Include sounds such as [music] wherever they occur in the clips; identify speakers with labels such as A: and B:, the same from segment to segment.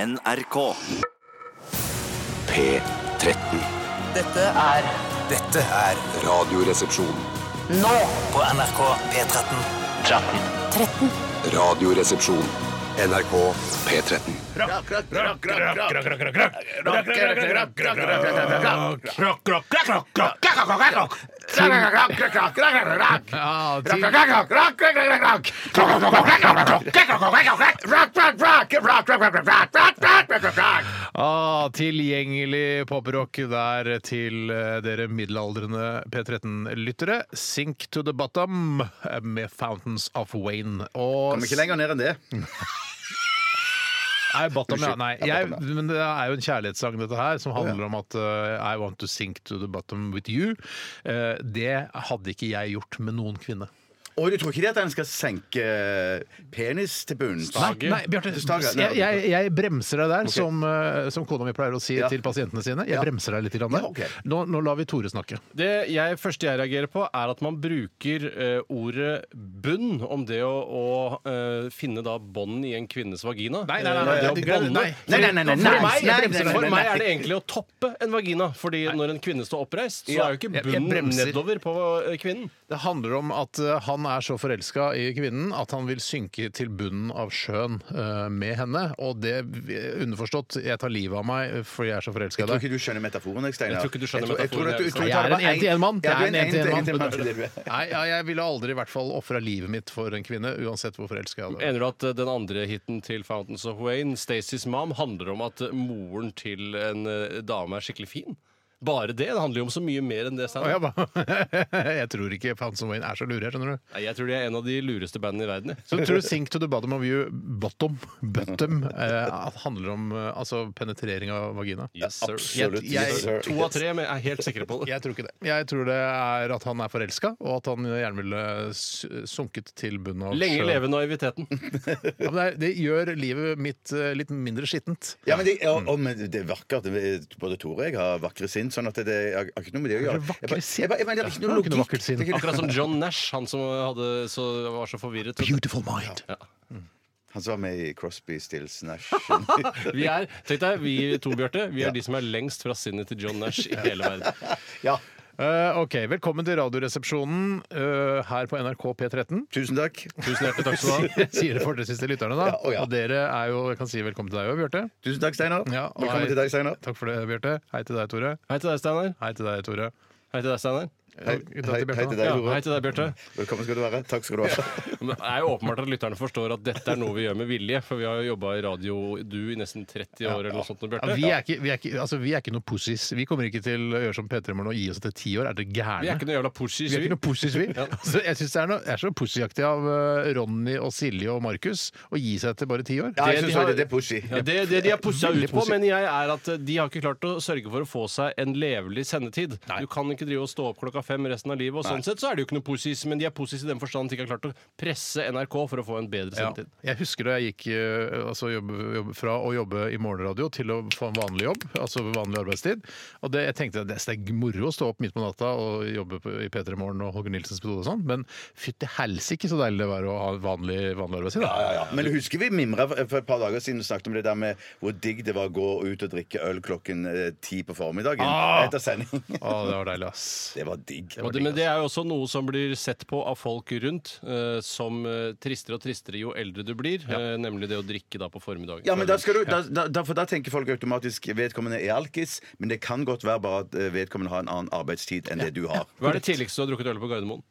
A: NRK.
B: P13.
C: Dette er
D: Dette er
B: Radioresepsjon.
C: nå
D: på NRK P13.
B: Radioresepsjon. NRK P13.
E: Ah, tilgjengelig poprock der til eh, dere middelaldrende P13-lyttere. Sink to the bottom eh, med Fountains of Wayne. Og
F: Kommer ikke lenger ned enn det.
E: Nei, bottom, ja. Nei, jeg, men det er jo en kjærlighetssang, dette her, som handler om at eh, I want to sink to the bottom with you. Eh, det hadde ikke jeg gjort med noen kvinne.
F: Og du tror ikke det at den skal senke eh, penis til bunns?
E: Nei, nei Bjarte.
F: Stager,
E: Jeg,
F: nei.
E: jeg, jeg bremser deg der, som, eh, som kona mi pleier å si
F: Ja.
E: til pasientene sine. Jeg
F: Ja.
E: bremser deg litt. Grann der.
F: Ja, ok.
E: nå, nå lar vi Tore snakke.
G: Det jeg, første jeg reagerer på, er at man bruker eh, ordet bunn om det å, å eh, finne da bånd i en kvinnes vagina.
E: Nei, nei, nei, nei,
G: Eh,
E: det-
G: det å bånde.
E: nei.
F: Nei, nei, nei, nei, nei, nei, nei,
G: For meg-
F: nei, nei,
G: For
F: nei.
G: meg er det egentlig å toppe en vagina. Fordi når en kvinne står oppreist, så er jo ikke
E: Jeg- jeg
G: bunnen
E: bremser.
G: nedover på eh, kvinnen.
E: Det handler om at eh, han er så forelska i kvinnen at han vil synke til bunnen av sjøen eh, med henne. Og det eh, underforstått jeg tar livet av meg eh, fordi jeg er så forelska
F: Jeg
E: i
F: tror
E: deg.
F: ikke du skjønner metaforen. Jeg, Steinar.
G: Jeg tror ikke du skjønner
F: Jeg tror- jeg tror- jeg tror-
G: metaforen,
E: Jeg er en en-til-en-mann.
F: Ja, du er en
E: Jeg er en
F: en-til-en-mann.
E: en-til-en-mann. Nei, ja, jeg ville aldri i hvert fall ofra livet mitt for en kvinne, uansett hvor forelska jeg hadde vært.
G: Mener du at eh, den andre hiten til Fountains of Wayne, Stacey's Mom, handler om at eh, moren til en eh, dame er skikkelig fin? Bare det? Det handler jo om så mye mer enn det.
E: Å, ja,
G: Steinar.
E: ba- [laughs] jeg tror ikke Fountains of Wayne er så lure, jeg, skjønner du.
G: Nei, Jeg tror de er en av de lureste bandene i verden. jeg.
E: Så tror du Sink to the bottom of you, bottom, bottom, eh, handler om eh, altså penetrering av vagina?
G: Yes, sir.
F: Absolutt.
E: Jeg-
F: Yes, sir.
G: To av tre, men jeg er helt sikker på det.
E: Jeg tror ikke det. Jeg tror det er at han er forelska, og at han gjerne ville s- sunket til bunnen av
G: Lenge
E: sjøen.
G: leve naiviteten.
E: Ja, men det, er, det gjør livet mitt eh, litt mindre skittent.
F: Ja, men det, ja, og, men det er vakkert. Det- Både Tore og jeg har vakre sinn. Sånn at det jeg har ikke noe med det å gjøre.
E: Vakre
F: Jeg bare-
E: sinn?
F: jeg bare- jeg mener, Det er ikke noe
E: Det er ikke noe
F: logikk.
E: vakkert sinn.
F: Det er ikke-
G: Akkurat som John Nash, han som hadde, så, var så forvirret.
E: Beautiful mind.
F: Han som var med i Crosby, Stills, Nash
G: Vi er, tenk deg, vi to, Bjarte, vi er de som er lengst fra sinnet til John Nash i hele verden.
F: [laughs] Ja,
E: Eh, ok, Velkommen til Radioresepsjonen eh, her på NRK P13.
F: tusen takk.
G: Tusen hjertelig takk skal du ha.
E: [laughs] Sier det for dere siste lytterne, da.
F: Ja, å ja.
E: Og dere er jo, jeg kan si velkommen til deg òg, Bjarte.
F: Tusen takk, Steinar.
E: Ja, og
F: Velkommen
E: hei.
F: til deg, Steinar.
E: Takk for det, Bjarte. Hei til deg, Tore.
G: Hei til deg, Steinar.
E: Hei til deg, Tore.
G: Hei til deg, Steinar.
F: Hei,
E: Takk til
F: hei,
E: Bjarte,
F: hei til
E: da.
F: deg,
G: Ja,
F: Tore.
G: hei til deg, Bjarte.
F: Velkommen skal du være. Takk skal du ha.
G: Men Det er jo åpenbart at lytterne forstår at dette er noe vi gjør med vilje, for vi har jo jobba i radio, du, i nesten 30 år eller noe sånt, nå,
E: Ja,
G: Bjarte.
E: vi, er ikke, vi, er ikke, altså, vi er ikke noe pussies. Vi kommer ikke til å gjøre som P3 Morgen og gi oss etter ti år. Er dere
G: Vi er
E: gærne?
G: ikke noe jævla pushy,
E: Vi er
G: sier
E: ikke
G: vi.
E: noe pussies, vi. Altså, jeg syns det er, noe, jeg er så pussyaktig av eh, Ronny og Silje og Markus å gi seg etter bare ti år.
F: Ja, jeg
G: Det-
F: synes
G: de har-
F: også det, det er pushy.
G: Ja, det, det de har pussa ut
E: Veldig
G: på,
E: pussig.
G: mener jeg, er at eh, de har ikke klart å sørge for å få seg en levelig sendetid. Du kan ikke drive og stå opp klokka fem resten av livet, og sånn sett så er det jo ikke noe pussies, men de er pussies i den forstand at de ikke har klart å presse NRK for å få en bedre
E: Ja.
G: sendetid.
E: Jeg husker da jeg gikk eh, altså jobb, jobb, fra å jobbe i morgenradio til å få en vanlig jobb, altså vanlig arbeidstid. Og det, jeg tenkte at det det er moro å stå opp midt på natta og jobbe på, i P3 Morgen og Håkon Nilsens metode og sånn, men fytti helsike så deilig det var å ha en vanlig, vanlig arbeidstid.
F: Ja,
E: Da.
F: ja. Men husker vi mimra for for et par dager siden og snakket om det der med hvor digg det var å gå ut og drikke øl klokken eh, ti på formiddagen etter sending? [laughs]
E: Å, det var deilig, ass.
F: Det var digg. altså.
G: Og det, men det er jo også noe som blir sett på av folk rundt eh, som eh, tristere og tristere jo eldre du blir, eh, nemlig det å drikke da på formiddagen.
F: Ja, men da skal du, da, da, da, for da tenker folk automatisk vedkommende er alkis, men det kan godt være bare at eh, vedkommende har en annen arbeidstid enn det du har.
G: Hva er det tidligste du har drukket øl på Gardermoen?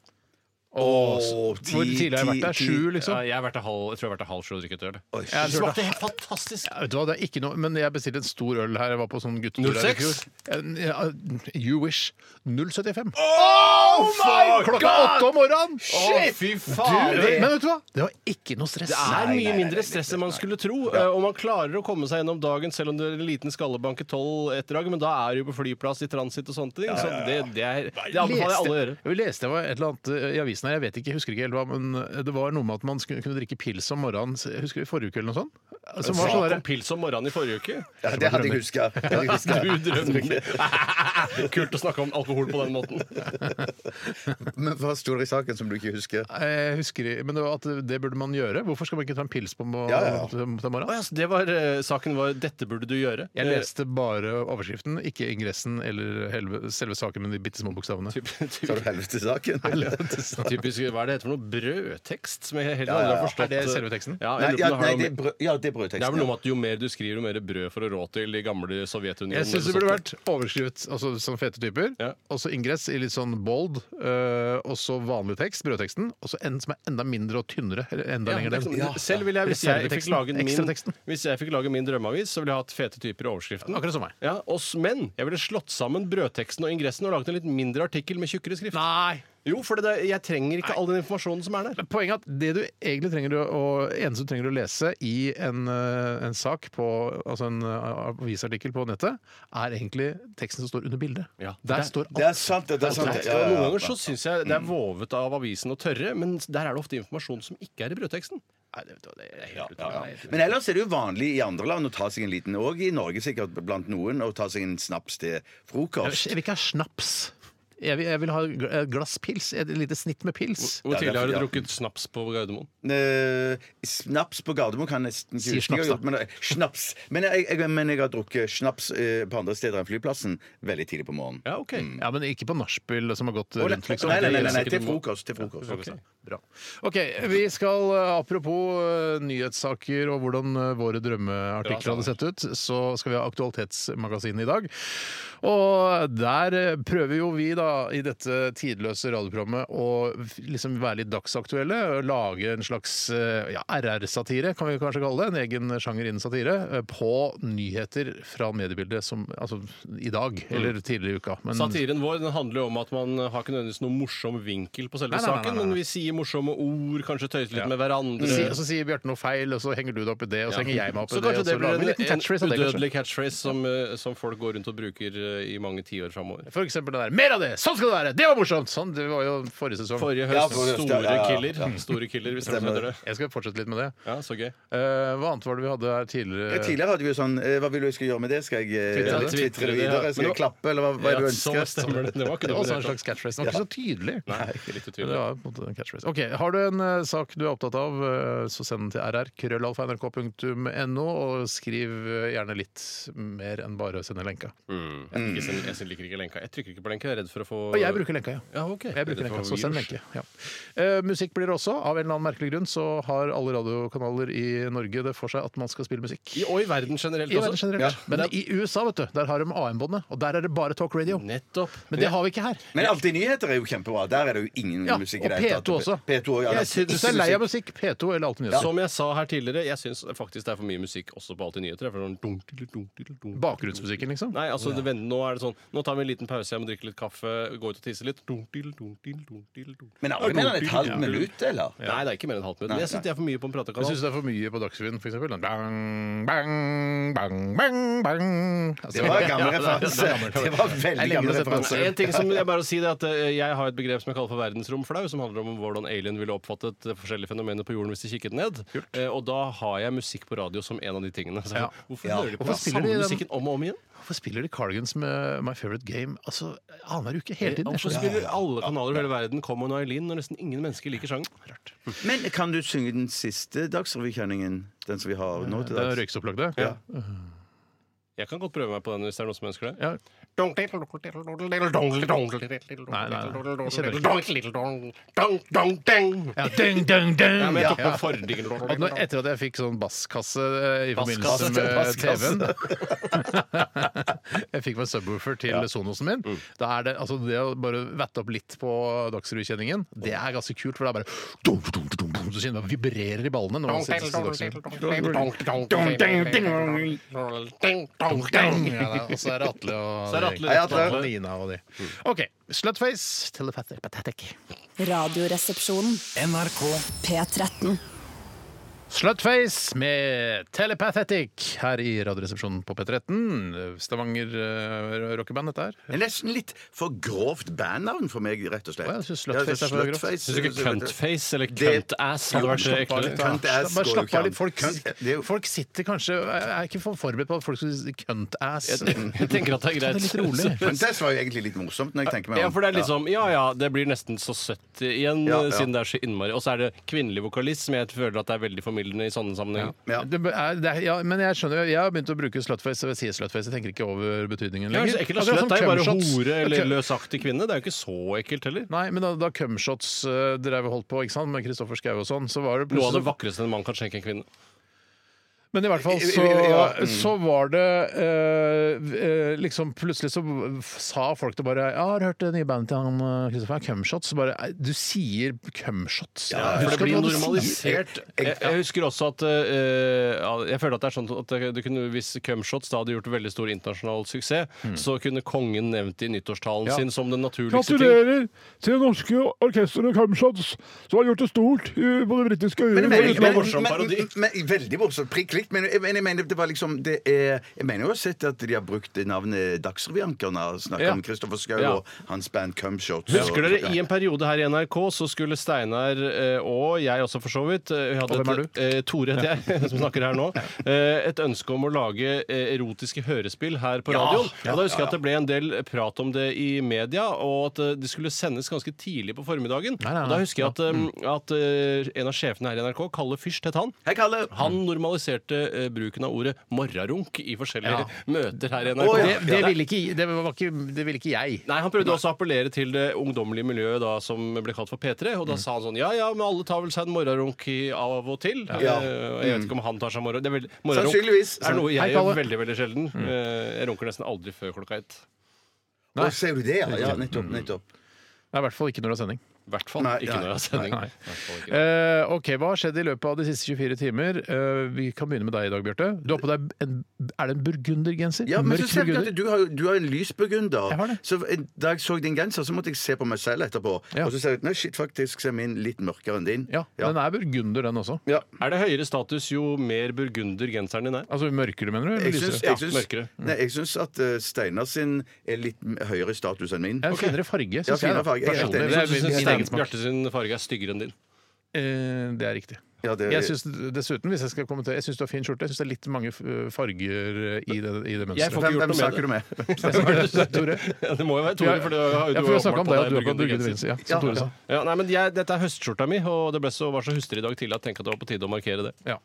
F: Åh, ti-
E: Hvor tidlig har jeg
F: ti-
E: vært der?
F: ti-
E: Sju,
G: Ja,
E: liksom?
G: jeg, har vært til halv, jeg tror jeg har vært til halv sju og drukket øl.
F: Oi,
E: Jeg tror det-
G: helt fantastisk!
E: Ja, vet du hva, det er ikke noe, men jeg bestilte en stor øl her. Jeg var på sånn guttetur her i
G: 06?
E: fjor. Ja, You wish. 075.
F: Oh my
E: Klokka åtte om morgenen!
F: Shit!
G: fy
E: Du, men vet du hva? Det var ikke noe stress.
G: Det er mye mindre stress enn man skulle tro. eh, Og man klarer å komme seg gjennom dagen selv om det er en liten skallebank i tolv etter dag, men da er du på flyplass i transit og sånne ting. Så det, det, er, det anbefaler jeg alle å gjøre.
E: Jeg leste det var et eller annet eh, i avisen her, jeg vet ikke, jeg husker ikke helt hva, men eh, det var noe med at man skulle, kunne drikke pils om morgenen, jeg husker i forrige uke eller noe sånt? Som var sånn
G: Snakk
E: der,
G: [laughs] om pils om morgenen i forrige uke.
F: Ja, det hadde jeg huska.
G: Du drømmer. [laughs] Kult å snakke om alkohol på den måten.
F: Men hva sto det i saken som du ikke husker?
E: Eh, Jeg husker i- men det, var at det burde man gjøre. Hvorfor skal man ikke ta en pils på mo-
F: Ja, ja, ja.
E: til til
G: Å
E: morgenen?
G: ja, så det var, eh, saken var 'Dette burde du gjøre'. Eh,
E: Jeg leste bare overskriften, ikke ingressen eller helve, selve saken, men de bitte små bokstavene. [laughs]
G: Typ, typ,
F: Sa du helvete saken? [laughs]
G: [laughs] typisk hva er det heter for noe? Brødtekst? Som jeg heller
F: ja, ja.
G: aldri har forstått.
E: Er det selve teksten?
G: Ja,
F: Nei,
G: jeg lurer på
F: ja,
G: om det har
F: nei,
G: noe
F: det
G: med-
F: er brød, ja, det er brødteksten.
G: Det er vel noe
F: ja.
G: med at jo mer du skriver, jo mer brød får du råd til i gamle Sovjetunionen.
E: Jeg syns det
G: eller
E: burde
G: sånt.
E: vært overskrevet altså, sånn fete typer,
G: Ja.
E: og så ingress i litt sånn bold, øh, og så vanlig tekst, brødteksten, og så en som er enda mindre og tynnere. Eller enda
G: Ja,
E: lenger
G: det er
E: ned.
G: ikke sånn- Selv ville jeg, hvis jeg, fikk
E: Reserveteksten,
G: lage
E: ekstrateksten.
G: min, hvis jeg fikk lage min drømmeavis, så ville jeg hatt fete typer i overskriften.
E: Akkurat sånn. som meg.
G: Ja, oss menn. Jeg ville slått sammen brødteksten og ingressen og laget en litt mindre artikkel med tjukkere skrift.
E: Nei!
G: Jo, for det, der- jeg trenger ikke all den informasjonen som er der.
E: Men Poenget er at det du egentlig trenger å, og eneste du trenger å lese i en, øh, en sak, på, altså en øh, avisartikkel på nettet, er egentlig teksten som står under bildet.
G: Ja.
E: Der
G: Det-
E: står
F: Det er sant, det. det er sant. det. Ja,
G: Og
F: ja,
G: Noen ganger
F: ja.
G: så syns jeg
E: Mm.
G: det er vovet av avisen å tørre, men der er det ofte informasjon som ikke er i brødteksten. Nei, det, det er helt utrolig.
F: Men ellers er det jo vanlig i andre land å ta seg en liten Og i Norge sikkert blant noen å ta seg en snaps til frokost.
E: Jeg vil ikke ha snaps. Jeg vil, jeg vil ha gl- et glass pils. Et lite snitt med pils.
G: Hvor tidlig har du
F: Ja, det er-
G: drukket snaps på Gardermoen?
F: Eh, snaps på Gardermoen kan jeg nesten
E: Si
F: ikke huske. jeg har
E: snaps, da.
F: gjort, Men, eh, snaps. Men, jeg, jeg, men jeg har drukket snaps eh, på andre steder enn flyplassen veldig tidlig på morgenen.
G: Ja, OK.
E: Ja, men ikke på nachspiel som har gått
F: Å, nei,
E: rundt, liksom.
F: nei, nei, nei, nei, nei,
G: Det
F: til
G: er sikkert-
F: frokost. Til frokost.
E: Bra. OK, vi skal eh, apropos eh, nyhetssaker og hvordan eh, våre drømmeartikler hadde sett ut, så skal vi ha Aktualitetsmagasinet i dag. Og der eh, prøver jo vi, da, i dette tidløse radioprogrammet, å f- liksom være litt dagsaktuelle. og Lage en slags eh, ja, RR-satire, kan vi kanskje kalle det. En egen sjanger innen satire. eh, På nyheter fra mediebildet som Altså i dag, eller tidligere i uka. Men-
G: Satiren vår den handler jo om at man har ikke nødvendigvis noen morsom vinkel på selve
E: Nei, nei, nei,
G: saken,
E: nei, nei.
G: men vi sier morsomme ord, kanskje tøyser litt
E: Ja.
G: med hverandre.
E: Si, og så sier Bjarte noe feil, og så henger du deg opp i det, og så henger jeg meg opp i
G: Mm. så
E: det.
G: kanskje
E: og
G: det
E: så
G: blir
E: lager vi en
G: en,
E: liten
G: en
E: catchphrase av det, kanskje.
G: udødelig catchphrase som, eh, som folk går rundt og bruker eh, i mange tiår framover.
E: For eksempel det der. Mer av det! Sånn skal det være! Det var morsomt! Sånn, det var jo forrige sesong.
G: Forrige
F: Ja,
G: høst,
F: forrige høst, ja,
G: store
F: ja, ja,
G: killer. Store killer, hvis det
F: Stemmer.
G: heter det.
E: Jeg skal fortsette litt med det.
G: Ja, så gøy.
E: Eh, hva annet var det vi hadde her
F: Ja,
E: tidligere?
F: tidligere hadde vi jo sånn eh, Hva vil du jeg skal gjøre med det? Skal jeg eh,
E: Twitter det?
F: tvitre det
G: Twitter det, ja.
F: videre? Skal
G: Men
F: jeg
G: nå-
F: klappe, eller hva, hva er det du
G: Ja, så
F: ønsker?
G: stemmer det. Det var ikke
E: Det
G: noe
E: var også en
G: med det.
E: slags catchphrase. Den var ikke så tydelig.
G: Nei, litt
E: Men det
G: utydelig.
E: var på en måte en catchphrase. Ok, Har du en eh, sak du er opptatt av, eh, så send den til rr. krøllalfa.nrk.no, og skriv eh, gjerne litt mer enn bare å sende lenka.
G: Mm. Jeg, liker ikke- jeg liker ikke lenka. Jeg trykker ikke på lenka, jeg er redd for å få
E: Og jeg bruker lenka, ja.
G: ja, ok.
E: Jeg bruker
G: Redd for
E: lenka,
G: å få
E: så send
G: virus.
E: lenke. Ja. Eh, musikk blir det også. Av en eller annen merkelig grunn så har alle radiokanaler i Norge det for seg at man skal spille musikk.
G: I, og i verden generelt
E: I
G: også.
E: verden generelt. Men i USA, vet du, der har de AM-båndet, og der er det bare talk radio.
G: Nettopp.
E: Men det har vi ikke her.
F: Men Alltid nyheter er jo kjempebra. Der er det jo ingen
E: Ja,
F: musikk
E: og
F: i det hele
E: P2 også.
F: tatt. P2 også, ja,
G: Jeg
F: da.
G: synes
E: Hvis du er lei av musikk, P2 eller Alltid nyheter.
G: Som jeg sa her tidligere, jeg syns faktisk det er for mye musikk også på Alltid nyheter. Det er for sånn dunk, dunk, dunk, dunk, dunk.
E: Bakgrunnsmusikken, liksom.
G: Nei, altså, det vender- nå er det sånn Nå tar vi en liten pause, jeg må drikke litt kaffe, gå ut og tisse litt. Dunk, dunk, dunk, dunk, dunk, dunk, dunk.
F: Men alle mener et halvt minutt, eller?
G: Nei, det er ikke mer enn et halvt minutt. Men jeg syns det er for mye på en
E: Jeg
G: pratekanal.
E: syns det er for mye på Dagsrevyen, f.eks. Bang, bang, bang, bang, bang. Altså,
F: Det var en gammel referanse. Det var en
E: Jeg
F: veldig
E: legger
F: gammel
E: det til
F: referanse.
E: Absolutt.
G: En ting som Jeg bare sier det at eh, jeg har et begrep som jeg kaller for verdensromflau, som handler om hvordan alien ville oppfattet eh, forskjellige fenomener på jorden hvis de kikket ned. Eh, Og da har jeg musikk på radio som en av de tingene. Så,
E: Ja.
G: Hvorfor
F: Ja.
G: hører de på
E: Hvorfor
G: den
E: spiller
G: samme
E: de den-
G: musikken om og om igjen?
E: Hvorfor spiller de Cardigans med My Favorite Game altså, annenhver uke? Hele tiden? Jeg
G: Eh, Hvorfor
E: skjønner ikke.
G: spiller alle kanaler over hele verden Common Eileen når nesten ingen mennesker liker sangen?
F: Men kan du synge den siste Dagsrevykjenningen? Den som vi har nå til
E: Det er
F: dags?
E: røyksopplagde?
G: Ja. Jeg kan godt prøve meg på den hvis det er noen som ønsker det.
E: Ja. Ja, dung, dung, dung.
G: Ja, men jeg tok
E: Ja.
G: på fordingen.
E: At nå, etter at jeg fikk sånn basskasse eh, i forbindelse
G: Basskasse,
E: med
F: basskasse.
E: TV-en Jeg fikk meg subwoofer til Sonosen min. Da er det, altså det å bare vette opp litt på Dagsrevykjenningen, det er ganske kult. For det er bare dum, dum, dum, dum, Så kjenner man vibrerer i ballene når man sitter og ser Dagsrevyen. Ja, da, Og så er det Atle og
G: Så er det Atle.
E: Hei, og Nina og de. OK. Slutface, telepathic, pathetic.
A: Radioresepsjonen.
D: NRK
A: P13.
E: Slutface med Telepathetic her i Radioresepsjonen på P13. Stavanger eh, rockeband, dette her.
F: Det er nesten litt for grovt bandnavn for meg, rett og slett.
E: Å, jeg synes Slutface er for grovt.
G: Syns du ikke cuntface eller
F: Det-
G: cuntass hadde vært
F: Jo,
G: eklere?
F: slapp av litt, da. Cunt-ass går
E: Bare
F: jo
E: slapp
F: ikke
E: av
F: an.
E: litt. Folk,
F: Cunt- det er jo-
E: folk sitter kanskje Jeg er ikke for- forberedt på at folk skal si cunt-ass.
G: Jeg tenker at det er
E: Ta det litt
G: greit.
E: rolig.
F: Men det var jo egentlig litt morsomt. når jeg tenker meg om.
G: Ja, for det er liksom, ja ja, det blir nesten så søtt igjen,
F: Ja, ja.
G: siden det er så innmari Og så er det kvinnelig vokalist, som jeg føler at det er veldig formildende i sånne sammenhenger.
F: [laughs] Ja.
E: Det er, det er, ja, men jeg skjønner jo, jeg har begynt å bruke slutface. Og jeg sier slutface, jeg tenker ikke over betydningen
G: Det
E: lenger.
G: er jo så ekkelt.
E: Akkurat
G: Slett er jo bare
E: cum-shots.
G: hore
E: Ok.
G: eller løsaktig kvinne. Det er jo ikke så ekkelt heller.
E: Nei, men da, da cumshots uh, drev og holdt på ikke sant, med Kristoffer Schau og sånn, så var det
G: Noe av det
E: plutselig
G: vakreste en mann kan skjenke en kvinne.
E: Men i hvert fall så,
F: Ja, mm.
E: så var det eh, eh, liksom Plutselig så sa folk det bare Ja, har du hørt det nye bandet til han eh, Kristoffer? Cumshots? Så bare «Nei, Du sier cumshots.
G: Ja,
E: Husk
G: for det
E: at
G: blir
E: hva du sier.
G: normalisert. Jeg, jeg husker også at eh, ja, Jeg føler at det er sånn at det- det kunne, hvis Cumshots da hadde gjort veldig stor internasjonal suksess, så kunne kongen nevnt det i nyttårstalen
E: Ja.
G: sin som den naturligste ting.
A: Gratulerer til det norske orkesteret Cumshots, som har gjort det stort uh, på det britiske
F: Men, jeg mener-
G: Det var en
F: men-
G: morsom
F: men-
G: parodi.
F: men- veldig morsomt. Prikk likt. Men, men jeg mener det var liksom det er, Jeg mener jo å ha sett at de har brukt navnet Dagsrevyankerne. Snakket
E: Ja.
F: om Kristoffer Schou
G: Ja.
F: og hans band Cumshots.
G: Husker dere, I en periode her i NRK så skulle Steinar eh, og jeg også, for så vidt eh, vi hadde
E: Og hvem er
G: et, eh, Tore heter jeg, [laughs] som snakker her nå. eh, Et ønske om å lage eh, erotiske hørespill her på radioen. Og da husker jeg at det ble en del prat om det i media, og at eh, det skulle sendes ganske tidlig på formiddagen.
E: nei,
G: Og da
E: nei. Mm.
G: husker jeg at, eh, at eh, en av sjefene her i NRK, Kalle Fyrst het han.
F: Hei, Kalle!
G: Han
E: Mm.
G: normaliserte eh, bruken av ordet morrarunk i forskjellige
E: Ja.
G: møter her i NRK.
F: Å, ja.
E: Det, det, ville ikke, det, var ikke, det ville ikke jeg.
G: Nei, Han prøvde også å appellere til det ungdommelige miljøet da, som ble kalt for P3. Og da sa han sånn Ja ja, men alle tar vel seg en morgenrunk i- av og til.
F: Ja.
G: Eh, og jeg vet ikke om han tar seg morgen... Det er vel- morgenrunk
F: Sannsynligvis.
G: er noe
E: Hei,
G: jeg
E: Kalle.
G: gjør veldig veldig sjelden. Eh, jeg runker nesten aldri før klokka ett.
F: Å, ser du det, ja? ja nettopp. nettopp.
E: Det er i hvert fall ikke når det er sending.
G: I hvert fall
F: Nei,
G: ikke
F: nei,
G: når jeg har sending.
E: nei, nei.
G: I hvert fall ikke.
E: Eh, ok, Hva har skjedd i løpet av de siste 24 timer? Eh, vi kan begynne med deg i dag, Bjarte. Du har på deg en, Er det en burgundergenser?
F: Ja, men så
E: Mørk
F: ser jeg
E: burgunder?
F: at du har, jo- du har en lys burgunder.
E: Jeg har det.
F: Så en- da jeg så din genser, så måtte jeg se på meg selv etterpå.
E: Ja.
F: Og så ser jeg ut Nei, shit, faktisk ser min litt mørkere enn din.
E: Ja,
F: ja.
E: den er burgunder, den også.
F: Ja.
G: Eh, Er det høyere status jo mer burgunder genseren din er?
E: Altså mørkere, mener du? Eller
F: Jeg
E: lysere?
F: syns, jeg, syns,
G: mørkere.
E: Mm.
F: nei, jeg syns at eh, Steinar sin er litt m- høyere status enn min.
E: Det er en finere farge, syns
F: finere
E: jeg. da.
F: farge. Jeg er helt
E: Personlig.
F: enig.
E: Det er
G: Jeg
E: liksom min-
G: synes
E: min
G: Stein-
E: egen smak.
G: Bjarte sin farge er styggere enn din. [laughs]
E: Eh, Det er riktig.
F: Ja, det-
E: Jeg syns dessuten, hvis jeg skal kommentere, jeg syns du har fin skjorte. Jeg syns det er litt mange eh, farger i det, i det
F: Hvem,
E: mønsteret.
G: Jeg får ikke gjort
F: hvem
G: noe med
F: snakker
G: det.
F: du med? [laughs]
E: Tore.
G: Ja, det må jo være Tore, for du,
E: Ja,
G: du
E: for vi
G: har
E: har snakka om
G: åpenbart
E: deg
G: på
E: at du har på
G: deg
E: burgundergenser. Ja, som Tore sa.
G: Ja, nei, men jeg, dette er høstskjorta mi, og det ble så, var så hustrig i dag tidlig at jeg tenkte at det var på tide å markere det.
E: Ja.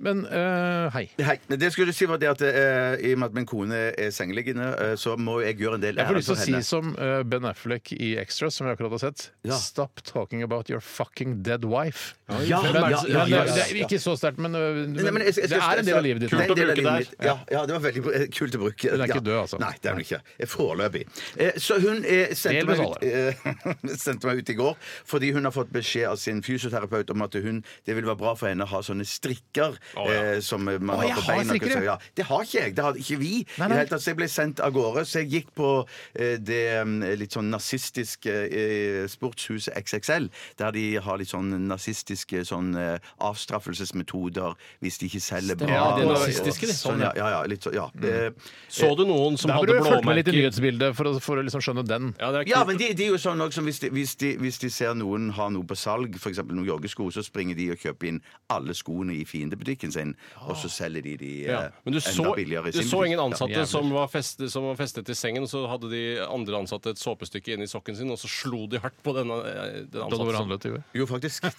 E: Men eh, hei.
F: Hei, men det jeg skulle si var det at eh, I og med at min kone er sengeliggende, eh, så må jeg gjøre en del
E: Jeg får
F: ære
E: lyst
F: for
E: til å si
F: henne.
E: som eh, Ben Affleck i Extras, som vi akkurat har sett.
F: Ja.
E: Stop talking about your fucking dead wife.
F: Ja,
E: Men,
F: ja, ja,
E: men
F: ja,
E: det-
F: ja.
E: det er ikke så sterkt, men, eh,
F: Nei, men
E: men
F: jeg- jeg- jeg-
E: det er en del av livet ditt.
F: Det er en
G: Kult å
F: del av
G: bruke
F: livet
G: det
F: mitt. Ja, ja, det var veldig eh, kult å bruke.
E: Hun er ikke
F: Ja.
E: død, altså.
F: Nei, det er hun ikke. Eh, Foreløpig. Eh, Så hun eh, sendte,
E: Delvis
F: meg ut, eh, [laughs] sendte meg ut i går fordi hun har fått beskjed av sin fysioterapeut om at hun, det vil være bra for henne å ha sånne strikker eh, som man
E: jeg
F: har på
E: har
F: beina.
E: strikker,
F: ikke sant?
E: ja.
F: Ja, det har ikke jeg. Det har ikke vi.
E: Nei,
F: I
E: nei.
F: det hele tatt, så jeg ble sendt av gårde, så jeg gikk på eh, det eh, litt sånn nazistiske eh, sportshuset XXL, der de har litt sånn nazistiske sånn eh, avstraffelsesmetoder hvis de ikke selger bra.
E: Ja, de er
F: og-
G: nazistiske, Mm. de.
F: Sånn, ja, ja, ja, litt så, ja. Eh,
G: Så du noen som
E: Da
G: hadde
E: burde du fulgt med litt i
G: blåmerker?
E: nyhetsbildet for å, for å liksom skjønne den.
G: Ja, det er
F: Ja,
G: kult.
F: men de, de er jo sånn også, som hvis, de, hvis, de, hvis de ser noen har noe på salg, f.eks. noen joggesko, så springer de og kjøper inn alle skoene i fiendebutikken sin, og så selger de de eh,
G: Ah. Ja. Men du så,
F: enda billigere i
G: du
F: sin
G: så
F: butikk.
G: ingen
E: Ja,
G: ansatte
E: jævlig.
G: som, var festet, som var festet til sengen, og så hadde de andre ansatte et såpestykke inni sokken sin, og så slo de hardt på denne, eh, den
E: Da hadde
G: ansatte.
E: vært
G: som-
E: handlet, Yngve.
F: Jo, faktisk. [laughs]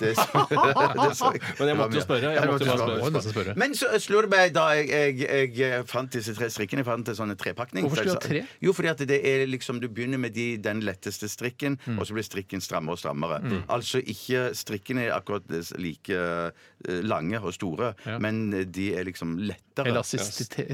F: Det, det så jeg.
G: Men jeg måtte jo
F: Det var mye.
G: spørre, jeg
F: Ja, du
G: måtte jo bare
E: spørre. Må jo nesten spørre.
F: Men så slo det meg da jeg, jeg, jeg fant disse tre strikkene. Jeg fant en sånn trepakning.
E: Hvorfor skulle du ha
F: Så jeg sa-
E: tre?
F: Jo, fordi at det er liksom Du begynner med de, den letteste strikken,
G: Mm.
F: og så blir strikken strammere og strammere. Altså ikke strikkene er akkurat like eh, lange og store, men de er liksom lettere.
E: Elastisitet.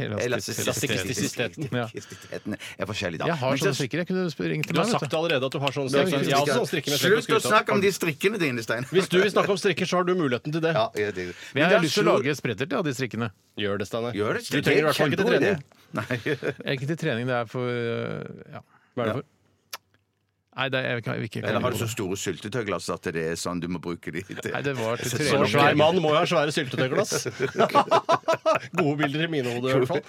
G: Elastisiteten.
E: Ja.
F: Elastisiteten er forskjellig, da.
E: Jeg har
F: Men så-
E: sånne strikker. Jeg kunne sp- ringt til
G: Du har
E: meg. vet
G: sagt
E: du.
G: allerede at du har sånn
E: er
G: strikke.
E: ikke-
G: Jeg har også sånn strikke, men jeg skal ikke
F: Slutt å
G: skryte av.
F: snakke om de strikkene dine, Stein.
G: Hvis du vil snakke om strikker, så har du muligheten til det.
F: Ja, jeg, det,
E: Men jeg har lyst til å lage spretter til av de strikkene.
G: Gjør det, Steinar.
F: Gjør det.
G: Du trenger i hvert fall ikke til trening.
F: Nei.
E: Jeg er ikke til trening, det er for øh, ja.
G: Hva er det for?
E: Nei, det, jeg, kan- jeg vil ikke
F: Eller har du
E: det.
F: så store syltetøyglass at det er sånn du må bruke de til?
E: Nei, det
F: [laughs]
E: var til
F: Så
E: tre
G: Så
E: år.
G: svær mann må jo ha svære
F: [laughs]
G: syltetøyglass. Gode bilder i mine hoder, i hvert fall.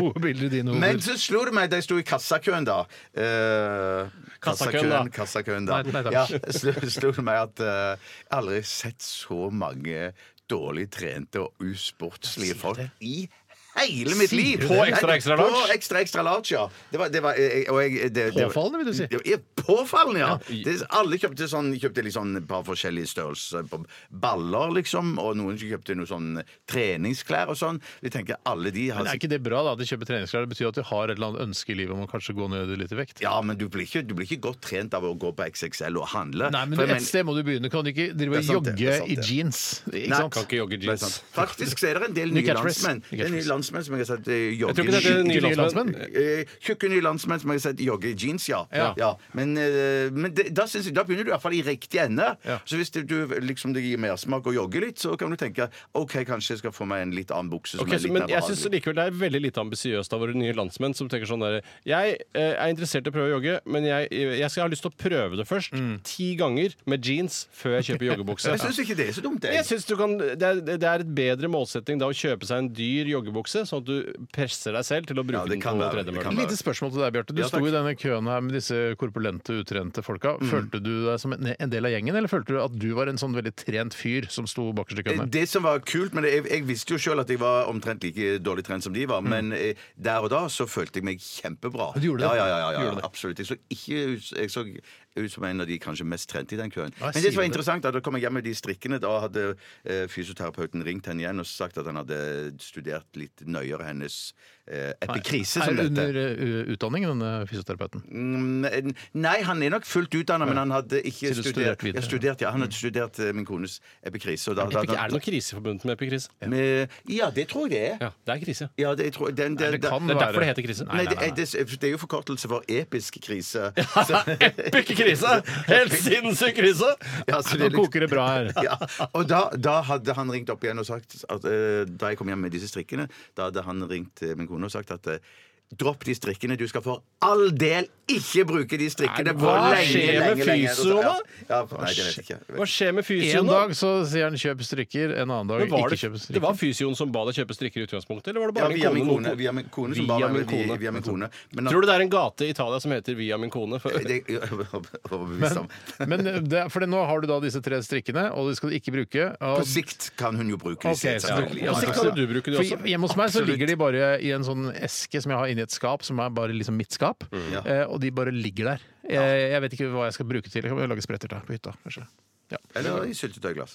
E: [laughs] Gode bilder i dine
F: Men
E: hoder.
F: så slo det meg da jeg sto i kassakøen, da. Eh,
G: Kassakøen, da.
F: kassakøen, da.
E: Nei, nei, takk.
F: ja, slo, slo det meg at eh, jeg aldri har sett så mange dårlig trente og usportslige folk i hele mitt liv!
G: På Extra Extra Large?
F: På ekstra ekstra large, ja. Det var, det var, eh, og jeg, det, det, var-
E: Påfallende, vil du si.
F: Det var- Påfallende, ja! Det, alle kjøpte, sånn, kjøpte litt sånn et par forskjellige størrelser på baller, liksom. Og noen kjøpte noe sånn treningsklær og sånn. Vi tenker alle de har
E: Men er ikke det bra, da? At de kjøper treningsklær. Det betyr at de har et eller annet ønske i livet om å kanskje gå ned litt i vekt.
F: Ja, men du blir, ikke, du blir ikke godt trent av å gå på XXL og handle.
E: Nei, men
F: For jeg
E: et sted må du begynne. Kan du ikke
F: Det er
E: drive og
F: sant, det. Det
E: jogge
F: er sant,
E: i
F: det.
E: jeans? Ikke
F: Nei,
E: sant?
G: Kan ikke jogge
F: mener-
G: jeans.
F: Faktisk så er det en
G: [laughs]
F: del
E: Ny
F: nye
E: catchphrase.
F: landsmenn
E: Ny
F: Det er nye
E: catchphrase.
F: landsmenn som jeg har sett eh, jogge
G: Jeg tror ikke det er nye landsmenn.
F: Eh, Tjukke nye landsmenn som jeg har sett jogge i jeans, ja.
E: Ja.
F: Men, eh, men det, da, synes jeg, da begynner du i hvert fall i riktig ende.
E: Ja.
F: Så hvis det, du, liksom, det gir mersmak å jogge litt, så kan du tenke OK, kanskje jeg skal få meg en litt annen bukse. som
G: Ok,
F: er
G: så,
F: litt
G: men
F: mer
G: jeg
F: behagelig.
G: syns likevel det er veldig lite ambisiøst av våre nye landsmenn som tenker sånn der Jeg eh, er interessert i å prøve å jogge, men jeg, jeg skal ha lyst til å prøve det først. Ti ganger med jeans før jeg kjøper joggebukse.
F: Mm. [laughs] jeg syns ikke det er så dumt,
G: Jeg
F: jeg.
G: synes du kan, det, er, det er et bedre målsetting da å kjøpe seg en dyr joggebukse, sånn at du presser deg selv til å bruke
F: det
G: den
F: kan
G: på
F: være, det kan
E: Et
G: tredemølla.
F: være.
E: lite spørsmål til deg, Bjarte. Du
F: Ja,
E: sto
F: takk.
E: i denne køen her med disse korpulente, utrente folka. Følte du deg som en en del av gjengen, eller følte du at du var en sånn veldig trent fyr som sto bakerst i køen? der?
F: Eh, Det som var kult med det, jeg, jeg visste jo sjøl at jeg var omtrent like dårlig trent som de var, men eh, der og da så følte jeg meg kjempebra.
E: Mm. Du gjorde det?
F: Ja, ja, ja, ja,
E: Du
F: ja,
E: gjorde det.
F: absolutt. Jeg så ikke ut, jeg så ut som en av de kanskje mest trente i den køen.
E: Hva
F: Men
E: sier
F: det som var
E: du?
F: interessant, da, da kom jeg hjem med de strikkene. Da hadde eh, fysioterapeuten ringt henne igjen og sagt at han hadde studert litt nøyere hennes eh, epikrise, som
E: Er
F: det heter.
E: under uh, utdanning, denne fysioterapeuten?
F: Mm, Nei, han er nok fullt utdanna, men han hadde ikke
E: Så du studerte
F: studert,
E: videre,
F: ja, studert ja, Han hadde studert eh, min kones epikrise. Og da, da,
G: Er det noe krise forbundet med epikrise?
F: med, ja, det tror jeg det er.
G: Ja, det er krise.
F: Ja, det, jeg tror, den, den,
E: det kan
G: Det er
E: være-
G: derfor det heter krise.
F: Nei, det, er-
G: [laughs]
F: det, det er jo forkortelse for episk krise. Så,
G: Epic krise! Helt sinnssyk krise!
F: [laughs] ja, så det er
E: Nå
F: liksom-
E: koker det bra her.
F: ja. Og da, da hadde han ringt opp igjen og sagt at, eh, Da jeg kom hjem med disse strikkene, da hadde han ringt eh, min kone og sagt at eh, Dropp de strikkene. Du skal for all del ikke bruke de strikkene
G: Nei,
F: på
G: hva
F: lenge,
G: skjer med
F: lenge, lenge.
G: fysioen da?
F: Ja, ja, nei, det vet jeg ikke.
G: Hva skjer med
E: En
G: fysioen da?
E: dag så sier han 'kjøp strikker', en annen dag
G: Men var
E: ikke
G: det,
E: 'kjøp
G: det
E: strikker'.
G: var fysioen som ba deg kjøpe strikker i utgangspunktet, eller var det
F: Ja,
G: bare
F: via min
G: din
F: kone.
G: kone?
F: Via min kone som
G: Via
F: bare,
G: min kone.
F: Via min kone. Men
G: Tror du det er en gate i Italia som heter Via min kone? For,
F: det [laughs] jeg er overbevist om.
E: Men eh, det, for det, nå har du da disse tre strikkene, og de skal du ikke bruke.
F: På
E: Og,
F: sikt kan hun jo bruke
E: Ok,
F: disse. selvfølgelig.
G: ja. På sikt kan jo du bruke de
E: For
G: også.
E: Hjemme hos meg så ligger de bare i en sånn eske som jeg har inni et skap, som er bare liksom mitt skap.
G: Mm.
F: Ja.
E: Eh, og de bare ligger der. Eh, jeg vet ikke hva jeg skal bruke til. Jeg kan lage spretter til på hytta, kanskje. Ja.
F: Eller i syltetøyglass.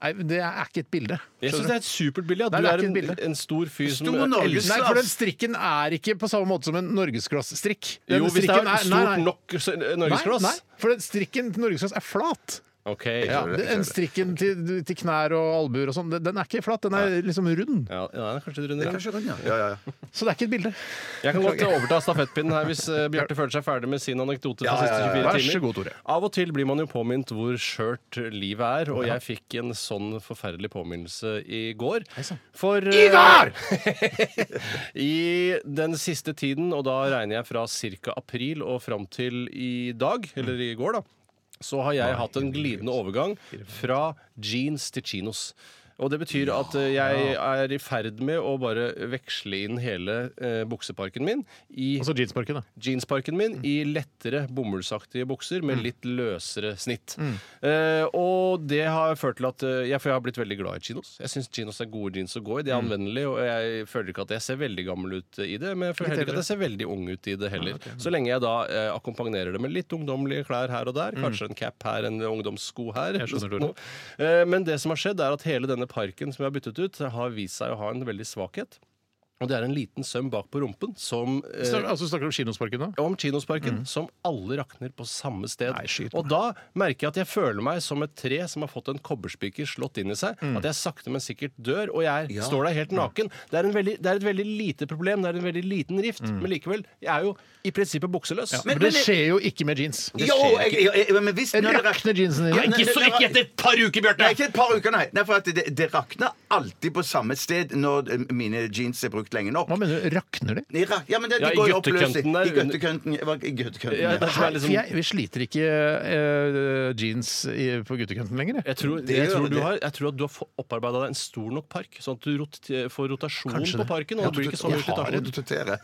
E: Nei, det er ikke et bilde.
G: jeg syns det er et supert bilde. at
E: Nei,
G: Du
E: det er
G: er
E: ikke et
G: en,
E: bilde.
G: en stor fyr som
F: Stor Norge-
G: elsker
E: Nei, for den strikken er ikke på samme måte som en norgesglass-strikk. Den
G: Jo, hvis det
E: strikken
G: er
E: nei,
G: stort
E: nei.
G: nok så- eh, norgesglass.
E: Nei, nei, for den strikken til norgesglass er flat.
G: Ok.
E: Ja,
G: Ja.
F: skjønner det, jeg
E: den
F: skjønner det.
E: strikken til, til knær og albuer og sånn, den- den er ikke flat. Den er liksom rund.
G: Ja, ja, kanskje du runder av.
F: Kanskje rundt, ja. Ja, ja, ja.
E: Så det er ikke et bilde.
G: Jeg kan godt overta stafettpinnen her hvis eh, Bjarte føler seg ferdig med sin anekdote. fra
F: Ja, ja, ja, ja.
G: siste 24
E: Vær
G: timer.
E: så god, Tore.
G: Av og til blir man jo påminnet hvor skjørt livet er, og jeg fikk en sånn forferdelig påminnelse i går. For eh, I går! I den siste tiden, og da regner jeg fra ca. april og fram til i dag, eller i går, da, så har jeg hatt en glidende overgang fra jeans til chinos. Og det betyr at eh, jeg er i ferd med å bare veksle inn hele eh, bukseparken min i
E: Altså jeansparken, da.
G: jeansparken min
E: Mm.
G: i lettere bomullsaktige bukser med litt løsere snitt.
E: Mm.
G: Eh, og det har ført til at eh, jeg, for jeg har blitt veldig glad i chinos. Jeg syns chinos er gode jeans å gå i. De
E: Mm.
G: er anvendelige, og jeg føler ikke at jeg ser veldig gammel ut i det. Men jeg føler heller ikke at jeg ser veldig ung ut i det
E: Ah,
G: heller.
E: mm.
G: Så lenge jeg da eh, akkompagnerer det med litt ungdommelige klær her og der, kanskje en cap her, en ungdomssko her.
E: Mm. skjønner, Tore.
G: Noe. [laughs] Eh, men det som har skjedd, er at hele denne parken som jeg har byttet ut, har vist seg å ha en veldig svakhet. Og det er en liten søm bak på rumpen som eh,
E: Snak- Altså, du snakker om kinosparken, da?
G: om Kinosparken, som alle rakner på samme sted.
E: Nei, skyt meg.
G: og da merker jeg at jeg føler meg som et tre som har fått en kobberspiker slått inn i seg. At jeg sakte, men sikkert dør, og jeg er, står der helt naken. Det er, en veldig, det er et veldig lite problem, det er en veldig liten rift, men likevel, jeg er jo i prinsippet bukseløs.
E: Men, det skjer jo ikke med jeans.
F: Jo, jeg, jeg, jeg, men hvis
E: En
F: når det
E: rakner jeansen
F: Ja,
E: din.
F: nei, det- det-
G: et par uker,
F: Nei,
G: Bjarte!
F: ikke et par uker, nei. nei for at det, det rakner alltid på samme sted når eh, mine jeans er brukt helt lenge nok.
E: Hva mener du? Rakner de?
F: I ra- Ja, men det, de
G: Ja, i
F: går jo opp løs i
G: guttekønten der.
F: I guttekønten. hva- I guttekønten,
G: Ja, det er som
F: ja.
G: er liksom-
E: For jeg, vi sliter ikke eh, jeans i, på guttekanten lenger. jeg.
G: Jeg tror,
F: Det
G: jeg,
F: gjør
G: tror du
F: det.
G: har, jeg tror at du har opparbeida deg en stor nok park, sånn at du rot, får rotasjon
E: Kanskje
G: på
E: det.
G: parken. Og
E: Ja,
G: det blir ikke så
E: jeg
G: mye
E: har
G: slitasje.
E: en-
F: Rotere.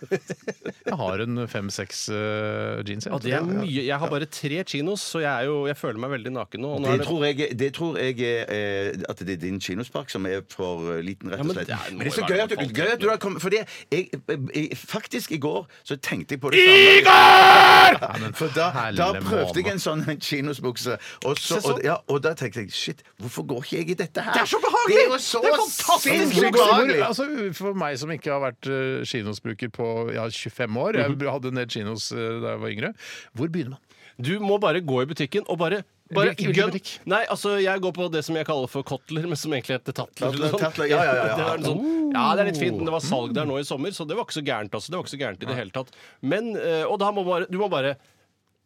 E: Jeg har en fem-seks eh, jeans. jeg.
G: Ja, det er mye. Jeg har bare tre kinos, så jeg, er jo, jeg føler meg veldig naken nå. Og nå
F: Det
G: er det,
F: tror jeg, det tror jeg er eh, at det er din kinospark som er for eh, liten, rett
G: Ja,
F: og
G: men
F: slett.
G: det er-
F: Men det er så
G: må jo
F: gøy
G: være
F: at du,
G: noe
F: gøy at du har kommet For det, jeg, jeg, faktisk i går så tenkte jeg på det samme. For da, da
E: Helle
F: prøvde jeg
E: måne.
F: en sånn kinosbukse, og, så, og, ja, og da tenkte jeg shit, hvorfor går ikke jeg i dette her?
E: Det er så behagelig!
F: Det er jo så
E: Det er fantastisk
F: sinnssykt
E: Hvor-
F: behagelig!
E: Altså, for meg som ikke har vært eh, kinosbruker på ja, 25 år, jeg hadde en del kinos eh, da jeg var yngre, hvor begynner man?
G: du må bare gå i butikken og bare bare
E: Hvilken
G: gønn.
E: butikk?
G: Nei, altså, jeg går på det som jeg kaller for kotler, men som egentlig heter tatler.
F: Tatler,
G: Sånn.
F: tatler, ja, ja, ja, ja.
G: [laughs] Det var en sånn, ja, det er litt fint, men det var salg der nå i sommer, så det var ikke så gærent. Altså. Det var ikke så gærent i det hele tatt. Men, eh, og da må bare, du må bare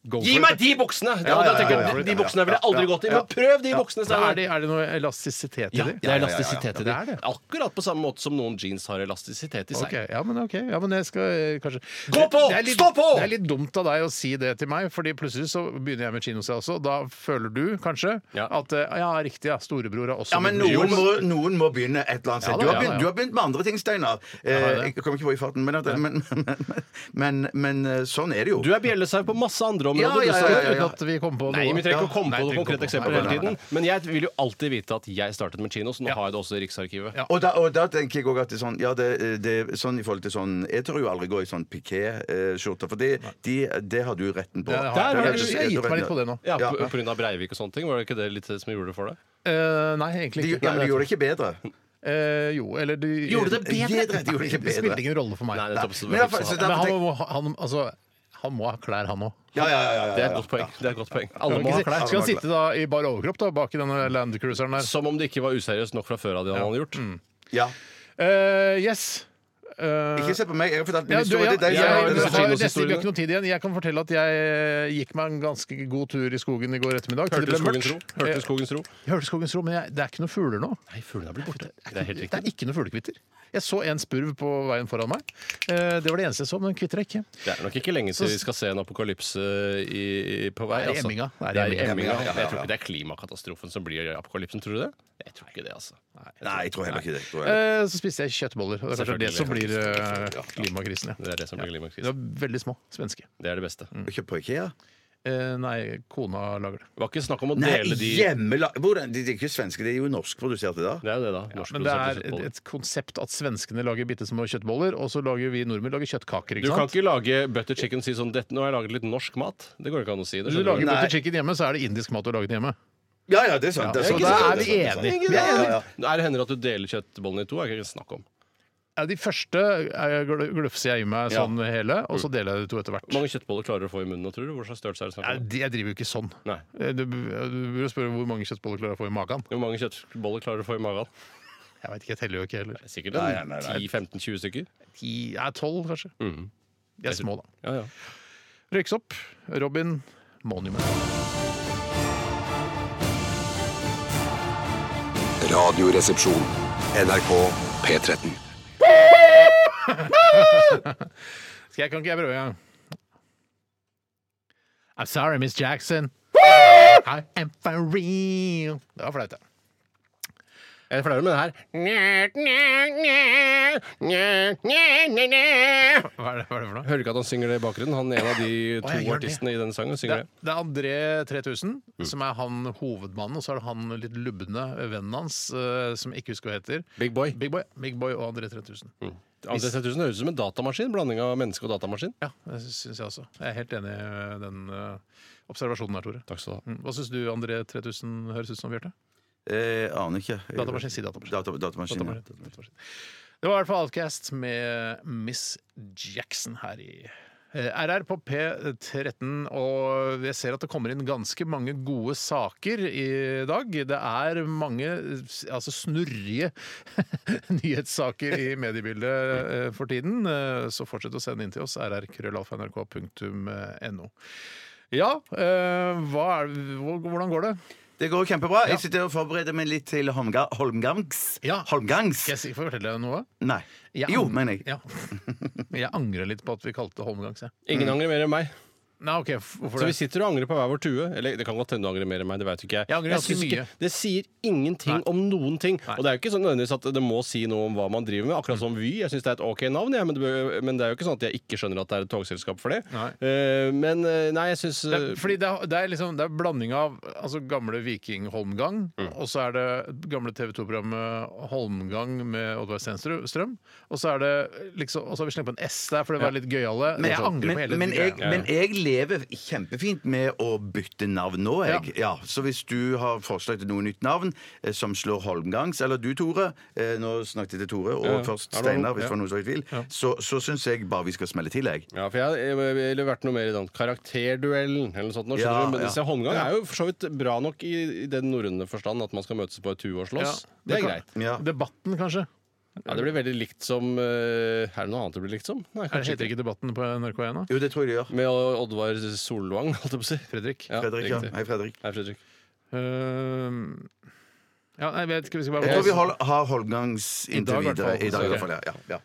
E: Go
G: Gi
E: for
G: meg
E: it.
G: de buksene! Ja,
F: ja,
G: da tenker jeg,
F: ja, ja, ja.
G: De buksene ville jeg aldri gått i, men prøv de buksene!
E: Da
G: Steinar.
E: Er det, er det noe elastisitet i
G: Ja,
E: det?
G: det er elastisitet i
E: Ja, det
G: det.
E: er det.
G: Akkurat på samme måte som noen jeans har elastisitet i seg.
E: Ok, ja, men ok. Ja, men jeg skal eh, kanskje
G: Gå på!
E: Det er litt,
G: Stå på!
E: Det er litt dumt av deg å si det til meg, Fordi plutselig så begynner jeg med kinos jeg også. Da føler du kanskje
G: Ja.
E: at eh, ja, riktig, ja, storebror har også
F: Ja, men
E: begynt med
F: noen
E: kinos.
F: må, noen må begynne et eller annet sted.
E: Ja da,
F: Du har
E: ja da, ja.
F: begynt, du har begynt med andre ting, Steinar. Eh,
E: har det.
F: jeg kommer ikke på i farten, men, at, men, men, men, men eh, sånn er det jo.
G: Du er bjellesau på masse andre
F: Ja, ja,
G: områder. du,
F: ja,
G: Steinar.
F: ja, ja.
E: Uten at vi kommer på noe.
G: Nei, vi trenger ikke å komme
E: Nei,
G: på noe
E: trenger ikke å komme
G: konkret
E: på
G: eksempel
E: noe.
G: hele tiden. Men jeg vil jo alltid vite at jeg startet med kino, så nå
E: Ja.
G: har jeg det også i Riksarkivet.
E: Ja.
F: Og da, og da tenker jeg også at det er sånn Ja, det, det er sånn i forhold til sånn Jeg tør jo aldri gå i sånn piké-skjorter, for det, de, det har du retten på.
E: Ja, det har-
G: Der har
E: jeg- jeg
G: du-
E: har gitt meg litt på det nå.
G: Ja,
F: Ja.
G: på- på grunn av Breivik og sånne ting. Var det ikke det litt som gjorde det for deg?
E: Eh, nei, egentlig
F: De,
E: ikke.
F: ja, men de gjorde det ikke bedre.
E: Eh, jo, eller du
G: Gjorde det bedre?
F: De gjorde det ikke
E: Det
F: bedre.
E: spilte ingen rolle for meg.
G: Nei,
E: Nei.
G: nettopp, så
F: Men
G: det,
F: iallfall, så
G: var-
F: da-
E: Men han må, han, altså, han må ha klær, han òg.
F: Ja, ja, ja. ja, ja,
G: det er et
F: ja.
G: godt poeng. Det er et godt poeng. Alle må ha klær.
E: Skal han sitte da i bar overkropp da, bak i denne landcruiseren der?
G: Som om det ikke var useriøst nok fra før av det han hadde gjort.
F: ja.
E: Eh, yes. Eh,
F: Ikke se på meg, jeg har fortalt min
E: ja, du, ja,
F: historie. Det er-
E: jeg,
G: har-
E: jeg,
G: det er-
E: har-
G: kinoshistorien.
E: nesten- vi har ikke noe tid igjen. Jeg kan fortelle at jeg eh, gikk meg en ganske god tur i skogen i går ettermiddag. til
G: Hørte
E: det
G: du
E: ble
G: skogens ro?
E: mørkt.
G: Hørte du
E: Eh,
G: skogens ro?
E: jeg hørte skogens ro, men jeg, det er ikke noen fugler nå.
G: Nei, fuglene er blitt borte. Det er helt
E: Det er
G: riktig.
E: ikke noen fuglekvitter. Jeg så en spurv på veien foran meg. Eh, Det var det eneste jeg så, men den kvitra ikke.
G: Det er nok ikke lenge til vi skal se en apokalypse i, i, på vei.
E: Det er i
G: altså.
E: emminga. Det er i
G: Det er
E: emminga.
G: i emminga.
F: Ja, ja, ja, ja.
G: Jeg tror ikke det er klimakatastrofen som blir apokalypsen, tror du det? Jeg tror ikke det, altså.
F: Nei, jeg tror heller ikke det. Jeg tror heller-
E: Eh, Så spiste jeg kjøttboller. Og det er kanskje det som blir eh, klimakrisen.
G: Det
E: Ja.
G: er det som blir
E: De
G: klimakrisen.
E: var veldig små. Svenske.
G: Det er det beste.
F: Ikke på IKEA?
E: Eh, Nei, kona lager det.
G: Det var ikke snakk om å
F: Nei,
G: dele de
F: hjemmela... Hvordan? De de er ikke svenske, de er jo norskproduserte da.
G: Det er jo det, da. Norsk
E: Men det
G: produsert
E: er
G: kjøttboller.
E: et konsept at svenskene lager bitte små kjøttboller, og så lager vi nordmenn lager kjøttkaker.
G: Du
E: ikke
G: kan
E: sant?
G: ikke lage butter chicken og si sånn dette, 'Nå har jeg laget litt norsk mat'. Det går ikke an å si. det
E: Hvis du
G: skjønner
E: lager
G: du.
E: butter chicken hjemme, så er det indisk mat du har laget hjemme.
F: Ja, ja, det er sant. det
E: Ja,
F: sant,
E: ikke
F: det sant,
E: sant? Da er vi
F: det sant, det
E: enige.
F: sant.
E: Vi
F: Ja,
E: er
F: ja,
E: enige.
F: ja.
G: Er det hender at du deler kjøttbollene i to? Er det ikke snakk om.
E: Ja, De første eh, gl- glufser jeg i meg
G: Ja.
E: sånn hele, og så deler jeg det to etter hvert.
G: Hvor mange kjøttboller klarer du å få i munnen? nå, Tror du? Hvor slags størrelse er det snakk
E: Nei,
G: om?
E: de- Jeg driver jo ikke sånn.
G: Nei.
E: Eh, Du, du burde spørre hvor mange kjøttboller klarer jeg å få i magen.
G: Hvor mange kjøttboller klarer du å få i magen?
E: Jeg vet ikke, jeg teller jo ikke heller.
G: Sikkert en 10-15-20 stykker.
E: Ti, ja, tolv, kanskje.
G: Mm.
E: De er små, da.
G: Ja, ja.
E: Røykes opp. Robin Monument.
B: Radioresepsjon. NRK P13.
E: Skal jeg, kan ikke jeg prøve en gang? I'm sorry, Miss Jackson. I am for real. Det var flaut, ja.
G: Jeg er flauere med det her.
E: Hva er det, hva er det for noe?
G: Hører du ikke at han synger det i bakgrunnen? Han er en av de
E: Å, jeg
G: to
E: gjør
G: artistene i denne sangen.
E: Det,
G: synger det.
E: det er André 3000, som er han hovedmannen, og så er det han litt lubne vennen hans, eh, som jeg ikke husker hva heter.
G: Big Boy.
E: Big Boy, Mm. Big Boy og André 3000.
G: André 3000 høres ut som en datamaskin. Blanding av menneske og datamaskin.
E: Ja, det syns jeg også. Jeg er helt enig i den eh, observasjonen her, Tore.
G: Takk skal du ha.
E: Mm. Hva syns du André 3000 høres ut som, Bjarte?
F: Eh, aner ikke.
E: Datamaskin, si datamaskin.
F: Data, datamaskin, ja.
E: Datamaskin, datamaskin. Det var i hvert fall Outcast med Miss Jackson her i eh, RR på P13, og jeg ser at det kommer inn ganske mange gode saker i dag. Det er mange eh, altså snurrige [laughs] nyhetssaker i mediebildet eh, for tiden, eh, så fortsett å sende inn til oss rrkrøllalfa.nrk.no. Ja, eh, hva er, hvor- hvordan går det?
F: Det går kjempebra. Jeg sitter og forbereder meg litt til Holmga Holmgangs.
E: Ja.
F: Holmgangs.
E: Skal jeg si- få fortelle deg noe?
F: Nei.
E: Jeg
F: Jo,
E: ang-
F: mener jeg.
E: Ja. Jeg angrer litt på at vi kalte det Holmgangs. jeg.
G: Ingen angrer mer enn meg.
E: Nei, ok, f- hvorfor
G: Så vi
E: det?
G: sitter og angrer på hver vår tue. Eller det kan godt hende du angrer mer enn meg. Det vet ikke jeg.
E: Jeg angrer ganske
G: synes ikke-
E: mye.
G: det sier ingenting
E: Nei.
G: om noen ting.
E: Nei.
G: Og det er jo ikke sånn nødvendigvis at det må si noe om hva man driver med. Akkurat som Vy. Jeg syns det er et OK navn, jeg, men, det, bør- men det er jo ikke sånn at jeg ikke skjønner at det er et togselskap for det.
E: Nei.
G: Eh, men eh, nei, jeg syns
E: Det er, fordi det er, det er liksom Det er blanding av altså, gamle Viking Holmgang, og så er det gamle TV 2-programmet Holmgang med Oddvar Stenstrøm. Strøm, Og så er det liksom Og så har vi slengt på en S der, for det var litt gøyale. Men jeg angrer på
F: men,
E: hele
F: men, jeg,
E: greia.
F: men jeg lever kjempefint med å bytte navn nå, jeg. Ja. så hvis du har forslag til noe nytt navn eh, som slår Holmgangs, eller du, Tore eh, Nå snakket jeg til Tore, og først
G: Hallo.
F: Steinar, hvis
G: Ja.
F: det var noen som gikk til. Så, så syns jeg bare vi skal smelle til, jeg.
G: eh, Ja, for jeg, jeg, jeg ville vært noe mer i den karakterduellen eller noe sånt. Nå, skjønner
F: Ja,
G: du, men
F: ja.
G: disse håndgang er jo for så vidt bra nok i, i den norrøne forstand at man skal møtes på et tue og
E: Ja.
G: slåss. Det er
E: kan-
G: greit.
F: Ja.
E: Debatten, kanskje.
G: Ja, det blir veldig likt som eh, Er det noe annet det blir likt som? Nei,
E: Er det
G: kanskje
E: heter
G: ikke.
E: ikke Debatten på NRK1 da?
F: Jo, det tror jeg det gjør.
G: Med Oddvar Solvang, [laughs] holdt jeg på å si.
E: Fredrik.
G: Ja,
F: Fredrik, ja.
G: riktig.
F: Hei, Fredrik.
G: Hei, Fredrik.
E: Ehm, ja, nei, jeg vet ikke. Vi skal bare
F: Jeg tror vi hold, har Holmgangs inntil
E: dag, i hvert
F: videre.
E: fall.
F: I dag, i
E: Ok.
F: hvert fall. Ja. ja, ja.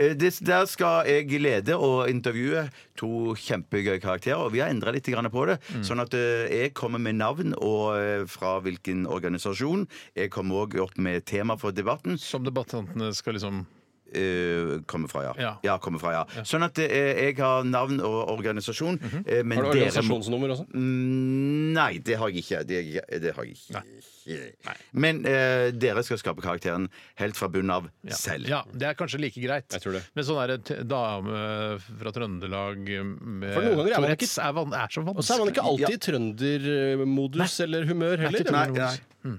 F: Eh, Det, der skal jeg lede og intervjue to kjempegøye karakterer. Og vi har endra litt grann på det.
E: Mm.
F: Sånn at eh, jeg kommer med navn og eh, fra hvilken organisasjon. Jeg kommer òg opp med tema for debatten.
E: Som debattantene skal liksom
F: Eh, kommer fra, ja.
E: Ja. Mhm.
F: kommer fra, ja. Sånn at eh, jeg har navn og organisasjon. eh, men
G: Har du
F: dere må
G: organisasjonsnummer også?
F: Mm, Nei, det har jeg ikke. Det, det har jeg ikke. Men eh, dere skal skape karakteren helt fra bunnen av
E: ja.
F: selv.
E: Ja, det er kanskje like greit.
G: Jeg tror det.
E: Men sånn er det t- dame eh, fra Trøndelag med
G: For noen ganger er man
E: Tourettes
G: ikke-
E: er, van er så
G: Og så er man
E: vanskelig.
G: ikke alltid i trøndermodus eller humør heller.
E: ikke
F: Nei,
E: trønder.
F: nei.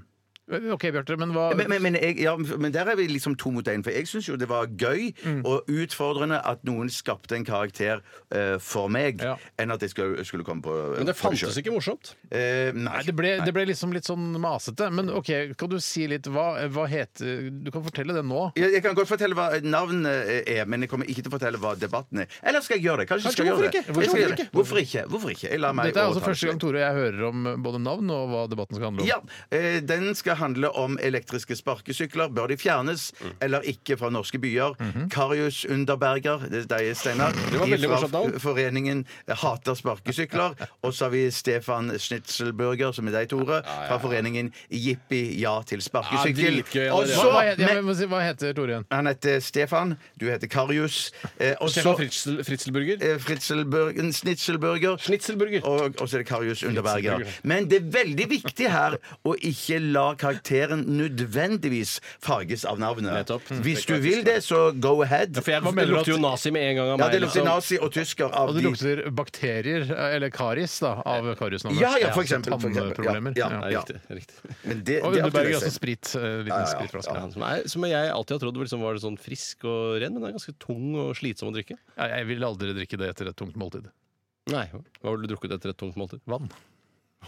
E: OK, Bjarte, men hva
F: Men, men, men, jeg, ja, men der er vi liksom to mot én, for jeg syns jo det var gøy
E: Mm.
F: og utfordrende at noen skapte en karakter eh, for meg,
E: Ja.
F: enn at jeg skulle, skulle komme på
G: Men det fantes ikke morsomt.
F: Eh, nei.
E: Nei, det ble, det ble liksom litt sånn masete. Men OK, kan du si litt hva, hva heter Du kan fortelle det nå.
F: Jeg, jeg kan godt fortelle hva navnet eh, er, men jeg kommer ikke til å fortelle hva debatten er. Eller skal jeg gjøre det? Kanskje, jeg skal
G: Kanskje,
F: jeg gjøre
G: hvorfor
F: det?
G: ikke? Hvorfor
F: Jeg skal
G: ikke?
F: gjøre det. Hvorfor ikke? Hvorfor ikke? Jeg lar meg
E: Dette er altså
F: overtale
E: første gang,
F: selv.
E: Tore, jeg hører om både navn og hva debatten skal handle om.
F: Ja, eh, Den skal handle om elektriske sparkesykler. Bør de fjernes
G: Mm.
F: eller ikke fra norske byer? Karius Underberger, det er deg, Steinar.
G: Mhm. Det var veldig
F: fra
G: morsomt navn.
F: Foreningen Hater
G: [laughs]
F: sparkesykler. Og så har vi Stefan Schnitzelburger, som er deg, Tore, fra foreningen Jippi ja til
G: Ja,
F: sparkesykkel.
G: dritgøy allerede.
F: Og
E: Hva, hva,
F: så
E: heter, ja,
F: men-
E: men, si, hva heter Tore igjen?
F: Han heter Stefan, du heter Karius. eh, Og
G: Stefan
F: så
G: Fritzel, Fritzelburger.
F: eh, Fritzelburg- Schnitzelburger.
G: Schnitzelburger.
F: Og, og så er det Karius Underberger. Men det er veldig viktig her å ikke la karakteren nødvendigvis farges av navnet.
G: Nettopp. Mm.
F: Hvis du vil det, så go ahead.
G: For jeg
E: Hva mener
G: det
E: du
G: lukter
E: at-
G: jo nazi med en gang
F: Ja,
G: av meg.
F: det lukter
G: liksom.
F: nazi og tysker av
E: Og det
F: de
E: lukter bakterier, eller karies, da, av kariesnavnet. altså
F: Ja, ja, for eksempel, for eksempel.
E: Tannproblemer.
F: Ja,
G: Nei,
F: ja.
G: riktig, riktig.
F: Men det,
E: Og
F: det er opp til
E: Underberg
F: deg
E: er altså
F: selv.
E: sprit. eh, Liten
F: ja, ja.
E: spritflaske.
G: Ja, som, er, som jeg alltid har trodd liksom var det sånn frisk og ren, men den er ganske tung og slitsom å drikke.
E: Nei, Jeg vil aldri drikke det etter et tungt måltid.
G: Nei, Hva har du drukket etter et tungt måltid?
E: Vann.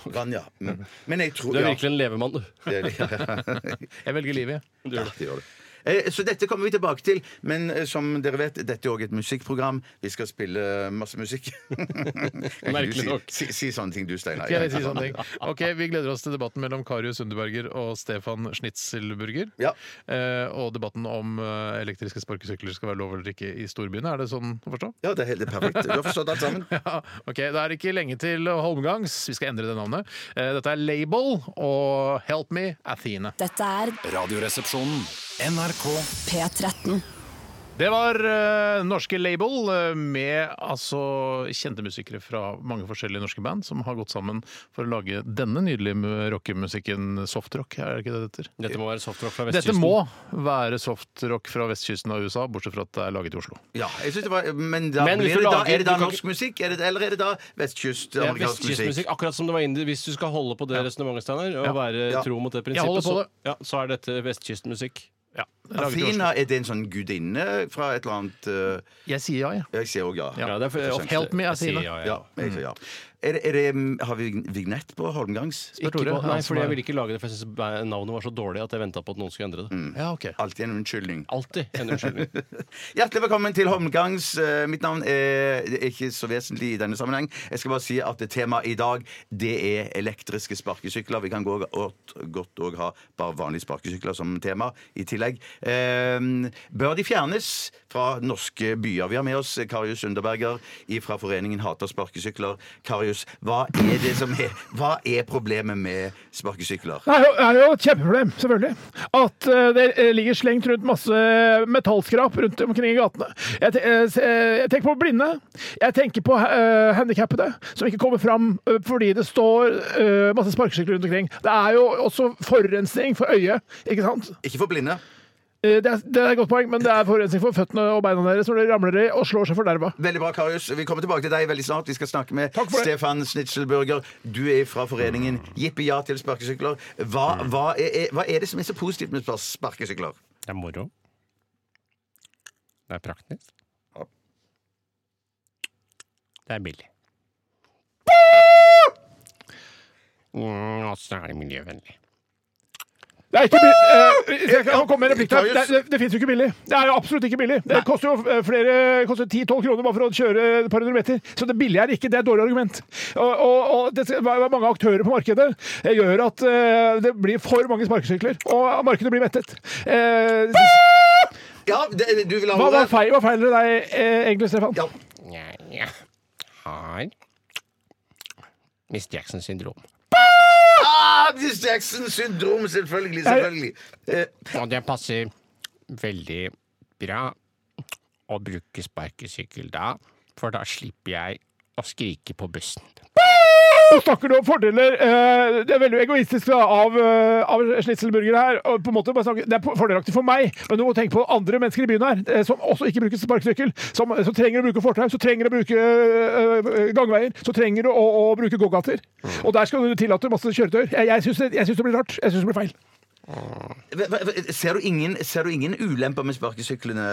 F: Vann, ja. Mm. Men jeg tror
G: Du er
F: ja,
G: virkelig en levemann, du.
F: det- [laughs]
E: Jeg velger livet.
F: Ja, det gjør du. Eh, Så dette kommer vi tilbake til, men eh, som dere vet, dette er òg et musikkprogram. Vi skal spille eh, masse musikk. [laughs] Kan ikke du
G: Merkelig
F: si-
G: nok.
F: Si, si sånne ting du, Steinar.
E: Skal jeg si sånne ting? Ok, Vi gleder oss til debatten mellom Karius Underberger og Stefan Schnitzelburger.
F: Ja.
G: sånn?
E: Eh, og debatten om eh, elektriske sparkesykler skal være lov eller ikke i storbyene. Er det sånn å forstå? [laughs]
F: Ja, det er helt det er perfekt. Du har forstått alt sammen.
E: Ja, ok, Da er det ikke lenge til Holmgangs. Vi skal endre det navnet. Eh, dette er Label og Help Me Athene.
H: Dette er
B: Radioresepsjonen.
D: NRK
H: P13.
E: Det var eh, norske label eh, med altså kjente musikere fra mange forskjellige norske band som har gått sammen for å lage denne nydelige mu- rockemusikken softrock. Er det ikke det det heter?
G: Dette må være softrock fra
E: Dette
G: vestkysten.
E: må være softrock fra vestkysten av USA, bortsett fra at det er laget i Oslo.
F: Ja, jeg synes det var, men da,
G: Men hvis
F: blir det
G: du
F: da,
G: lager-
F: er det da
G: du kan
F: norsk musikk, er det, eller er det da
G: Det er
F: vestkyst-amerikansk musikk?
G: Vestkystmusikk, akkurat som det var indie. Hvis du skal holde på det resonnementet, Steinar, og være
F: Ja.
G: tro mot det
E: holder
G: prinsippet,
E: på
G: så,
E: det.
G: ja, så er dette vestkystmusikk.
E: Ja, laget i
F: Athena,
E: Oslo.
F: er det en sånn gudinne fra et eller annet eh,
E: Jeg sier ja, jeg.
F: Jeg sier òg ja.
G: Ja, det er for-
F: Jeg
G: ofte-
F: skjønte
E: Help me,
G: jeg sier
E: Athena.
G: ja, ja.
F: Ja, jeg sier ja. Er, det- er det, har vi vignett på Holmgangs?
E: Spør
G: Ikke
E: Tore,
G: på,
E: han
G: nei,
E: som
G: fordi
E: er-
G: jeg ville ikke lage altså, det, for jeg syns navnet var så dårlig at jeg venta på at noen skulle endre det.
E: Ja, ok.
F: Alltid en unnskyldning.
G: Alltid en unnskyldning. [laughs]
F: Hjertelig velkommen til Holmgangs. Eh, Mitt navn er, er ikke så vesentlig i denne sammenheng. Jeg skal bare si at temaet i dag, det er elektriske sparkesykler. Vi kan gå godt godt òg ha bare vanlige sparkesykler som tema i tillegg. Eh, Bør de fjernes fra norske byer? Vi har med oss Karius Underberger fra Foreningen Hater sparkesykler. Karius, hva er det som er Hva er problemet med sparkesykler?
A: Det er jo, det er jo et kjempeproblem, selvfølgelig. At eh, det eh, ligger slengt rundt masse metallskrap rundt omkring i gatene. Jeg, te- eh, s- eh, jeg tenker på blinde. Jeg tenker på uh, handikappede som ikke kommer fram eh, fordi det står eh, masse sparkesykler rundt omkring. Det er jo også forurensning for øyet, ikke sant?
F: Ikke for blinde.
A: Eh, det, er, det er et godt poeng, men det er forurensning for føttene og beina deres når de ramler i og slår seg forderva.
F: Veldig bra, Karius. Vi kommer tilbake til deg veldig snart. Vi skal snakke med
A: Takk for det.
F: Stefan Snitzelburger. Du er fra foreningen Jippi ja til sparkesykler. Hva,
A: Mm.
F: hva, er, er, hva er det som er så positivt med spar- sparkesykler?
G: Det er moro. Det er praktisk. Det er billig. Mm, og så er det miljøvennlig.
A: Det er ikke billig. Eh, jeg kan komme med en replikk der. Det, det, det fins jo ikke billig. Det er jo absolutt ikke billig. Det koster jo eh, flere, koster 10-12 kroner bare for å kjøre et par hundre meter. Så det billige er ikke det er et dårlig argument. Og, og, og det skal være mange aktører på markedet Det gjør at eh, det blir for mange sparkesykler, og markedet blir mettet. Eh,
F: Ja, det, du vil ha
A: hva, hva,
F: ordet?
A: feil, hva feiler det deg eh, egentlig, Stefan?
F: Ja.
H: Jeg jeg har Miss Jacksons syndrom.
F: Ah, Miss Jackson syndrom, selvfølgelig. selvfølgelig. Eh,
H: Og det passer veldig bra å bruke sparkesykkel da, for da slipper jeg å skrike på bussen.
A: Nå snakker du om fordeler eh, Det er veldig egoistisk da, av, eh, av snitselburgere her. Og på en måte bare snakke, det er fordelaktig for meg, men du må tenke på andre mennesker i byen her eh, som også ikke bruker sparkesykkel. Som, som trenger å bruke fortau, som trenger å bruke eh, gangveier, som trenger å, å bruke gågater. Og der skal du tillate masse kjøretøyer. Jeg, jeg syns det, jeg syns det blir rart. Jeg syns det blir feil.
F: hva- hva- Ser du ingen, ser du ingen ulemper med sparkesyklene,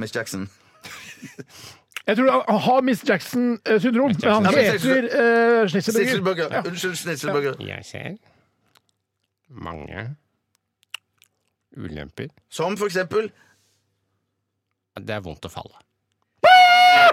F: Miss Jackson?
A: Jeg tror han har Miss Jackson-syndrom. Han
F: Jackson. Ja, men-
A: heter uh, Snitzelburger.
F: Snitzelburger. Unnskyld, Snitzelburger.
H: Jeg ser mange ulemper.
F: Som for eksempel
H: Det er vondt å falle.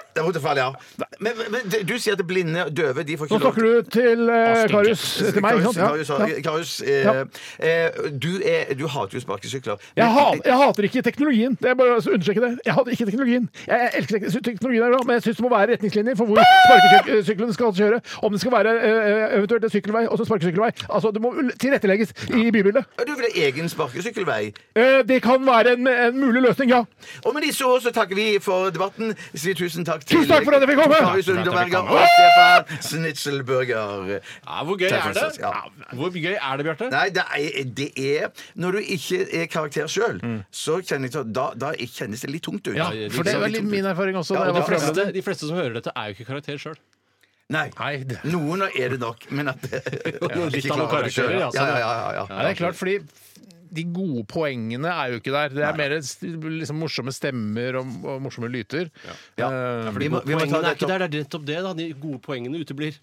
F: Det er vondt å falle, ja. Men, men- men du sier at blinde og døve de får
A: Nå
F: ikke lov
A: snakker du til eh,
H: Astrid
A: Karius. Til meg, ikke
F: Karius,
A: sant? Ja.
F: Karius, Karius, eh, eh, du, er, du hater jo sparkesykler. Men-
A: Jeg, hat, jeg hater ikke teknologien. Det er bare å understreke det. Jeg hater ikke teknologien. Jeg, jeg elsker tek- teknologien, er bra, men jeg syns det må være retningslinjer for hvor sparkesyklene skal kjøre. Om det skal være eh, eventuelt en sykkelvei og så en sparkesykkelvei. Altså, det må tilrettelegges i bybildet.
F: Du vil ha egen sparkesykkelvei.
A: Eh, det kan være en, en mulig løsning, ja.
F: Og med disse ord så takker vi for debatten. Si tusen takk til
A: Tusen takk for at jeg fikk komme!
F: Karius Underberger og Stefan Snitzelburger.
G: Ja, hvor gøy er det?
F: Ja.
G: Hvor gøy er det, Bjarte?
F: Nei, det er, det er Når du ikke er karakter sjøl,
A: Mm.
F: så kjenner jeg, til- da, da kjennes det liksom litt tungt ut.
E: Ja, for det var litt min erfaring også. Da jeg
G: De
E: var
G: fleste, de fleste som hører dette, er jo ikke karakter sjøl.
F: Nei.
E: Nei, det-
F: Noen er det nok, men at
G: litt av noen karakterer,
F: ja.
G: ja,
F: Ja,
G: sånn,
F: ja, ja, ja.
E: Ja, det er klart, fordi de gode poengene er jo ikke der. Det er mer st- liksom, morsomme stemmer og, og morsomme lyder. Eh,
F: Vi må, vi må ta
G: Poengene er
F: dette
G: ikke
F: opp.
G: der, det er nettopp det. da De gode poengene uteblir.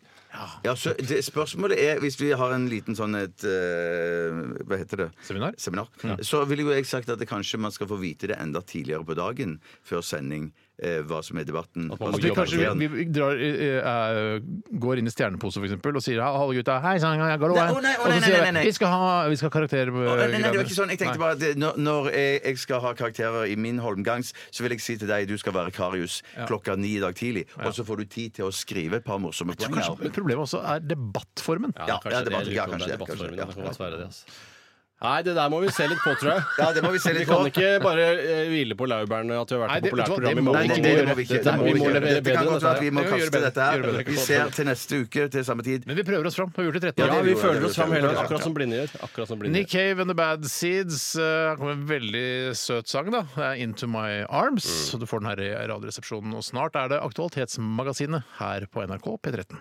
F: Ja, så det, spørsmålet er, hvis vi har en liten sånn et eh, Hva heter det?
E: Seminar?
F: Så ville jo jeg sagt at det kanskje man skal få vite det enda tidligere på dagen, før sending, eh, hva som er debatten.
G: man må
F: Hva
E: At
F: som
E: vi
F: er
G: jobbe
E: kanskje
F: karakteren.
E: vi, vi drar, eh, eh, går inn i Stjernepose for eksempel, og sier ja, hallo gutta, hei sann, jeg går
F: Nei, å, nei, å,
E: Og
F: nei,
E: så sier
F: nei,
E: jeg,
F: nei, nei.
E: vi skal ha vi skal ha karakter... eh,
F: Å, Nei, nei, nei, det var ikke sånn. Jeg tenkte bare at det, når, når jeg, jeg skal ha karakterer i min holmgangs, så vil jeg si til deg du skal være Karius klokka ni i dag tidlig. Og så får du tid til å skrive et par morsomme poeng. her.
E: Kanskje problemet også er debattformen.
F: Ja, ja,
G: det
F: debatt-
G: lurer
F: ja,
G: på om det
F: kanskje
G: er
F: det, kanskje det,
G: debattformen,
F: ja.
G: det kan godt være det, altså. Nei, det der må vi se litt på, tror jeg.
F: [laughs] Ja, det må vi se
G: Vi
F: litt
G: kan
F: på.
G: ikke bare eh, hvile på laurbærene at vi har vært
E: Nei,
G: på
E: det-
G: populært
E: vet du hva, det
G: program i
E: må
G: mange
F: Nei,
E: vi
F: det,
E: ikke
F: det,
E: gjøre.
F: må vi ikke.
G: Dette
F: Det
G: er-
F: må
G: vi
F: vi
G: må
F: ikke.
G: levere
F: Dette kan
G: bedre enn
F: godt være at vi
G: dette
F: må
E: her. Gjør
F: kaste
E: bedre.
F: dette
E: Gjør bedre.
F: her. Vi ser til neste uke, til samme tid.
E: Men vi prøver oss fram. Vi har gjort det 30
F: Ja,
E: år.
G: Ja,
F: det
G: vi
F: gjorde
G: føler
F: det,
G: oss
F: det
G: fram hele
F: gjorde
G: veien,
F: det.
G: akkurat som blinde gjør. Akkurat som blinde
E: Nick
G: gjør.
E: Cave and The Bad Seeds. eh, Her kommer en veldig søt sang, da. Det er Into My Arms. Så du får den her i Radioresepsjonen. Og snart er det Aktualitetsmagasinet her på NRK P13.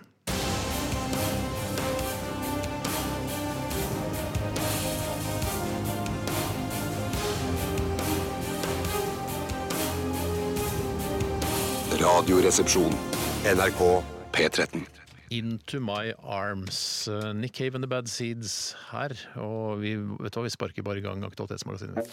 B: Radioresepsjon. NRK P13.
E: Into My Arms. eh, Nick Cave and The Bad Seeds her. Og vi, vet du hva, vi sparker bare i gang Aktualitetsmagasinet.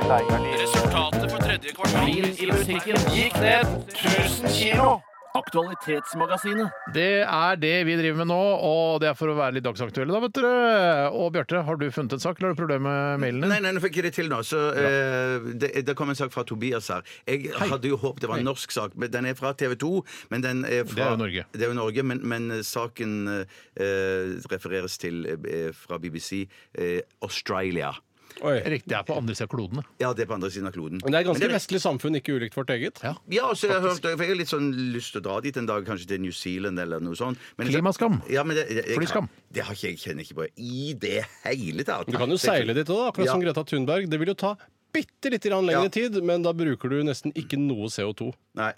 I: Resultatet for tredje kvartal i butikken gikk ned 1000 kilo. Aktualitetsmagasinet.
E: Det er det vi driver med nå, og det er for å være litt dagsaktuelle, da, vet dere. Og Bjarte, har du funnet en sak, eller har du problemer med mailen din?
F: Nei, nei, nå fikk jeg det til nå. Så, eh, det, det kom en sak fra Tobias her. Jeg hadde jo håpet det var en norsk sak, men den er fra TV 2. Men den er fra,
E: Det er jo Norge.
F: det er jo Norge, men, men saken eh, refereres til eh, fra BBC eh, Australia.
G: Oi.
E: Riktig, det er på andre siden av klodene.
F: Ja, det er på andre siden av kloden.
G: Men det er ganske vestlig samfunn, ikke ulikt vårt eget.
F: Ja, og så har jeg hørt, for jeg har litt sånn lyst til å dra dit en dag, kanskje til New Zealand eller noe sånt. Men-
E: Klimaskam.
F: Ja, men det, jeg, jeg,
E: Flyskam.
F: Det har ikke jeg kjenner ikke på i det hele tatt.
G: Du kan jo seile dit òg, akkurat
F: Ja.
G: som Greta Thunberg. Det vil jo ta bitte litt grann lengre
F: Ja.
G: tid, men da bruker du nesten ikke noe CO2.
F: Nei.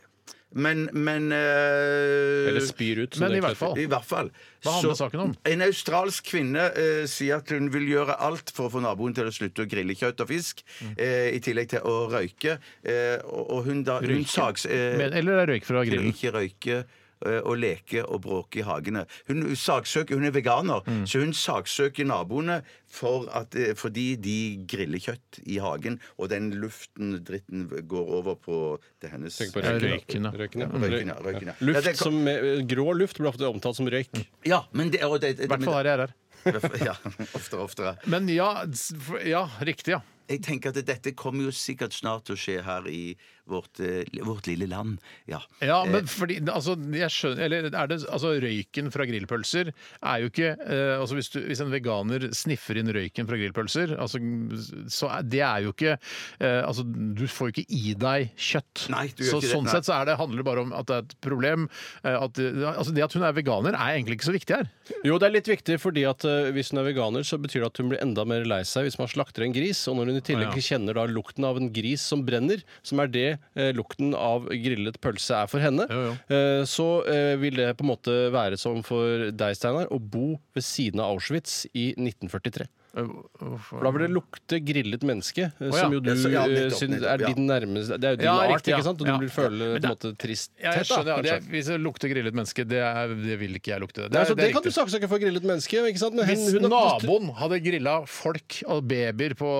F: Men, men eh,
G: Eller spyr ut. som
E: Men
G: det
E: i hvert
G: egentlig
E: fall.
F: I hvert fall.
E: Hva handler saken om?
F: En australsk kvinne eh, sier at hun vil gjøre alt for å få naboen til å slutte å grille kjøtt og fisk,
E: Mm.
F: eh, i tillegg til å røyke. Eh, og, og hun da Hun
E: Røyke?
F: sags... eh,
E: Men, eller det er røyk
F: til
E: fra
F: å
E: grillen.
F: ikke røyke eh, og leke og bråke i hagene. Hun, saksøker, hun er veganer,
E: Mm.
F: så hun saksøker naboene for at, eh, fordi de griller kjøtt i hagen, og den luften, dritten, går over på det hennes
G: Tenk på
E: Ja,
G: røyken.
E: røyken,
G: da.
E: ja.
G: Røyken, ja.
F: Røyken, ja, røyken, ja. Ja,
G: Luft
F: det kom-
G: som, eh, grå luft blir ofte omtalt som røyk.
F: Ja, men det, og det,
E: I hvert fall her jeg er her.
F: [laughs] Ja, oftere og oftere.
E: Men ja, s- for- ja, riktig, ja.
F: Jeg tenker at dette kommer jo sikkert snart til å skje her i vårt, eh, vårt lille land. Ja.
E: Ja,
F: Eh,
E: men fordi, altså, jeg skjønner, eller er det, altså, røyken fra grillpølser er jo ikke eh, altså, hvis, du, hvis en veganer sniffer inn røyken fra grillpølser, altså, så er, det er jo ikke eh, altså, Du får jo ikke i deg kjøtt.
F: Nei, du gjør
E: så,
F: ikke det,
E: sånn
F: nei.
E: sett så er det, handler det bare om at det er et problem. eh, at, det- altså, det at hun er veganer, er egentlig ikke så viktig her.
G: Jo, det er litt viktig, fordi at eh, hvis hun er veganer, så betyr det at hun blir enda mer lei seg hvis man slakter en gris. Og når hun i tillegg
E: Å, ja.
G: kjenner da lukten av en gris som brenner, som er det eh, lukten av grillet pølse er for henne,
E: Jo,
G: eh, så eh, vil det på en måte være som for deg, Steinar, å bo ved siden av Auschwitz i 1943. For da vil det lukte grillet menneske, eh,
E: ja.
G: som jo du
F: Ja, så- ja,
G: eh,
F: nettopp,
G: syns
F: nettopp,
G: er
F: ja.
G: din nærmeste Det er jo din
E: Ja,
G: art,
E: riktig, ja.
G: ikke sant? Og
E: Ja.
G: du vil føle
E: Men
G: på
E: det-
G: en måte trist
E: Ja, jeg skjønner, ja,
G: kanskje.
E: det, er- Hvis det lukter grillet menneske, det, er, det vil ikke jeg lukte. Det,
G: Nei,
E: er-
G: så
E: det
G: det
E: er
G: kan du
E: riktig.
G: saksøke for grillet menneske. Ikke sant? Men hun-
E: Hvis
G: hun har-
E: naboen hadde grilla folk og babyer på,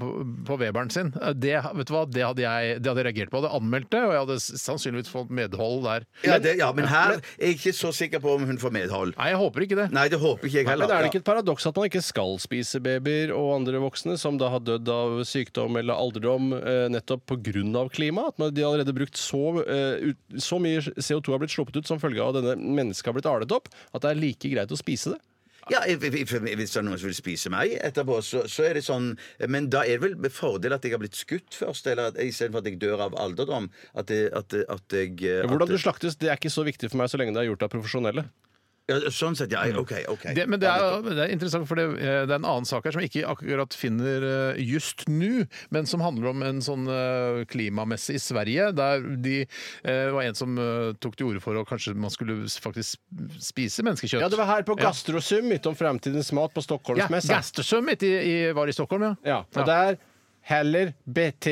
E: på, på Weberen sin, eh, det, vet du hva, det hadde jeg det hadde jeg reagert på. Jeg hadde anmeldt det, og jeg hadde s- sannsynligvis fått medhold der.
F: ja, det, ja, men her er jeg ikke så sikker på om hun får medhold.
E: Nei, jeg håper ikke det.
F: Nei, det håper ikke jeg
G: Nei,
F: heller.
G: men Er det ikke et paradoks at man ikke skal spise babyer og andre voksne som da har dødd av sykdom eller alderdom eh, nettopp pga. klima? At man, de har allerede brukt så, eh, ut, så mye CO2 har blitt sluppet ut som følge av at denne mennesket har blitt arlet opp, at det er like greit å spise det?
F: Ja, i- i- i- Hvis det er noen som vil spise meg etterpå, så, så er det sånn Men da er det vel med fordel at jeg har blitt skutt først, eller at- istedenfor at jeg dør av alderdom. At, det, at, det- at jeg eh,
G: Hvordan du
F: at,
G: slaktes, det er ikke så viktig for meg så lenge det er gjort av profesjonelle.
F: ja, Sånn sett, ja. OK. ok
E: Det, men det er, det er interessant, for det, eh, det er en annen sak her som jeg ikke akkurat finner eh, just nå, men som handler om en sånn eh, klimamesse i Sverige, der de eh, var en som eh, tok til orde for at kanskje man skulle s- faktisk spise menneskekjøtt.
G: Ja, det var her på
E: Ja.
G: Gastrosum, midt om fremtidens mat på
E: Ja,
G: Stockholmsmessa.
E: Gastersummit i, i, var i Stockholm, ja.
G: Ja, og der heller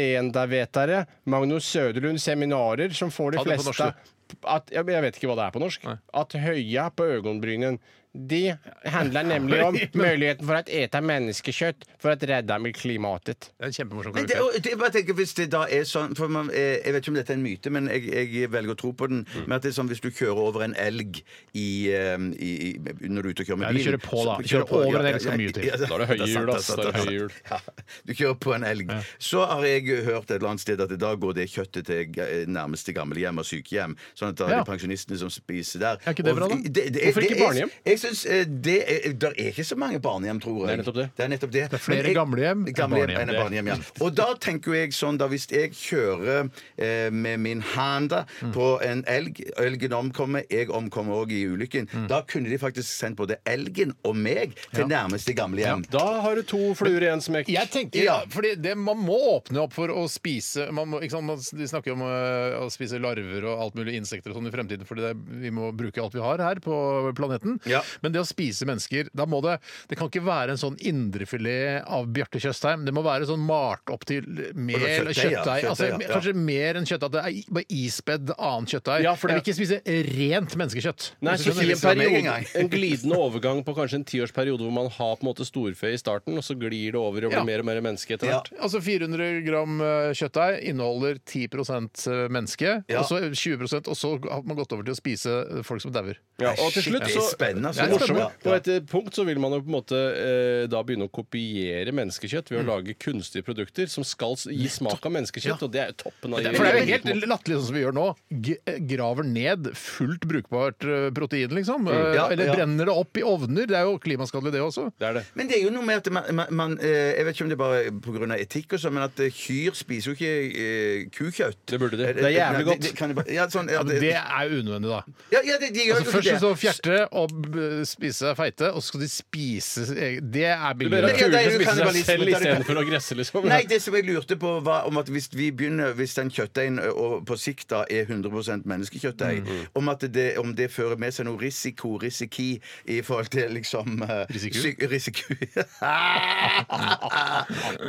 G: beteendavetere Magnus Søderlund seminarer som får de
E: Ta det på
G: fleste
E: norsk,
G: at, ja, men Jeg vet ikke hva det er på norsk. At høya på øyenbrynen De [laughs] handler nemlig om muligheten for å ete menneskekjøtt for å redde med klimatet.
E: Det er en kjempemorsom
F: Men det,
E: karakter.
F: og det- jeg bare tenker Hvis det da er sånn for man, eh, Jeg vet ikke om dette er en myte, men jeg, jeg velger å tro på den. Men at det er sånn Hvis du kjører over en elg i, eh, i, i, når du er ute og kjører med
E: Ja, du
F: bil
E: kjører på, da.
F: så-
E: Kjører
F: på,
E: over en elg skal mye til.
G: Da er det høye
F: sant,
G: hjul,
F: det er
G: ass.
F: sant,
G: Da er det
F: det er
G: høye
F: sant. Ja, du kjører på en elg. Så har jeg hørt et eller annet sted at da går det kjøttet til ga- nærmeste gamlehjem og sykehjem. Sånn at da er
E: Ja.
F: det pensjonistene som spiser der.
E: Er ikke det
F: Og
E: bra, da?
F: det- det-
G: Hvorfor
F: det
G: ikke
F: er-
G: barnehjem?
F: Jeg synes, eh, det er, der er ikke så mange barnehjem, tror jeg.
G: Det er nettopp det.
F: Det er, nettopp det.
E: er flere
F: Men jeg-
E: gamlehjem enn
F: Gamlehjem
E: barnehjem.
F: enn barnehjem hjem, ja. Og da tenker jo jeg sånn, da hvis jeg kjører eh, med min Honda
G: Mm.
F: på en elg, elgen omkommer, jeg omkommer òg i ulykken,
G: Mm.
F: da kunne de faktisk sendt både elgen og meg til nærmeste gamlehjem.
G: Da har du to fluer i én smekk.
E: Jeg tenker,
F: Ja.
E: fordi det, Man må åpne opp for å spise man må, ikke sant, man, De snakker jo om øh, å spise larver og alt mulig insekter og sånn i fremtiden, fordi det, er- vi må bruke alt vi har her på planeten.
F: Ja.
E: Men det å spise mennesker, da må det Det kan ikke være en sånn indrefilet av Bjarte Tjøstheim. Det må være sånn malt opp til mel og
F: Kjøttdeig, ja.
E: kjøttdeig. Altså,
F: Kjøttdeig, ja.
E: Kanskje mer enn kjøttdeig. at Det er bare ispedd annet kjøttdeig.
G: Ja, for
E: Jeg vil
G: det-
E: ikke spise rent menneskekjøtt.
G: Nei,
E: Hvis
G: så
E: du skjønner.
G: si en,
F: det var meg en
G: periode,
F: gang.
G: en glidende overgang på kanskje en tiårsperiode hvor man har på en måte storfe i starten, og så glir det over og blir
E: Ja.
G: mer og mer menneske etter
F: Ja.
G: hvert.
E: Altså 400 gram eh, kjøttdeig inneholder 10 menneske,
F: Ja.
E: og så 20 og så har man gått over til å spise eh, folk som dauer.
G: Ja, og til slutt
F: Det
G: så
F: er spennende.
G: Det er
F: altså.
G: morsomt. På
F: Ja.
G: et eh, punkt så vil man jo på en måte eh, da begynne å kopiere menneskekjøtt ved å lage kunstige produkter som skal s- gi smak av menneskekjøtt, og det er jo toppen av
E: For det er jo helt latterlig sånn som vi gjør nå. G eh, graver ned fullt brukbart eh, protein, liksom. Eh,
F: Ja,
E: Eller
F: ja.
E: brenner det opp i ovner. Det er jo klimaskadelig, det også.
G: Det er det.
F: Men det er jo noe med at man, man, man eh, Jeg vet ikke om det er bare pga. etikk, og sånn, men at eh, kyr spiser jo ikke eh, kukjøtt.
G: Det burde de.
F: Eh,
G: Det er jævlig
F: nei,
G: godt.
F: det- det kan de bare- ja, sånn, ja,
E: Ja, men det er jo unødvendig, da.
F: ja, ja, det, de gjør
E: Altså,
F: jo ikke
E: først
F: det.
E: så fjerte og b- spise feite, og så skal de spise sin egen- Det er
G: Du ber
E: billigere.
G: om
F: ja, det er
G: kuler
F: jo
G: som spiser seg
F: kannibalisme,
G: selv
F: det er det.
G: istedenfor å gresse, liksom.
F: Nei, det som jeg lurte på var om at hvis vi begynner Hvis den kjøttdeigen ø, og på sikt da er 100 menneskekjøttdeig,
G: Mm.
F: om, at det, om det fører med seg noe risiko, risiki, i forhold til liksom eh,
E: Risiku?
F: syk- risiku.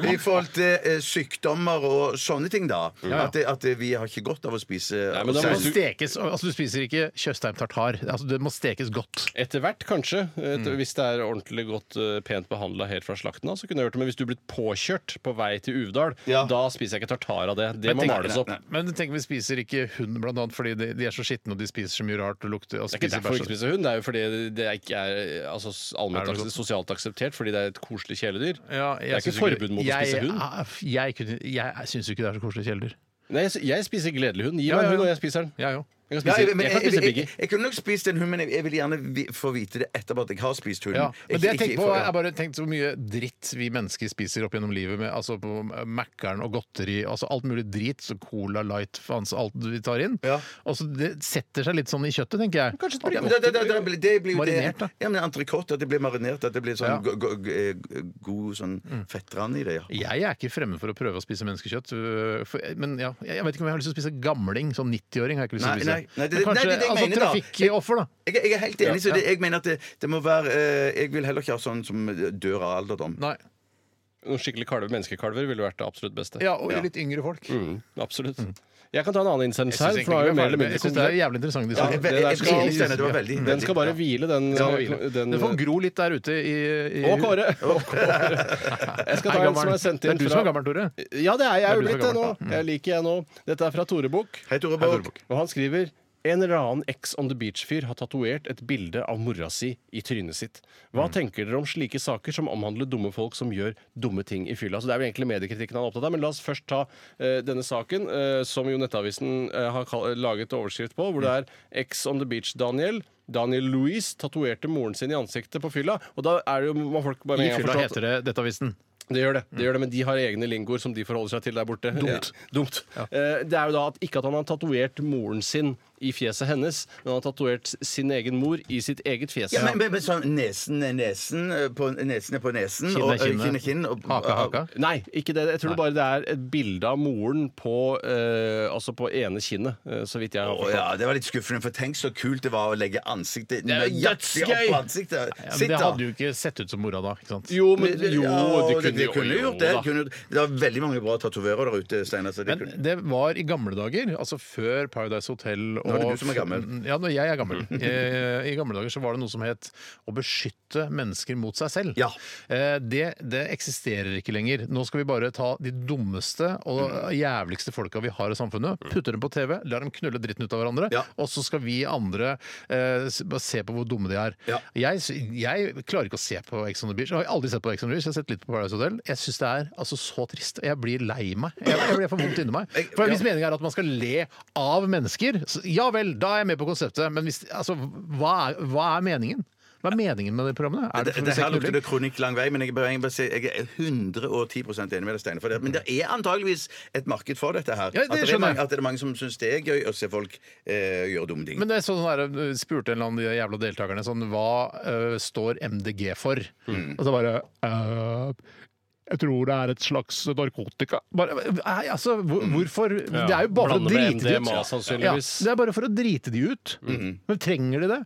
F: I forhold til eh, sykdommer og sånne ting, da. At, det- at det- vi har ikke godt av å spise
G: Nei, men da
E: Det
F: oss
E: må
G: du-
F: selv.
E: stekes, altså Du spiser ikke Tjøstheim tartar. Altså, det må stekes godt.
G: Etter hvert, kanskje. Et, Hvis det er ordentlig godt, eh, pent behandla helt fra slakten av, så kunne jeg gjort det. Men hvis du er blitt påkjørt på vei til Uvdal,
F: Ja.
G: da spiser jeg ikke tartar av det. Det må
E: tenk-
G: males opp. Det
E: Men tenk, vi spiser ikke hund blant annet fordi de, de er så skitne og de spiser så mye rart og lukter og
G: er ikke
E: spiser
G: derfor vi
E: bæsj.
G: ikke spiser hund. Det er jo fordi det ikke er eh, altså, s- allment
E: Er det
G: akse-
E: godt?
G: sosialt akseptert, fordi det er et koselig kjæledyr.
E: Ja,
G: det er
E: synes
G: ikke forbud mot å
E: jeg-
G: spise hund.
E: ah, Jeg, kunne- jeg, syns jo ikke det er så koselig kjæledyr.
G: Nei, jeg, s- jeg spiser gledelig hund. Gi
E: Ja,
G: meg
E: ja,
G: en hund,
E: ja.
G: og jeg spiser den.
E: Jeg òg.
G: Jeg kan
F: Ja,
G: spise,
F: men
G: jeg kan
F: jeg,
G: spise
F: jeg, jeg,
G: Biggie.
F: kunne nok spist en hund, men jeg, jeg vil gjerne vi, få vite det etterpå at jeg har spist hunden.
E: Ja. Men
F: Ikke-
E: det jeg
F: ikke
E: tenker
F: i
E: på
F: for-
E: er jeg bare tenkt så mye dritt vi mennesker spiser opp gjennom livet. Med, altså på Mækkern og godteri, altså alt mulig drit. Så Cola Light, faens alt vi tar inn.
F: Ja.
E: Og så Det setter seg litt sånn i kjøttet, tenker jeg. Kanskje
F: Ja, men det, det, det, det, blir- det blir jo
E: Marinert, da.
F: det. Ja, men entrecôte. At det blir marinert. At det blir sånn
E: Ja. Mm.
F: go, go, eh, god sånn fettrand i det. ja.
E: Jeg er ikke fremmed for å prøve å spise menneskekjøtt. øh, For, men ja, jeg vet ikke om jeg har lyst til å spise gamling. Sånn 90-åring har jeg ikke lyst til å
F: Nei,
E: spise.
F: nei, nei, det- nei,
E: Men
F: det
E: kanskje
F: er det jeg
E: altså,
F: mener, da.
E: trafikkoffer, da.
F: Jeg, jeg er helt enig. så
E: Ja.
F: det, jeg mener at det, det må være eh, Jeg vil heller ikke ha sånn som dør av alderdom.
E: Nei.
G: Noen skikkelig kalver, menneskekalver ville vært det absolutt beste.
E: Ja, og litt yngre folk.
G: Mm, absolutt. Jeg kan ta en annen innsendelse her.
E: Jeg
G: for det var jo
E: egentlig ikke
G: mer eller
E: vi er ferdig med-
G: mindre
E: jeg synes det er jævlig interessant. diskusjon.
F: Jeg,
G: det
F: jeg,
G: der
F: jeg,
G: skal-
F: enig, Steinar, det var veldig, veldig
G: Den skal bare hvile, den.
E: Ja, det var
G: den-
E: fint. det får gro litt der ute i, i
G: Å, Kåre! Jeg skal ta
E: Hei,
G: en som
E: gammel.
G: er sendt
E: Det
G: inn
E: er du som er gammel, Tore.
G: Eh, Ja, det er jeg
E: Det er
G: jo blitt,
E: du som er
G: jeg nå.
E: gammel, da. Mm.
G: Jeg liker jeg nå. Dette er fra Tore Bukk.
F: Hei, Tore Borch.
G: Og han skriver en eller annen Ex on the Beach-fyr har tatovert et bilde av mora si i trynet sitt. Hva
E: Mm.
G: tenker dere om slike saker som omhandler dumme folk som gjør dumme ting i fylla? Så det er jo egentlig mediekritikken han er opptatt av, men la oss først ta eh, denne saken, eh, som jo Nettavisen eh, har kal- laget overskrift på, hvor det
E: Mm.
G: er Ex on the Beach-Daniel. Daniel Louis tatoverte moren sin i ansiktet på fylla. Og da er det jo, må folk bare
E: I
G: med en gang
E: fylla
G: forstå at-
E: heter det Nettavisen.
G: det gjør det,
F: Mm.
G: det gjør det, men de har egne lingoer som de forholder seg til der borte. Dumt. Dumt. Eh, Det er jo da at ikke at han har tatovert moren sin i fjeset hennes, men han har tatovert sin egen mor i sitt eget fjes.
F: Ja, men, men, men sånn nesen er nesen, eh, på, nesen er på nesen,
E: Kinn er
F: og eh,
E: kinnet.
F: kinn er kinn. og-
E: Haka, haka.
G: Nei, ikke det. Jeg tror bare det er et bilde av moren på eh, altså på ene kinnet, eh, så vidt jeg har
F: Å
G: forstått.
F: ja, Det var litt skuffende, for tenk så kult det var å legge ansiktet
G: er jo
F: nøyaktig opp
G: dødsgøy!
F: på ansiktet.
E: Ja, men
F: Sitt,
E: det
F: da.
E: hadde jo ikke sett ut som mora da. ikke sant?
G: Jo, men
F: Men-
G: jo,
F: ja,
G: det kunne
F: det
G: jo
F: kunne
G: jo
F: gjort det.
G: da.
F: Kunne, det er veldig mange bra tatoverer der ute, Steinar. så det
E: Men
F: kunne-
E: det var i gamle dager, altså før Paradise Hotel og Mm,
F: er det du som er gammel. Mm.
E: Ja, når jeg er gammel.
F: [laughs]
E: Eh, I gamle dager så var det noe som het å beskytte mennesker mot seg selv.
F: Ja.
E: Eh, Det, det eksisterer ikke lenger. Nå skal vi bare ta de dummeste og
F: Mm.
E: jævligste folka vi har i samfunnet, putte dem på TV, la dem knulle dritten ut av hverandre,
F: Ja.
E: og så skal vi andre eh, s- bare se på hvor dumme de er.
F: Ja.
E: Jeg, sy- jeg klarer ikke å se på Ex on the Beach. Jeg har aldri sett på Ex on the Beach, jeg har sett litt på Paradise Hotel. Jeg syns det er altså så trist. Jeg blir lei meg. Jeg, jeg blir for vondt inni meg.
F: Jeg-
E: For
F: ja.
E: Hvis meningen er at man skal le av mennesker, så, ja vel, da er jeg med på konseptet, men hvis, altså, hva, er, hva er meningen? Hva er meningen med de programmene? Er
F: Det,
E: for
F: det her
E: seksuell
F: lukter det kronikk lang vei, men jeg, bare, jeg, bare, sier- jeg er 110 enig med deg, Steine. For det, men det er antageligvis et marked for dette her.
E: Ja, det
F: at, det er
E: skjønner jeg.
F: mange, at det er mange som syns det er gøy å se folk eh, gjøre dumme ting.
E: Men jeg så sånn der, uh, spurte en eller annen av de jævla deltakerne sånn, hva uh, står MDG for?
G: Mm.
E: Og så bare «Øh, jeg tror det er et slags narkotika. Bare, nei, altså, hvor, hvorfor? Det er jo bare for å
G: Mm. Blander med
E: drite de ut.
G: MDMA sannsynligvis. Mm.
E: det er bare for å drite de ut. Men trenger de det?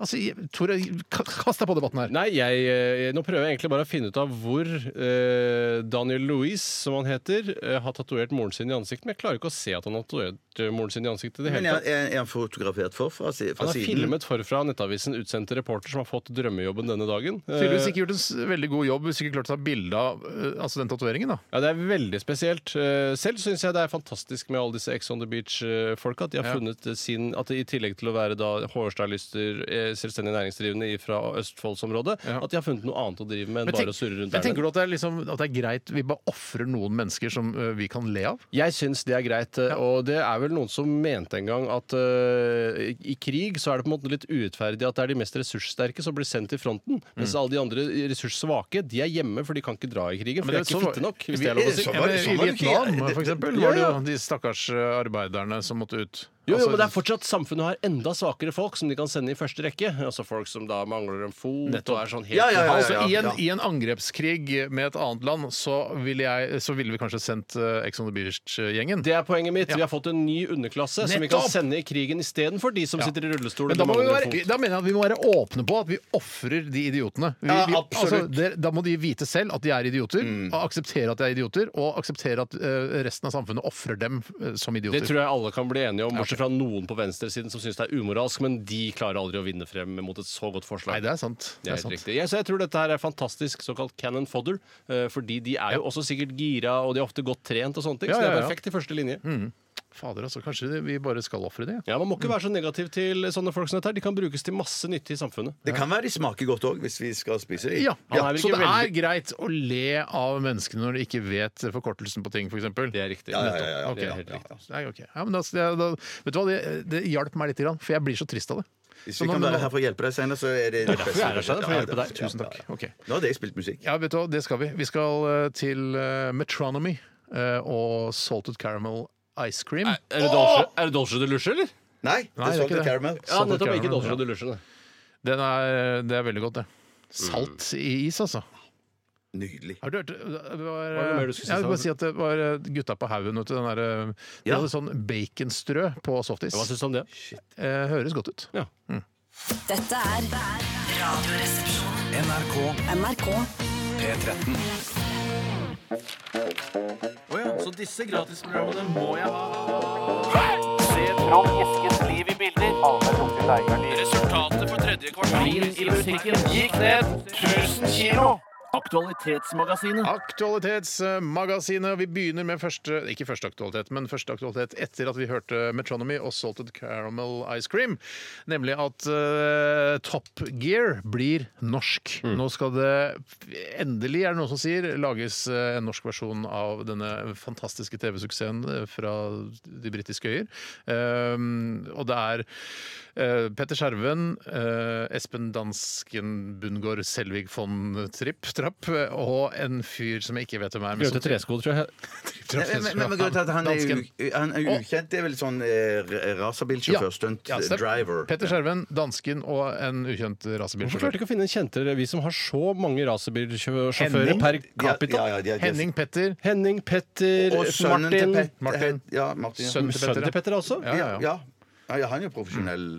E: Altså, jeg- Tore, ka- kast deg på debatten her.
G: Nei, jeg, eh, nå prøver jeg egentlig bare å finne ut av hvor eh, Daniel Louis, som han heter, eh, har tatovert moren sin i ansiktet. Men jeg klarer ikke å se at han har tatovert eh, moren sin i ansiktet. i Det
F: Men er,
G: hele tatt.
F: er er han fotografert for fra, si- fra
G: Han er
F: siden?
G: filmet forfra av Nettavisen utsendt reporter som har fått drømmejobben denne dagen. Eh,
E: Tydeligvis ikke gjort en s- veldig god jobb hvis ikke klarte å ta bilde av eh, altså den tatoveringen. da.
G: Ja, Det er veldig spesielt. Eh, Selv syns jeg det er fantastisk med alle disse Ex on the Beach-folka. At de har
E: Ja.
G: funnet sin At de i tillegg til å være da hårstylister, eh, selvstendig næringsdrivende fra Østfoldsområdet,
E: Ja.
G: at de har funnet noe annet å drive med enn
E: Men tenk-
G: bare å surre
E: men
G: rundt der.
E: tenker du at det, er liksom, at det er greit vi bare ofrer noen mennesker som eh, vi kan le av?
G: Jeg syns det er greit. eh, Og det er vel noen som mente en gang at eh, i i krig så er det på en måte litt urettferdig at det er de mest ressurssterke som blir sendt til
E: Mm.
G: fronten, mens alle de andre ressurssvake de er hjemme, for de kan ikke dra i krigen. For de er
E: sånn
G: ikke
E: var-
G: fitte nok, hvis
E: Vi-
G: det er lov å si.
E: sånn
F: Ja,
E: var
F: men
E: det-
F: sånn
E: I
F: var det ikke.
E: Vietnam, for eksempel,
G: Ja,
E: var det
G: ja.
E: jo de stakkars eh, arbeiderne som måtte ut.
G: Jo, jo,
E: Altså,
G: men det er fortsatt Samfunnet har enda svakere folk som de kan sende i første rekke. Altså Folk som da mangler en fot og er sånn helt
F: Ja, ja, ja,
E: Altså,
F: ja,
E: i, en,
F: ja.
E: I en angrepskrig med et annet land, så ville, jeg, så ville vi kanskje sendt eh, Ex on the Beach-gjengen.
G: Det er poenget mitt.
E: Ja.
G: Vi har fått en ny underklasse som vi kan
E: Nettopp!
G: sende i krigen istedenfor de som
E: Ja.
G: sitter i rullestol.
E: Men
G: og
E: da, må vi
G: mangler en
E: være,
G: fot.
E: da mener jeg at vi må være åpne på at vi ofrer de idiotene. Vi,
F: Ja,
E: vi, altså,
F: absolutt.
E: det, da må de vite selv at de er idioter, og akseptere at de er idioter, og akseptere at eh, resten av samfunnet ofrer dem eh, som
G: Det
E: idioter.
G: tror jeg alle kan bli enige om, bortsett fra noen på venstresiden som syns det er umoralsk, men de klarer aldri å vinne frem mot et så godt forslag.
E: Nei, det er sant. Det
G: Det er
E: er
G: helt
E: sant.
G: riktig. Jeg, så jeg tror dette her er fantastisk såkalt cannon fodder. eh, Fordi de er jo også sikkert gira, og de er ofte godt trent og sånne ting.
E: Ja,
G: Så det
E: ja, Mm.
G: er
E: ja.
G: perfekt i første linje.
E: Fader, altså. Kanskje vi bare skal ofre de? ja.
G: Ja, Man må ikke være så negativ til sånne folk som dette her. De kan brukes til masse nyttig i samfunnet.
F: Det kan være de smaker godt òg, hvis vi skal spise dem.
E: Ja,
G: Han er vel
E: Så
G: ikke
E: det er
G: veldig-
E: greit å le av menneskene når de ikke vet forkortelsen på ting, f.eks.?
G: Det er riktig.
F: Ja, ja, ja,
G: Nettopp.
F: ja, ok,
G: Det er
F: ja,
G: helt
F: ja.
G: riktig. altså.
E: Nei, ok. Ja, men da, da, vet du hva, det, det hjalp meg litt, grann, for jeg blir så trist av det.
F: Hvis
E: Så
F: vi
E: nå-
F: kan være
E: nå-
F: her for å hjelpe deg senere, så er det det beste.
G: derfor jeg er her senere, for å
F: Ja,
G: hjelpe deg.
F: ja,
E: Tusen takk.
F: ja, ja.
E: Ok.
F: Nå hadde jeg spilt musikk.
E: Ja, vet du hva, det skal vi. Vi skal eh, til eh, Metronomy eh, og Salted Caramel Ice Cream.
G: Er- Er det Dolce, er det Dolce de Luche, eller?
F: Nei, det
E: Nei,
F: er
E: det er ikke
F: Salted
E: det.
F: Caramel.
G: Ja,
E: Salted
G: nettopp. Ikke
E: caramel,
G: Dolce
E: ja.
G: de Luche. det.
E: Den er, det er veldig godt, det. Salt i is, altså.
F: Nydelig.
E: Har du hørt eh, det var,
G: Hva er det mer du skulle si,
E: Jeg vil
G: Sara?
E: bare si at det var eh, gutta på haugen. vet du, Den der, eh, de
F: Ja.
E: hadde sånn baconstrø på softis.
G: Hva syns du om det?
E: Eh, høres godt ut.
G: Ja.
J: Dette er Radioresepsjonen. NRK. NRK.
I: Så disse gratisprogrammene må jeg ha. Se fram Eskens liv i bilder. Resultatet for tredje kvartal i butikken gikk ned 1000 kilo. Aktualitetsmagasinet.
E: Aktualitetsmagasinet. Vi begynner med første ikke første aktualitet, men første aktualitet etter at vi hørte Metronomy og Salted Caramel Ice Cream. Nemlig at eh, Top Gear blir norsk. Nå skal det endelig, er det noen som sier, lages eh, en norsk versjon av denne fantastiske TV-suksessen eh, fra de britiske øyer. Ehm, og det er eh, Petter Skjerven, eh, Espen Dansken Bundgaard Selvig von Tripp Trapp eh, og en fyr som jeg ikke vet hvem er. men som-
G: Grøte tresko, tror jeg.
E: Trapp,
F: Men, men, men grunnen til at han er,
E: Dansken.
F: u- han er ukjent, det er vel sånn eh, racerbilsjåfør, stunt
E: Ja, stemmer.
F: driver.
E: Petter Skjerven, dansken og en ukjent
G: Hvorfor klarte
E: rasebilsjåfør.
G: ikke å finne en kjentere, vi som har så mange racerbilsjåfører
E: Henning?
G: per
F: Ja,
G: capita?
F: ja, ja, de er-
E: Henning Petter.
G: Henning, Petter,
F: Og sønnen til
G: Martin
F: Pet-
E: Martin.
F: het- Ja, Martin. ja.
E: Sønnen
G: Sønnen til Petter, altså?
E: Ja, ja, ja.
F: Ja. Ja, ja, han er jo profesjonell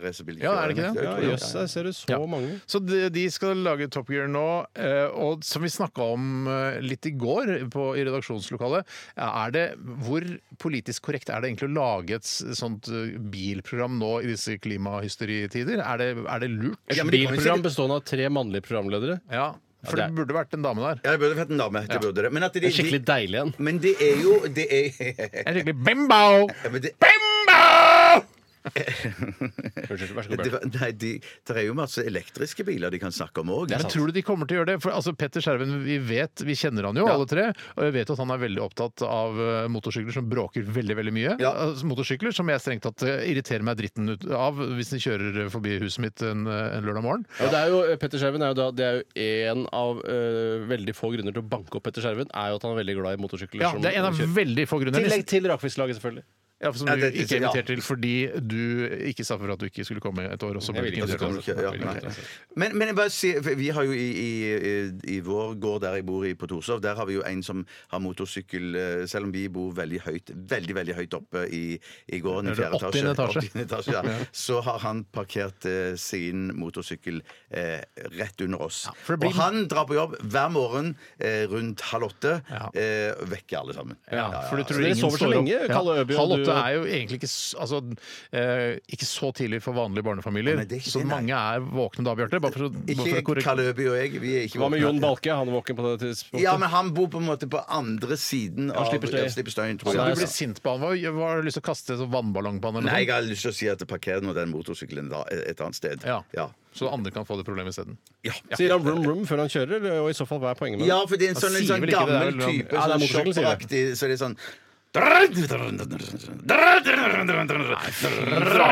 F: racerbilkjører.
E: Ja, er det ikke det?
G: Ja,
F: tror jeg.
G: Jøss, der ser du så
E: Ja.
G: mange.
E: Så de, de skal lage Top Gear nå, eh, og som vi snakka om eh, litt i går på, i redaksjonslokalet, er det, hvor politisk korrekt er det egentlig å lage et s- sånt eh, bilprogram nå i disse klimahysteritider? Er det, er det lurt?
G: Et
F: men det kan jo
G: bilprogram
F: sikkert-
G: bestående av tre mannlige programledere.
E: Ja, for
G: Ja,
E: det
G: det
E: burde vært en dame der.
F: Ja, det burde vært en dame. Det burde det. Men, at de,
G: En skikkelig deilig en.
F: de, men det er jo det er, [laughs]
E: En skikkelig bimbo!
F: ja, men det,
E: Bimbo!
G: Unnskyld, vær så god.
F: det,
G: Bjørn.
F: var- Nei, de, det er jo masse elektriske biler de kan snakke om altså. òg.
E: Men tror du de kommer til å gjøre det? For altså, Petter Skjerven, vi vet, vi kjenner han jo, alle tre. Og jeg vet at han er veldig opptatt av eh, motorsykler som bråker veldig veldig mye.
F: Ja.
E: Altså, motorsykler som jeg strengt tatt eh, irriterer meg dritten ut av hvis de kjører forbi huset mitt en, eh, en lørdag morgen.
G: Og det er jo, eh, Petter Skjerven er jo da, det er jo en av eh, veldig få grunner til å banke opp Petter Skjerven, er jo at han er veldig glad i motorsykler.
E: Ja,
G: som
E: Det er en av
G: kjører.
E: veldig få grunner.
G: tillegg til rakfisklaget, selvfølgelig.
E: Ja, som
F: Ja,
E: du
F: det-
E: ikke er
F: ja.
E: invitert til fordi du ikke sa for at du ikke skulle komme et år. Og så ble du
H: vil
E: ikke
H: ikke, altså.
E: invitert.
F: Ja, nei. Men, men jeg bare sier, for vi har jo i, i, i vår gård der jeg bor i på Torshov, der har vi jo en som har motorsykkel, eh, selv om vi bor veldig høyt, veldig, veldig høyt oppe i, i gården. i
E: Er det
F: fjerde etasje,
E: 80. etasje?
F: 80. etasje ja. Så har han parkert eh, sin motorsykkel eh, rett under oss.
E: for det blir-
F: Og han drar på jobb hver morgen eh, rundt halv åtte,
E: Ja.
F: eh, vekker alle sammen.
E: Ja, for du tror
G: dere
E: ingen
G: sover så
E: står opp.
G: lenge, Kalle Øby, og
E: Halv
G: du-
E: åtte er jo egentlig ikke, s- altså, eh, ikke så tidlig for vanlige barnefamilier.
F: Nei, det er ikke
E: så
F: det, nei.
E: mange er våkne da, Bjarte. Bare for, å- bare for
F: Ikke
E: å korrekt-
F: Kalle Øby og jeg. Vi er ikke
G: Hva med
F: våkne.
G: Jon Balke? Han er våken på det tidspunktet.
F: Ja, men han bor på en måte på andre siden av
G: slipper støy.
F: ja, slipper støyen, tror
E: Så
F: jeg.
E: du blir sint på han? Hva, hva har du lyst til å kaste en sånn vannballong på han?
F: altså. Nei,
E: Eller
F: jeg
E: noe?
F: har lyst til å si at parker nå den motorsykkelen da et annet sted.
E: Ja.
F: Ja.
E: Så andre kan få det problemet isteden.
F: Ja.
G: Sier han vroom vroom før han kjører, eller- og i så fall hva er poenget med det?
F: Ja, for det er en sånn,
E: sier
F: en sånn
E: vel ikke det, det er
F: gammel
E: vel noe-
F: type,
G: Ja,
F: sånn
G: det er motorsykkel, sier det.
F: shopperaktig, så det er sånn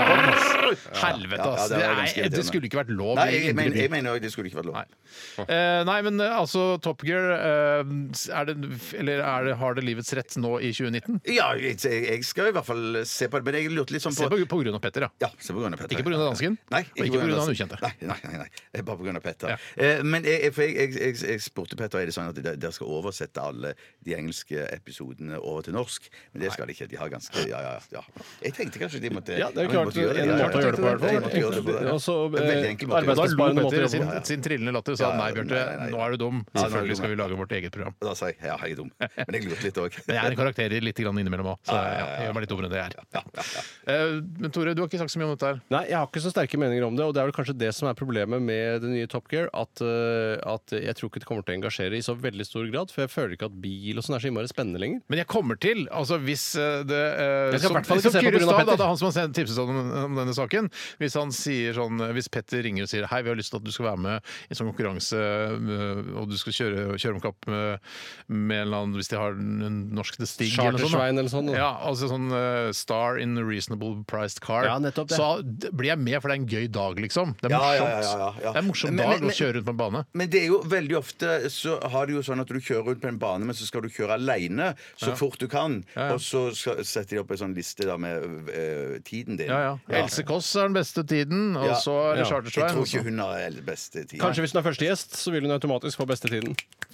E: Helvete,
F: Ja, ja,
E: ass!
F: det var ganske
E: det, er, det
F: irriterende.
E: skulle ikke vært lov.
F: Nei,
E: i
F: jeg
E: indre
F: mener,
E: by.
F: jeg mener også det skulle ikke vært lov.
E: Nei. Eh, nei, men eh, altså Top Gear eh, er det, Eller er det, har det livets rett nå i 2019?
F: Ja, jeg, jeg skal i hvert fall se på det, men jeg lurte litt sånn
E: Se
F: på
E: på, på grunn av Petter, ja.
F: ja, se på grunn av Petter.
E: Ikke på grunn av dansken,
F: Nei,
E: og ikke på grunn av den ukjente.
F: Nei, nei, nei, nei. Eh, bare på grunn av Petter.
E: Ja.
F: Eh, men jeg, for jeg, jeg, jeg, jeg spurte Petter er det sånn at de- dere skal oversette alle de engelske episodene over til norsk. Men det skal de ikke. De har ganske Ja, ja, ja. Jeg tenkte kanskje de måtte
G: Ja, det
F: men
G: er jo
F: de
G: klart
F: måtte gjøre
G: en
F: ja,
G: måte å gjøre det på, i hvert fall.
F: De måtte gjøre det på, ja.
G: Og så,
F: En veldig
G: eh,
F: enkel måte å gjøre det på.
E: Da
G: arbeids-
E: lo
G: Sparen måtte
E: Petter i sin,
G: gjøre det.
E: sin trillende latter og sa
F: Ja, ja,
E: nei, Bjarte,
F: nei, nei.
E: nå er du dum.
F: Ja, nå er du
E: Selvfølgelig
F: dum,
E: skal
F: ja.
E: vi lage vårt eget program.
F: Da sa jeg ja, jeg er dum. Men jeg lurte litt òg.
E: Men jeg er en karakter litt grann innimellom òg, så ja, jeg gjør meg litt dummere enn det jeg er. Eh, Men Tore, du har ikke sagt så mye om dette her.
G: Nei, jeg har ikke så sterke meninger om det, og det er vel kanskje det som er problemet med det nye Top Gear, at, eh, at jeg tror ikke det kommer til å engasjere i så veldig stor grad, for jeg føler ikke at bil og sånn er så innmari spennende lenger.
E: Men jeg kommer til, altså hvis eh, det eh,
G: Jeg skal i
E: som-
G: hvert fall ikke
E: som
G: se på
E: Kyrre
G: grunn av
E: Stahl, da,
G: Petter.
E: Det er han som har sendt- tipset om, om denne saken. Hvis han sier sånn eh, Hvis Petter ringer og sier Hei, vi har lyst til at du skal være med i en sånn konkurranse, eh, og du skal kjøre, kjøre om kapp med, med en eller annen Hvis de har en norsk The Stig eller noe sånt, da.
G: Chartersvein eller sånn.
F: Mm.
G: da.
E: Ja, altså sånn eh, Star in a reasonable priced car.
G: Ja, nettopp det.
E: Så d- blir jeg med, for det er en gøy dag, liksom. Det er
F: Ja, ja,
E: morsomt.
F: ja, ja, ja.
E: Det er en morsom
F: Men-
E: dag
F: men- men-
E: å kjøre rundt på en bane.
F: Men det er jo veldig ofte så har du jo sånn at du kjører rundt på en bane, men så skal du kjøre aleine så fort du kan.
E: ja.
F: Og så skal, setter de opp en sånn liste da med eh, tiden din.
E: Ja, ja. Else Kåss er den beste tiden, og
F: Ja.
E: så er det altså.
G: Ja.
F: Jeg
E: Chartersvein.
F: tror
E: og så-
F: ikke hun har den beste tiden.
G: Kanskje hvis hun er første gjest, så vil hun automatisk få beste tiden.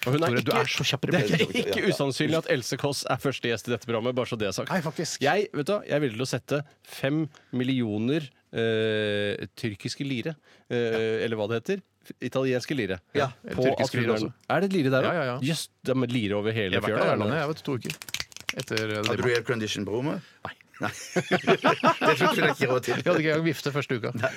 G: Og hun
E: Tore,
G: er
E: du
G: ikke,
E: er så kjapp i
G: [laughs] det
E: replikken.
G: er ikke usannsynlig at Else Kåss er første gjest i dette programmet, bare så det er sagt.
E: Nei, faktisk.
G: Jeg, vet du, hva, jeg er villig til å sette fem millioner eh, tyrkiske lire, eh, eller hva det heter. f- Italienske lire.
F: Ja,
G: på
E: tyrkisk
G: at hun
E: lire
G: er-
E: også.
G: Er det et lire der
E: Ja,
G: òg?
E: ja, ja.
G: Jøss, det er med lire over hele
E: Jeg har vært der i Erlandet,
G: fjøla.
E: jeg vet to uker etter eh,
F: Hadde
E: det.
F: du aircondition på rommet? Nei. [laughs] det tok vi da ikke råd til.
E: Vi hadde ikke engang vifte første uka. Nei,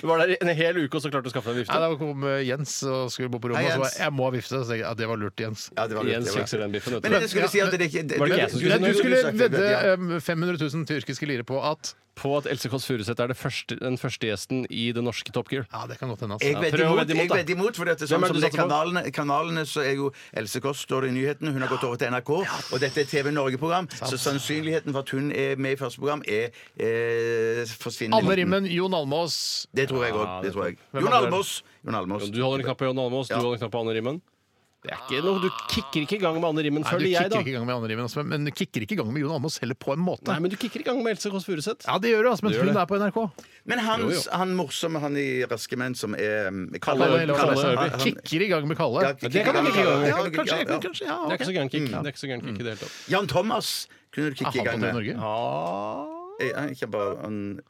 G: Du var der i en hel uke, og så klarte du å skaffe deg en vifte?
E: Da kom eh, Jens og skulle bo på
F: Hei,
E: rommet, og så
F: Jens.
E: var jeg, jeg må ha vifte. Så tenkte jeg, ja, det var lurt, Jens.
F: Ja, det var lurt,
G: Jens
F: det var-
G: fikser den biffen, vet du.
F: Men jeg skulle si at det er ikke
G: Var det ikke jeg som
E: Nei,
G: skulle
E: du skulle vedde
F: ja.
E: eh, 500 000 tyrkiske lire på at
G: På at Else Kåss Furuseth er det første, den første gjesten i det norske Top Gear.
E: Ja, det kan godt hende.
F: Jeg
E: Altså.
F: vedder
G: prøv å
F: imot,
G: vedde imot,
F: jeg
G: da.
F: vedder imot for det er
G: Hvem
F: sånn
G: er det
F: som
G: du
F: det er
G: satser på?
F: kanalene, kanalene så er jo Else Kåss står det i nyhetene. Hun har gått over til NRK, og dette er TV Norge-program, så sannsynligheten for at hun er med i første program, er eh, forsvinnende.
E: Anne
F: liten.
E: Rimmen, Jon Almaas.
F: Det tror jeg òg. Det tror jeg.
E: Hvem
F: Jon
E: andre er det?
F: Almaas. Jon Almaas.
G: Du holder en knapp på Jon Almaas,
F: Ja.
G: du holder en knapp på Anne Rimmen. Det er ikke noe, Du kicker ikke i gang med Anne Rimmen,
E: Nei, du
G: føler jeg,
E: kicker
G: da.
E: ikke i gang med Anne Rimmen, altså, men men du kicker ikke i gang med Jon Almaas heller, på en måte.
G: Nei, men du kicker i gang med Else Kåss Furuseth.
E: Ja, det gjør du, altså, men
G: Det gjør
E: hun
G: det.
E: er på NRK.
F: Men han, han morsomme, han i Raske menn som er eh,
G: Kalle Øyby.
E: Kalle
G: Øyby.
E: Han- han- Kicker i gang med Kalle.
F: Ja,
E: Ja,
G: det kan han ikke gjøre.
F: Ja,
E: kanskje,
F: ja, ja.
E: kanskje, ja, ok.
G: Det er ikke så gæren kick. Det er ikke så gæren kick i det hele tatt.
F: Jan Thomas kunne du
G: Ah,
E: Er
F: kikke i
E: Ah, han på
F: gang
E: TV
F: med.
E: Norge?
F: Eh, han er Ikke bare han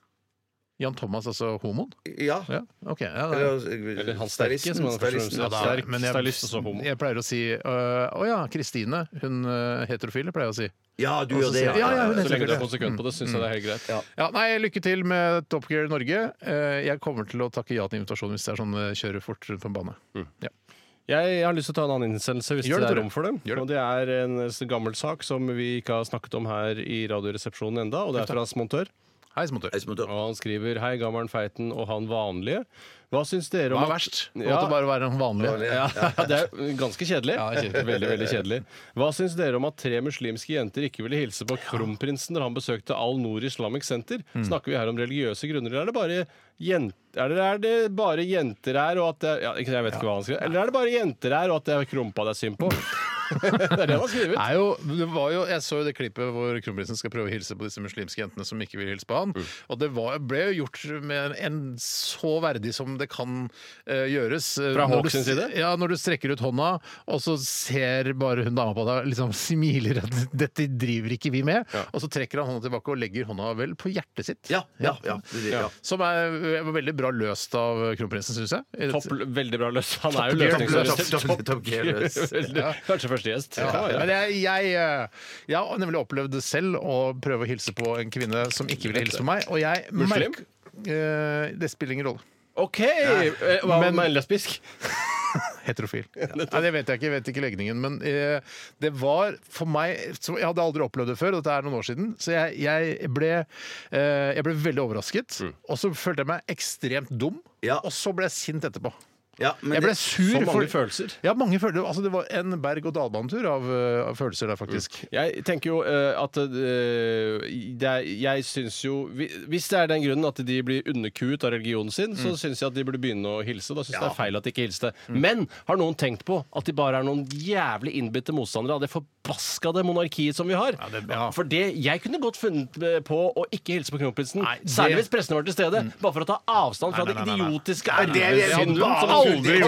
E: Jan Thomas, altså homoen?
F: Ja.
E: Ja, ok. Ja, det er-
F: Eller,
G: Eller han sterke,
F: stylisten,
G: som han først og fremst
F: stylisten.
G: er.
F: Ja, da.
G: Sterk
E: men
G: stylist og så homo.
E: Jeg pleier å si øh, Å ja, Kristine. Hun øh, heterofile, pleier jeg å si.
F: Ja, du
E: Og så
F: gjør det.
E: sier jeg, ja, ja, hun
G: Så lenge
E: sikkert
G: du er
E: det.
G: konsekvent på det, syns jeg det er helt greit.
E: Mm. Ja, nei, Lykke til med Top Gear Norge. Eh, Jeg kommer til å takke ja til invitasjonen hvis det er sånn eh, kjøre fort rundt på en bane. Ja.
G: Jeg, jeg har lyst til å ta en annen innsendelse hvis
E: Gjør det,
G: det er
E: Tore.
G: rom for det.
E: Gjør det.
G: Og det er en s- gammel sak som vi ikke har snakket om her i Radioresepsjonen enda, og det er fra Smontør.
E: Hei, Smontør.
F: Jeg smutter.
G: Og han skriver 'Hei, gammelen feiten og han vanlige'. Hva syns dere om
E: Hva er
G: at-
E: verst?
G: Ja.
E: Måtte bare være en vanlig.
G: Ja, det er ganske kjedelig.
E: Ja, det er kjedelig.
G: Veldig, veldig kjedelig. Hva syns dere om at tre muslimske jenter ikke ville hilse på kronprinsen når han besøkte Al Noor Islamic Center? Snakker vi her om religiøse grunner, eller er det bare jenter, er det, er det bare jenter her, og at det, ja, ikke, jeg vet ikke hva han skriver. Eller er det bare jenter her, og at det er krumpa det er synd på? Det er det han har skrevet.
E: er jo, det var jo, jeg så jo det klippet hvor kronprinsen skal prøve å hilse på disse muslimske jentene som ikke vil hilse på han.
G: Mm.
E: Og det var, ble jo gjort med en, en så verdig som det kan eh, gjøres.
G: Fra
E: Når
G: Hawks
E: du-
G: sin side?
E: Ja, når du strekker ut hånda, og så ser bare hun dama på deg liksom [laughs] smiler at dette driver ikke vi med. Og så trekker han hånda tilbake og legger hånda vel på hjertet sitt.
F: Ja, ja, ja, det- ja.
E: Som er, er veldig bra løst av kronprinsen, syns jeg. I
G: Topp,
E: dette-
G: veldig bra løs. Han er jo
E: Topp-
G: løsningsorientert.
F: Topp- topp- topp- gearless.
G: Veldig- Kanskje første gjest.
E: Ja,
G: Ja, ja.
E: Men jeg, jeg, eh, jeg har nemlig opplevd det selv å prøve å hilse på en kvinne som ikke ville hilse på meg. Og jeg
G: Muslim?
E: merker eh, Det spiller ingen rolle.
G: OK! Eh, Hva
E: Men-
G: med en lesbisk? [laughs]
E: Heterofil. Nei, det vet jeg ikke. Jeg vet ikke legningen. Men eh, det var for meg så Jeg hadde aldri opplevd det før, og dette er noen år siden. Så jeg, jeg, ble, eh, jeg ble veldig overrasket.
G: Mm.
E: Og så følte jeg meg ekstremt dum.
F: Ja.
E: Og så ble jeg sint etterpå.
F: Ja, men
E: Jeg ble
F: det-
E: sur.
G: Så mange
E: for-
G: følelser.
E: Ja, mange følelser. Altså, det var en berg-og-dal-banetur av, eh, av følelser der, faktisk.
G: Jeg tenker jo eh, at eh, det er, Jeg syns jo vi- Hvis det er den grunnen at de blir underkuet av religionen sin,
E: Mm.
G: så syns jeg at de burde begynne å hilse. Da syns jeg det er feil at de ikke hilste. Men har noen tenkt på at de bare er noen jævlig innbitte motstandere av det forbaskede monarkiet som vi har?
E: det- ja.
G: For det jeg kunne godt funnet eh, på å ikke hilse på kronprinsen,
E: Nei, det- Mm.
G: særlig hvis prestene var til stede, bare for å ta avstand fra
E: Nei, nei, nei, nei,
G: det
E: nei.
G: idiotiske
F: Nei, det er-
G: arvesynden som
E: aldri gjort,
G: kongelig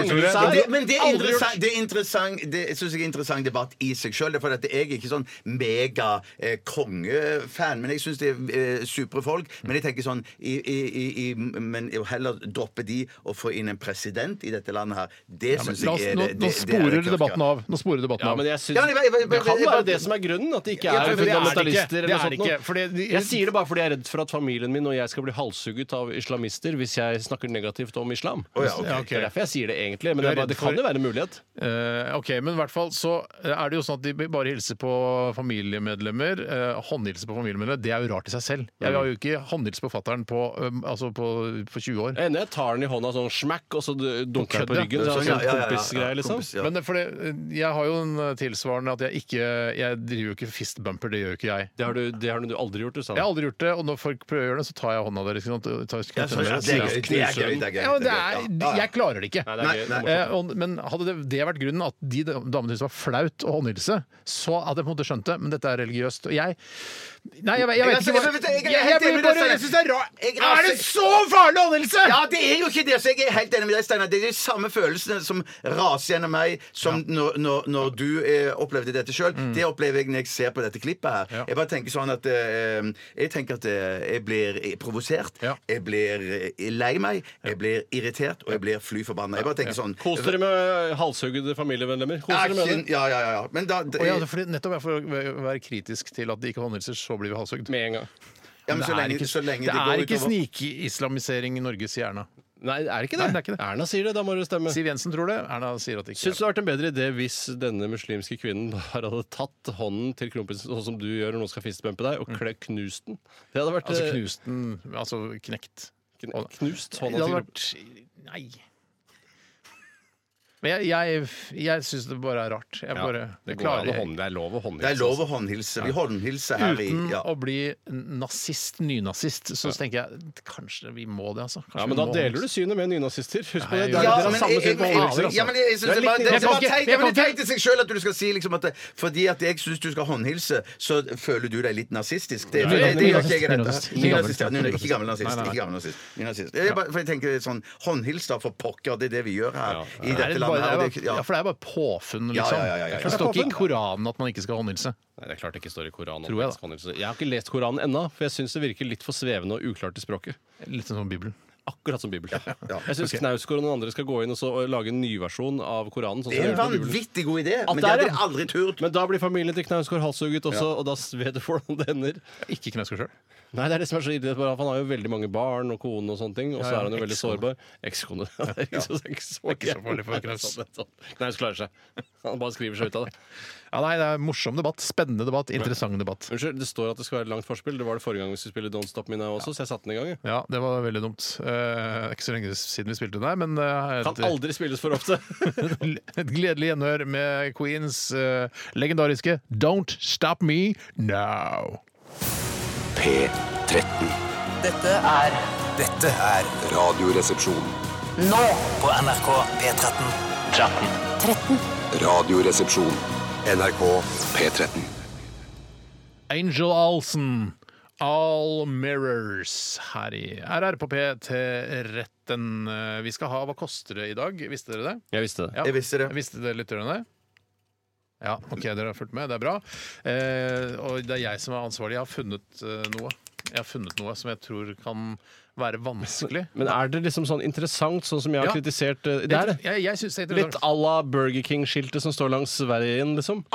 E: Tore.
G: sær.
F: Men det, men det er
G: Aldri gjort.
F: interessant, det er interessant Det synes jeg er interessant debatt i seg sjøl. For at jeg er ikke sånn mega eh, kongefan, men jeg syns det er eh, supre folk. Men jeg tenker sånn i, i, i, i, Men å heller droppe de og få inn en president i dette landet her, det
E: Ja, men
F: syns
E: la oss,
F: jeg er
E: nå,
F: det- det-
E: nå
F: det er
E: sporer
F: det tørke.
E: debatten av. Nå sporer debatten
G: Ja,
E: av.
G: men jeg syns
F: Ja, men jeg- jeg- jeg-
G: Det kan
F: jeg-
G: være
F: jeg-
G: det som er grunnen, at det ikke
F: Ja,
G: er
F: for det er det ikke.
G: fundamentalister
E: Det
G: eller
E: er
G: sånt
E: det ikke,
G: noe.
E: fordi de-
G: Jeg sier det bare fordi jeg er redd for at familien min og jeg skal bli halshugget av islamister hvis jeg snakker negativt om islam.
F: ja, ok.
E: Ja, ok.
G: Det er derfor jeg sier det egentlig, men
E: Du
G: det,
E: er
G: er bare,
E: redd
G: det
E: for-
G: kan jo være en mulighet.
E: Eh, ok, Men i hvert fall så er det jo sånn at de bare hilser på familiemedlemmer. Uh, håndhilse på familiemedlemmer, det er jo rart i seg selv. Jeg har jo
F: Mm.
E: ikke håndhilse på fattern på, um, altså på, for 20 år.
G: Jeg ender jeg tar den i hånda sånn smakk, og så dunker jeg på
E: Kødde.
G: ryggen. Så er det
F: Sånn, ja, ja,
G: sånn
F: ja, ja.
G: kompisgreie, liksom.
F: Kompis, ja.
E: Men det- for det, eh, jeg har jo en eh, tilsvarende at jeg ikke Jeg driver jo ikke fist bumper, det gjør jo ikke jeg.
G: Det har, du, det har du aldri gjort, du,
E: Jeg
G: Sanne.
E: har aldri gjort det, og når folk prøver å gjøre det, så tar jeg hånda deres. Ikke sant? Tar,
F: Ja, så- ja, det er gøy. Det er gøy. det er gøy,
E: Ja, men
F: det
E: det
F: er gøy.
E: er,
F: Ja, ja.
E: jeg klarer det ikke.
G: Nei, det er gøy.
F: Nei,
G: Det er
E: Eh, og, men hadde det, det vært grunnen at de damene syntes det var flaut å håndhilse, så hadde jeg på en måte skjønt det, men dette er religiøst. Og jeg Nei, jeg, jeg vet
F: altså,
E: ikke hva
F: jeg- jeg- jeg- jeg-
E: Jeg- jeg
F: jeg-
E: blir bare- jeg synes det er
F: Jeg-
E: rart. Er det så farlig å håndhilse?!
F: Ja, det er jo ikke det! Så jeg er helt enig med deg, Steinar. Det er de samme følelsene som raser gjennom meg som når, når, når du eh, opplevde dette sjøl. Det opplever jeg når jeg ser på dette klippet her.
E: Ja.
F: Jeg bare tenker sånn at eh, Jeg tenker at eh, jeg blir provosert.
E: Ja.
F: Jeg blir eh, lei meg. Jeg blir irritert, og jeg blir fly forbanna. Jeg bare tenker sånn
G: Kos dere med halshuggede familiemedlemmer. Kos dere med
F: Action!
G: det
F: Ja, ja, ja. ja. Men da eh,
E: Og ja, fordi nettopp er for å være kritisk til at de ikke håndhilser, så blir vi halshugd.
G: med en gang.
F: ja, men så
E: det er
F: lenge, så
E: ikke,
F: lenge
E: det er ikke
F: utover-
E: snikislamisering i Norges hjerne.
G: Nei, er det ikke
E: Nei, det
G: det?
E: er ikke det.
G: Erna sier det, da må du stemme.
E: Siv Jensen tror det. Erna sier at det ikke
G: Syns
E: er
G: du det hadde vært en bedre idé hvis denne muslimske kvinnen bare hadde tatt hånden til kronprinsen, sånn som du gjør når noen skal fistbumpe deg, og kle- knust den? Det hadde vært
E: Mm. Altså
G: eh,
E: knust den Altså knekt.
G: kn- knust
E: Det
G: hånda til
E: hadde
G: kronprinsen.
E: vært Nei. Men jeg, jeg, jeg syns det bare er rart. Jeg bare
G: Det,
E: jeg
G: går an å
E: klarer
G: hånd, det er lov å
F: Det
G: håndhilse.
F: er lov å håndhilse. Vi håndhilser her i
E: Uten
F: ja.
E: å bli nazist, nynazist, så tenker jeg kanskje vi må det, altså. Kanskje
G: Ja, men
E: vi
G: da
E: må
G: deler du synet med nynazister. Husk på
E: Nei,
G: det.
E: jeg
G: Dere
E: gjør
G: dere
E: det.
G: har
F: men
G: samme
F: jeg-
G: syn på
F: jeg- jeg-
G: håndhilser.
F: Ja, men
G: altså.
F: jeg, jeg synes
G: Det er
F: det bare-
G: litt
F: det- det
E: kan
F: var teit-
E: ikke- jeg
F: ja, men
E: kan
F: det er teit
E: ikke-
F: i seg sjøl at du skal si liksom at det- fordi at jeg syns du skal håndhilse, så føler du deg litt nazistisk. Det, det,
E: Nei,
F: det, det, gjør ikke jeg i dette.
E: nynazist.
F: Ny nazist, ja. Ny- Ikke gammel nazist.
E: Nei, nei,
F: Ikke
E: nei.
F: gammel nazist. Ny nazist. Jeg, bare, for jeg tenker sånn Håndhils, da, for pokker. Det er det vi gjør her i
E: Er
F: dette
E: det
F: landet.
E: bare, det er
F: her.
E: bare,
F: Det-
E: ja,
F: ja.
E: for det er bare påfunn,
F: Ja,
E: liksom.
F: ja, ja, ja, ja.
E: Det står ikke i Koranen at man ikke skal håndhilse.
G: Nei, det er klart det ikke står i Koranen.
E: Tror jeg, da.
G: håndhilse. jeg har ikke lest Koranen ennå, for jeg syns det virker litt for svevende og uklart i språket.
E: Litt sånn som Bibelen.
G: Akkurat som Bibelen. Jeg syns Knausgård og noen andre skal gå inn og så og lage en nyversjon av Koranen. Sånn som
F: Det er
G: de
F: en
G: gjør på Bibelen.
F: vanvittig god idé,
G: At
F: men
G: det
F: det
G: er
F: hadde
G: det.
F: jeg aldri turt.
G: Men da blir familien til Knausgård halshugget også, og da vet du hvordan det ender.
E: Ikke Knausgård sjøl.
G: Nei, det er det som er så ille. for Han har jo veldig mange barn og kone og sånne ting, og så
E: Ja, ja,
G: er han jo veldig
E: ekskone.
G: sårbar. Ekskone. Det er ikke så- det er ikke så
E: ikke så farlig for
G: Nei,
E: Knaus.
G: sånn, sånn. Knaus klarer seg. Han bare skriver seg ut av det.
E: Ja, nei, det er morsom debatt, spennende debatt, interessant debatt.
G: Unnskyld, det står at det skal være langt forspill. Det var det forrige gang vi skulle spille Don't Stop Me Now også, så jeg satte den i gang. jeg.
E: Ja, det var veldig dumt. Eh, ikke så lenge siden vi spilte den her, men eh,
G: Kan
E: et,
G: aldri spilles for ofte.
E: [laughs] et gledelig gjenhør med Queens eh, legendariske Don't Stop Me Now.
B: P13.
C: Dette er
D: Dette er
B: Radioresepsjon.
C: Nå
D: på NRK P13.
C: 13.
B: Radioresepsjon. NRK P13.
E: Angel Alsen. All Mirrors her i RR på P13. Eh, Vi skal ha Hva koster det i dag? Visste dere det?
G: Jeg visste det.
E: Ja.
F: Jeg visste det.
E: Visste dere lytterne det? Ja, OK, dere har fulgt med. Det er bra. Eh, og det er jeg som er ansvarlig. Jeg har funnet eh, noe. Jeg har funnet noe som jeg tror kan være vanskelig.
G: Men er det liksom sånn interessant, sånn som jeg har
E: Ja.
G: kritisert eh, Det er det.
E: Jeg, jeg synes det er
G: Litt
E: interessant.
G: à la Burger King-skiltet som står langs veien, liksom.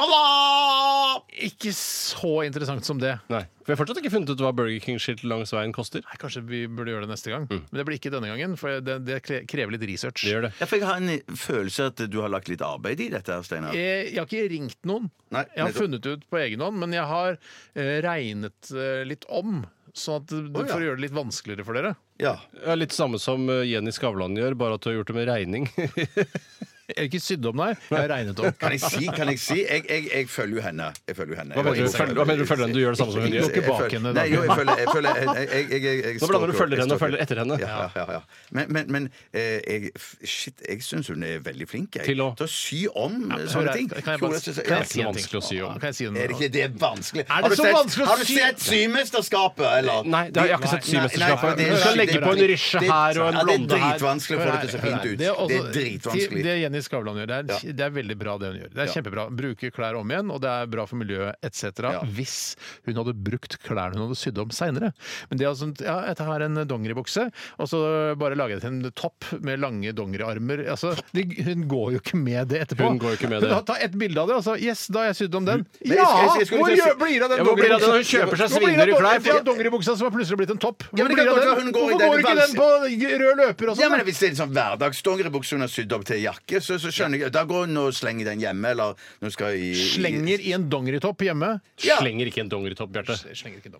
E: Ikke så interessant som det.
G: Nei. For jeg har fortsatt ikke funnet ut hva Burger King-skiltet langs veien koster.
E: Nei, Kanskje vi burde gjøre det neste gang. Men det blir ikke denne gangen, for det, det kre- krever litt research.
G: Det gjør det.
F: Ja, for jeg har en følelse at du har lagt litt arbeid i dette, her, Steinar.
E: Eh, Jeg, jeg har ikke ringt noen.
F: Nei,
E: jeg har
F: nettopp.
E: funnet ut på egen hånd, men jeg har eh, regnet eh, litt om. Sånn at, det-
F: Å, ja.
E: For å gjøre det litt vanskeligere for dere.
F: Ja.
G: Ja, litt samme som eh, Jenny Skavlan gjør, bare at du har gjort det med regning. [laughs]
E: Jeg har ikke sydd om, nei. Jeg har regnet om.
F: Kan jeg si? Kan jeg si? Jeg, jeg, jeg følger jo henne. Jeg følger jo henne.
G: Hva mener du? Følger- hva mener du følger henne? Du gjør det samme som hun gjør.
E: Går ikke bak henne, da.
F: Nei, jo, jeg følger, jeg følger jeg, jeg, jeg, jeg, jeg
G: Nå blander du
F: stalker-
G: følger
F: jeg
G: henne og
F: stalker.
G: følger etter henne.
F: Ja, ja, ja, ja. Men, men, men eh, jeg, f- shit, jeg syns hun er veldig flink jeg.
G: Til å-
F: sy om eh,
E: Hør
F: sånne
E: her,
F: ting.
E: Kan jeg
F: Kjoler
E: bare,
F: synes jeg-
E: kan
F: Ja.
E: jeg si en ting?
G: Vanskelig å sy om.
E: Kan jeg si en-
F: Er det ikke det vanskelig?
E: Er
F: Har
E: det
F: du
E: så
F: sett-
E: vanskelig å
F: Har du
E: sy-
F: sett Symesterskapet, eller?
G: Nei, det har- jeg har ikke
F: Nei,
G: sett
F: nei,
G: Symesterskapet.
F: det er-
G: Du
F: det
G: skal
F: er-
G: legge på en rysje
F: det er-
G: her og en blonde
F: Ja, det
G: her.
F: er dritvanskelig å få det til å se
E: Hør her,
F: fint ut.
E: hør her.
F: Det er
E: også-
F: dritvanskelig.
E: til- Det Jenny Skavlan gjør, det er,
F: Ja.
E: det er veldig bra det hun gjør. Det er kjempebra. Bruke klær om igjen, og det er bra for miljøet etc.
F: Ja.
E: Hvis hun hadde brukt klærne hun hadde sydd om seinere. Men det er sånn ja, jeg tar en dongeribukse, og så bare lager jeg til en topp med lange dongeriarmer. Altså, de, hun går jo ikke med det etterpå.
G: Hun går jo ikke med det.
E: Hun har- tar et bilde av det, og så Yes, da har jeg sydd om den.
F: Men jeg-
E: Ja!
F: jeg- jeg skulle
E: Hvor
F: til å si-
E: gjør- blir det av
G: Ja,
E: den
G: hvor blir det av den? Hun
E: dongeribuksa?
G: kjøper seg
E: Hvor blir det av
G: svindyre klær,
E: don- ja,
G: fordi-
E: Dongeribuksa som har plutselig blitt en topp. Hvor
F: Ja, men det kan
E: blir
F: godt
E: det av den?
F: være hun går i den
E: Hvorfor går ikke den på rød løper og
F: Ja,
E: sånn?
F: men Hvis det er en sånn hverdagsdongeribukse hun har sydd opp til jakke, så, så skjønner jeg Da går hun og slenger den hjemme, eller når hun skal i i-
E: Slenger i en dongeritopp hjemme.
F: Ja.
G: Slenger ikke en dongeritopp, Bjarte.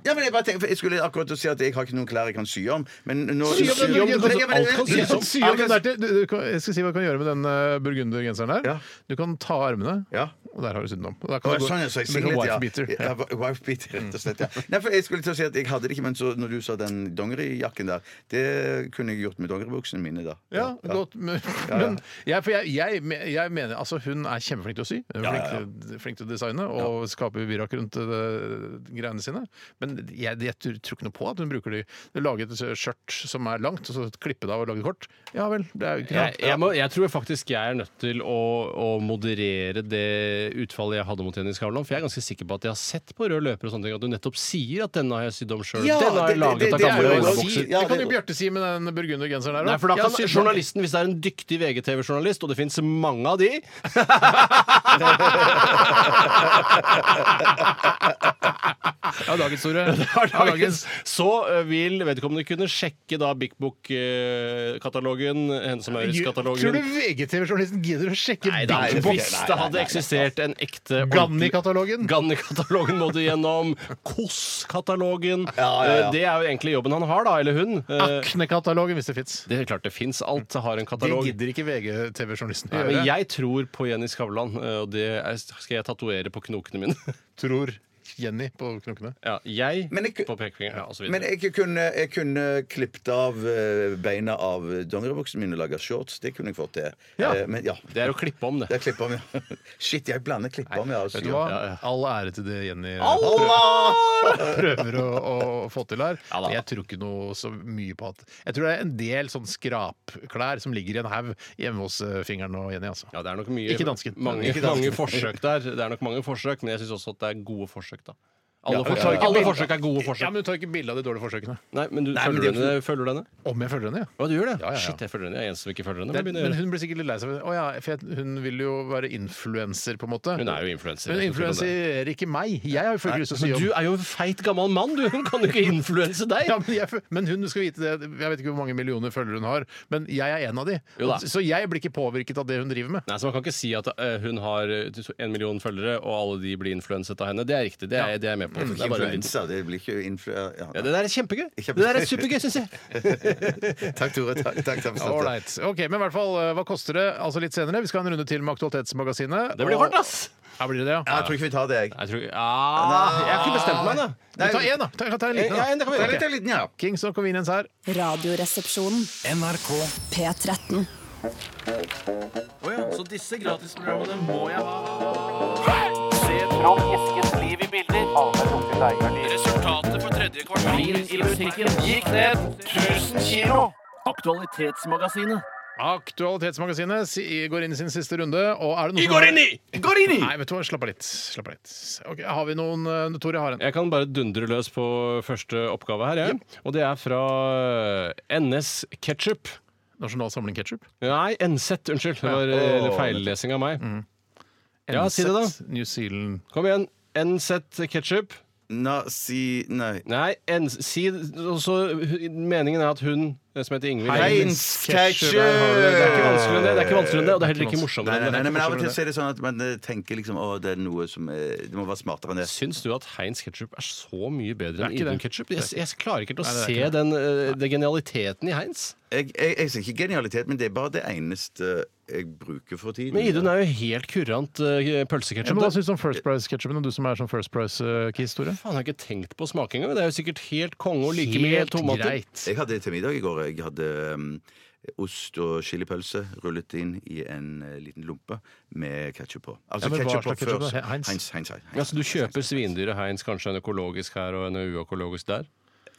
F: Ja, men Jeg bare tenker, for jeg skulle akkurat til å si at jeg har ikke noen klær jeg kan sy om, men nå
E: Sy om den
F: Ja, men-
E: burgunderen.
F: ja, men-
G: Alt kan
E: Du
G: sys
E: kan sy om
F: Ja,
E: den der til- du- du kan- Jeg skal si hva du kan gjøre med den eh, burgundergenseren der.
F: Ja.
E: Du kan ta armene,
F: Ja.
E: og der har du sydd den om. Og da kan
F: Å,
E: du gå-
F: Sånn, ja, så jeg
E: bli
F: singlet,
E: en
F: ja.
E: wife beater.
F: Ja,
E: Ja.
F: wi- wife beater, rett og slett,
E: [laughs]
F: ja. Nei, for jeg skulle til å si at jeg hadde det ikke, men så når du sa den dongerijakken der, det kunne jeg gjort med dongeribuksene mine, da.
E: Ja, godt. Men, men jeg, for jeg, jeg, jeg mener Altså, hun er kjempeflink til å sy. Hun er
F: Ja,
E: flink,
F: ja, ja.
E: til- flink til å designe og skape virak rundt eh, greiene sine. Men jeg, jeg tror tror ikke noe på at hun bruker de Lage et eh, skjørt som er langt, og så klippe det av og lage kort. Ja vel. Det er jo ikke
G: Jeg,
E: sant.
G: jeg, må, jeg tror faktisk jeg er nødt til å, å moderere det utfallet jeg hadde mot Jenny Skavlan. For jeg er ganske sikker på at jeg har sett på rød løper og sånne ting at du nettopp sier at denne har jeg sydd om sjøl.
F: Ja,
G: denne har jeg
F: det- det-
G: laget
F: det
G: av
F: er jo å
G: gamle
E: det,
F: si-
G: bokser.
F: ja,
E: det kan
F: det-
E: jo Bjarte si med den burgundergenseren her
G: Nei, for da
E: Ja,
G: kan
E: så-
G: journalisten, hvis det er en dyktig VGTV-journalist, og det fins mange av de
E: Ja, dagens
G: [laughs]
E: store. Ja, dagens.
G: Så eh, vil vedkommende kunne sjekke da Big Book-katalogen, eh, Hennes og
E: Tror du
G: Maurits-katalogen
E: VGTV-journalisten gidder å sjekke
G: Nei, da,
E: Big
G: hvis
E: Box?
G: det hadde eksistert en ekte
E: Ganni-katalogen?
G: Ganni-katalogen må du gjennom. KOS-katalogen.
F: Ja, ja, ja.
G: Eh, Det er jo egentlig jobben han har, da, eller hun. Eh,
E: Akne-katalogen, hvis det fins.
G: Det er klart det fins. Alt har en
E: Ah. Det
G: katalog.
E: gidder ikke VGTV-journalisten å
G: Nei,
E: gjøre.
G: men jeg tror på Jenny Skavlan, eh, og det er, skal jeg tatovere på knokene mine. [laughs]
E: tror Jenny på knokene.
G: Ja, jeg
F: Men jeg-
G: på pekefingeren, ja, og så
F: Men
G: videre.
F: jeg kunne, jeg kunne klippet av eh, beina av dongeribuksene mine og laga shorts. Det kunne jeg fått til.
E: Ja.
F: Eh, Men ja.
G: Det er å klippe om, det.
F: Det er klippe om, ja. [laughs] Shit, jeg blander klippe om, ja. og
E: Vet
F: sy
E: du
F: om.
E: hva?
G: Ja, ja.
E: All ære til det Jenny
F: Allah!
E: [laughs] prøver å, å få til her.
G: Ja da.
E: jeg tror ikke noe så mye på at Jeg tror det er en del sånn skrapklær som ligger i en haug hjemme hos eh, fingeren og Jenny, altså.
G: Ja, det er nok mye,
E: Ikke dansken.
G: Mange,
E: Ikke dansken.
G: mange forsøk der. Det er nok mange forsøk, men jeg syns også at det er gode forsøk, da. Alle,
E: Ja,
G: forsøk,
E: ja, ja.
G: alle forsøk er gode
E: Ja,
G: forsøk.
E: men du tar ikke bilde av de dårlige forsøkene.
G: Nei, men du,
F: Nei, men
G: følger,
F: det er
G: du
F: jo
G: henne, følger du henne?
E: Om jeg følger henne, ja.
G: Å, du gjør det?
E: Ja, ja, ja.
G: Shit, jeg følger henne. Jeg er en som ikke følger henne.
E: Det er,
G: Men begynner å
E: men
G: gjøre.
E: hun blir sikkert litt lei seg. for det. Å ja, for jeg, hun vil jo være influenser, på en måte.
G: Hun er jo influenser,
E: Hun
G: jeg vet ikke om det
E: influenserer ikke meg. Jeg har jo full lyst til å si
G: Men
E: om
G: du er jo en feit gammel mann, du! Hun kan jo ikke influense deg!
E: ja, men, jeg, fø- men hun skal vite det. Jeg vet ikke hvor mange millioner følgere hun har, men jeg er en av de.
G: Jo da.
E: Så jeg blir ikke påvirket av det hun driver med.
G: Nei, så Man kan ikke si at eh, hun har eh, en million følgere, og alle de blir influenset av henne. Det er riktig. Det er, det er jeg med på. Det, er bare en liten-
F: Influensa, det blir ikke influ... Ja,
G: ja, det der er kjempegøy! Det
F: Kjempe-
G: der er supergøy, syns jeg!
F: Takk, Tore. Takk, takk, takk, takk, takk.
E: Ålreit. Ok, men i hvert fall, hva koster det? Altså litt senere. Vi skal ha en runde til med Aktualitetsmagasinet.
G: Det blir
E: Og-
G: hardt, ass!
E: Ja, blir det det,
F: Ja,
E: ja.
F: jeg tror ikke vi tar det, jeg.
G: Jeg tror ah, Jeg har ikke bestemt meg, da.
E: Vi tar én, da. Ta, ta en liten,
G: Ja, ja, det
E: da.
G: kan vi gjøre.
F: Det er en liten, ja.
E: Kings of Convenience her.
J: Radioresepsjonen. NRK. P13.
I: Så disse gratisprogrammene må jeg ha. Trond Giskes liv i bilder. Resultatet for tredje kvartal i musikken gikk ned 1000 kilo. Aktualitetsmagasinet.
E: Aktualitetsmagasinet si- går inn i sin siste runde, og er det noe Nei, vet du hva, slapp av litt. Slapp av litt. Ok, Har vi noen eh, Tore har en.
G: Jeg kan bare dundre løs på første oppgave her, jeg. Og det er fra NS Ketchup.
E: Nasjonal Samling Ketchup?
G: Nei, NZ, unnskyld. Det var eh, feillesing av meg.
E: Mm.
G: Ja, si det da.
E: NZ, New Zealand
G: Kom igjen. NZ Ketchup.
F: Nazi... Nei.
G: Nei, en, si og så- Meningen er at hun eh, som heter Ingvild
F: Heinz
E: Ketchup. Der har du det.
G: Det er ikke vanskeligere enn det. Det er ikke vanskeligere enn det, og
E: Det
G: det er
E: er
G: heller
E: ikke
G: ikke morsommere
F: Nei, nei,
G: enn
F: nei,
G: det.
F: nei, men Av og til
E: det.
F: så er det sånn at man eh, tenker liksom å, det er noe som eh, Det må være smartere enn det.
G: Syns du at Heinz ketchup er så mye bedre
E: Det er
G: enn
E: ikke det.
G: Idun ketchup? Jeg, jeg klarer ikke til å
E: Nei, det er
G: se
E: ikke det.
G: den, eh, den genialiteten i Heinz.
F: Jeg, jeg, jeg sier ikke genialitet, men det er bare det eneste jeg bruker for tiden.
G: Men Idun er jo helt kurant uh,
E: Ja, men altså, Hva
G: pølseketchup.
E: syns du om First Price-ketsjupen, og du som er sånn First Price-kiss, Tore?
G: Faen, jeg har ikke tenkt på smak engang. Det er jo sikkert helt konge og like mye
E: Helt
G: tomater.
E: greit.
F: Jeg hadde til middag i går Jeg hadde um, ost og chilipølse rullet inn i en eh, liten lompe med ketsjup på.
E: Ja,
F: Altså
E: men hva
F: ketchup
E: slags
F: på
E: ketchup
F: først.
E: da? He- Heinz?
F: Heinz, Heinz, Heinz, Heinz.
G: Altså, du kjøper svindyre Heinz, kanskje en økologisk her og en uøkologisk der?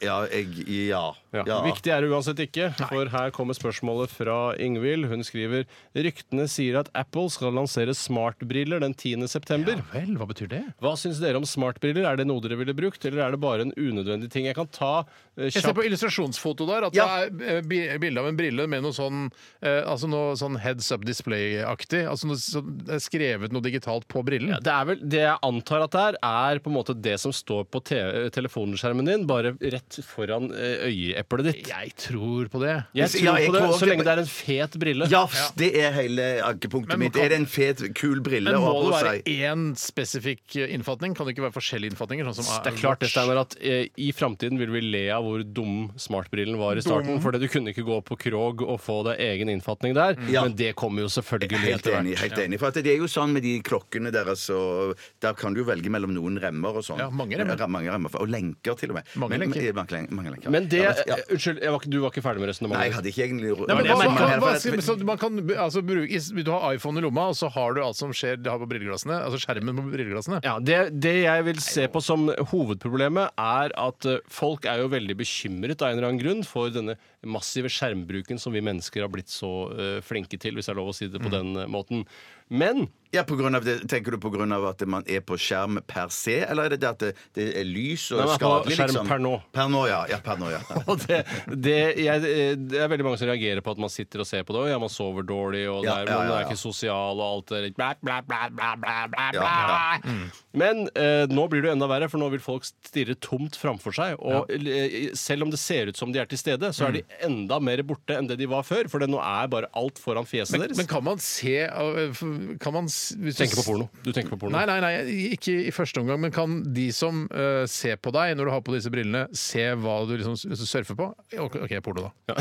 F: Ja, jeg Ja.
G: Ja.
F: ja.
G: Viktig er det uansett ikke, for her kommer spørsmålet fra Ingvild. Hun skriver ryktene sier at Apple skal lansere smartbriller den 10. september.
E: Vel, hva betyr det?
G: Hva syns dere om smartbriller? Er det noe dere ville brukt, eller er det bare en unødvendig ting jeg kan ta eh,
E: Jeg ser på
G: kjapt?
E: illustrasjonsfoto der at
F: Ja.
E: det er eh, bi- bilde av en brille med noe sånn, eh, altså noe sånn heads up display-aktig. Altså noe, så, det er skrevet noe digitalt på brillen.
G: Ja, Det, er vel, det jeg antar at det er, er på en måte det som står på te- telefonskjermen din, bare rett foran eh, øyeeplet ditt.
E: Jeg tror på det.
G: Jeg
F: Ja,
G: tror
F: jeg
G: på det,
F: tror
G: så
F: ikke-
G: lenge det er en fet brille.
F: Ja, det er hele ankepunktet
E: Men man
F: mitt.
E: kan-
F: Er det en fet, kul brille å
E: Men må
F: ha
E: det
F: på
E: være
F: seg?
E: én spesifikk eh, innfatning? Kan det ikke være forskjellige innfatninger? Sånn som
G: Det er klart det, Steinar, at eh, i framtiden vil vi le av hvor dum smartbrillen var i starten. Fordi du kunne ikke gå på Krog og få deg egen innfatning der.
F: Ja.
G: Men det kommer jo selvfølgelig
F: Helt
G: etter
F: enig.
G: hvert.
F: helt enig For at Det er jo sånn med de klokkene deres og Der kan du jo velge mellom noen remmer og sånn.
E: Ja, mange remmer.
F: Ra- mange remmer Og lenker, til og med.
E: Mange
F: Men- eh,
E: lenker.
F: mange lenker. Mange lenker.
G: Men det
F: Ja, ja.
G: eh, Unnskyld, jeg var, ikke- du var ikke ferdig med
F: Nei, jeg
G: resonnementet?
F: hadde ikke egentlig
E: Nei, men
F: Det
E: hva,
F: var-
E: hva, hva,
F: for at-
E: så man kan altså, bruke, Du har iPhone i lomma, og så har du alt som skjer det har på brilleglassene, altså skjermen på brilleglassene.
G: Ja, det, det jeg vil se på som hovedproblemet, er at eh, folk er jo veldig bekymret av en eller annen grunn for denne massive skjermbruken som vi mennesker har blitt så eh, flinke til, hvis det er lov å si det på
F: Mm.
G: den eh, måten. Men
F: Ja, på grunn av det, Tenker du på grunn av at man er på skjerm per se, eller er det det at det, det er lys og
G: Nei, man er på
F: skadelig?
G: skjerm
F: liksom?
G: per nå.
F: Per nå, ja. ja, per nå,
E: [laughs]
F: ja.
G: [laughs] Og det, det, jeg, det er veldig mange som reagerer på at man sitter og ser på det. Og ja, man sover dårlig, og
F: Ja, ja,
G: det er,
F: ja,
G: man
F: ja.
G: er ikke sosial og alt det der. bla, bla, bla, bla, bla, bla, bla. Men eh, nå blir det jo enda verre, for nå vil folk stirre tomt framfor seg. Og eh, selv om det ser ut som de er til stede, så er de enda mer borte enn det de var før. For det nå er bare alt foran fjeset
E: Men,
G: deres.
E: men kan man se uh, Kan man s- hvis du
G: Tenker på porno. Du tenker på porno.
E: Nei, nei, nei, ikke i første omgang, men kan de som eh, ser på deg når du har på disse brillene, se hva du liksom s- surfer på? OK, ok, porno, da.
G: [laughs]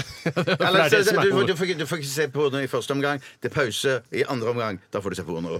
F: Eller,
G: det er det
F: så-
G: som er
F: du,
G: hovedproblemet.
F: du, får ikke, du får ikke se porno i første omgang. Det er pause. I andre omgang, da får du se
E: [laughs]
F: porno.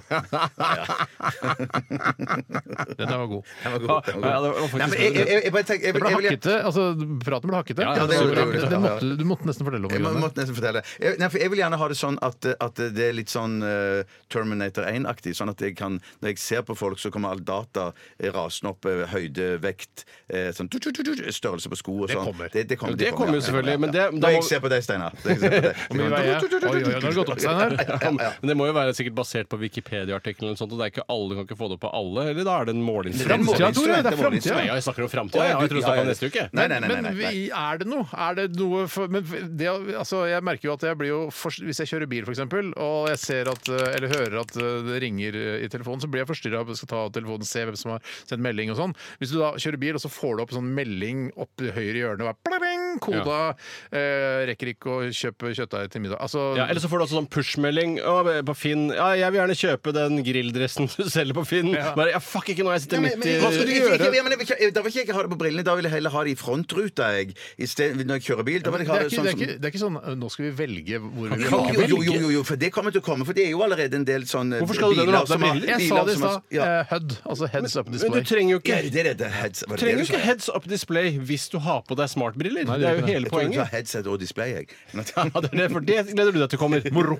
E: Den der var god.
F: Den var
G: Ja,
F: god. Den var god.
G: ja, det var faktisk-
F: Nei, men jeg- jeg- jeg- jeg bare tenker- jeg
E: Det
F: vil-
E: ble
F: jeg vil-
E: hakkete. altså Praten ble hakkete.
F: ja, det gjorde det, gjorde det.
E: Den måtte, du måtte nesten fortelle om
F: Jeg må,
E: grunnen.
F: måtte nesten fortelle. Jeg, nei, for jeg vil gjerne ha det sånn at, at det er litt sånn eh, Terminator 1-aktig. Sånn at jeg kan, når jeg ser på folk, så kommer all data eh, rasende opp. eh, høyde, vekt, eh, sånn, tut, tut, tut, tut, størrelse på sko og
E: Det
F: sånn.
E: kommer.
G: Jo, det kommer jo selvfølgelig, men det- da
F: Når
G: må-
F: jeg ser på deg, Steinar. Når jeg ser på deg.
E: Hvor mye veier jeg? Oi, oi, oi, nå har det gått opp seg her.
G: [laughs] Ja, Men det må jo være sikkert basert på Wikipedia-artikkelen, eller noe sånt, og det er ikke alle kan ikke få det på alle. Eller da er det en
F: Det er
G: måleinstrument?
E: Framtida,
F: måleinstrument,
E: Tore! Det
F: det
E: er
F: er
E: framtida.
F: måleinstrument.
G: Ja, jeg snakker om framtida.
F: Ja, ja,
G: jeg tror du
F: ja,
G: snakker om
F: ja.
G: neste uke.
F: Nei, nei, nei. nei,
E: Men
F: nei, nei.
E: vi- er det noe? Er det noe for, men det, altså, jeg merker jo at jeg blir jo fors- Hvis jeg kjører bil, f.eks., og jeg ser at, eh, eller hører at eh, det ringer eh, i telefonen, så blir jeg forstyrra og skal ta telefonen se hvem som har sendt melding og sånn. Hvis du da kjører bil, og så får du opp sånn melding opp i høyre hjørne og bare pling, Koda eh, rekker ikke å kjøpe kjøttdeig til middag. Altså,
G: Ja, eller så får du også sånn push-melding «Å, på Finn. Ja, 'Jeg vil gjerne kjøpe den grilldressen du selger på Finn.' Bare, ja, fuck ikke nå, jeg sitter
F: Ja, men-
G: midt i
F: men- hva skal du gjøre? Ikke- ja, men jeg vil ikke- Da vil ikke jeg ha det på brillene. Da vil jeg heller ha det i frontruta. Jeg. I stedet, når jeg kjører bil. Da vil
E: det,
F: jeg ha
E: er
F: det
E: ikke,
F: sånn
E: det, er
F: som
E: ikke, det er ikke sånn eh, Nå skal vi velge hvor vi vil
F: Jo,
E: ha
F: jo, jo, jo, jo, jo, for det kommer til å komme. For det er jo allerede en del sånne
G: Hvorfor skal du det når du har på deg
F: som har-
G: briller?
E: Jeg
F: biler
E: sa det i
F: som har-
E: stad.
F: Ja.
E: eh, HUD, altså Heads Up
G: Men du
E: Display.
G: trenger jo
F: Ja,
G: ikke
F: det er det. det er heads- var det
G: trenger
F: det du
G: jo
F: sa?
G: ikke heads up display hvis du har på deg smartbriller.
E: Nei, gjør
G: Det er jo
E: ikke
G: hele
F: Jeg tror jeg tar
G: poenget.
F: headset og display, jeg. Men at-
G: Ja, det er det, for det gleder du deg til kommer. Moro.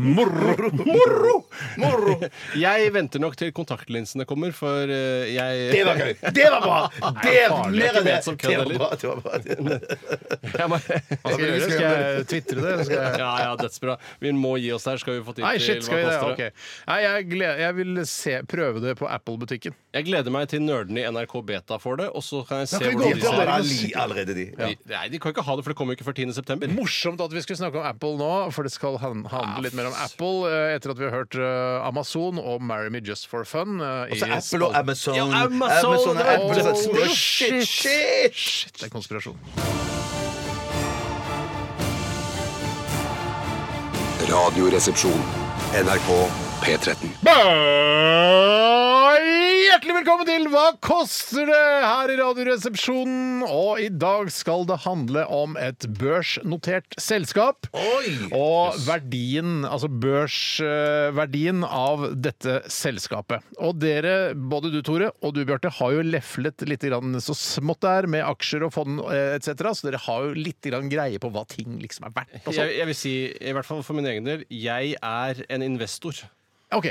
E: Moro! Moro!
G: Moro! Jeg venter nok til kontaktlinsene kommer, for eh, jeg
F: Det var gøy! Det var bra! Det var
G: farlig.
F: mer enn
G: Det er ikke
F: det!
G: ment som kødd,
F: Det var
G: eller?
F: bra, det var bra.
G: Jeg
E: Hva
G: må-
E: skal jeg gjøre? Skal jeg tvitre det? eller Skal jeg...
G: Ja, ja, dødsbra. Vi må gi oss der, skal vi få tid
E: Nei,
G: til
E: shit, skal vi det?
G: koster
E: Ok. Nei, jeg, gleder, jeg vil se, prøve det på Apple-butikken.
G: Jeg gleder meg til nerdene i NRK Beta får det, og så kan jeg se
E: kan vi
G: hvordan
E: gå
G: de
E: til
G: ser
E: alle-
G: ut.
F: Ali allerede, de. Ja.
G: De- Nei, de kan ikke ha det, for det kommer jo ikke før 10. september.
E: Morsomt at vi skulle snakke om Apple nå, for det skal han- handle litt mer om Apple eh, etter at vi har hørt eh, Amazon og Marry Me Just For Fun. eh, i
F: Så Altså, Apple og
E: spalten.
F: Amazon
G: Ja, Amazon,
F: Amazon og
G: det var
F: Apple
G: Apple.
F: så-
E: Shit.
F: Shit, shit!
E: Shit, det er konspirasjon.
B: Radioresepsjon. NRK P13.
E: Bø- Hjertelig velkommen til Hva koster det? her i Radioresepsjonen. Og i dag skal det handle om et børsnotert selskap. Og verdien, altså børsverdien av dette selskapet. Og dere, både du Tore og du Bjarte, har jo leflet litt grann så smått der med aksjer og fond etc., så dere har jo litt grann greie på hva ting liksom er verdt. Og sånn.
G: Altså, Jeg, jeg vil si, i hvert fall for min egen del, jeg er en investor.
E: Ok,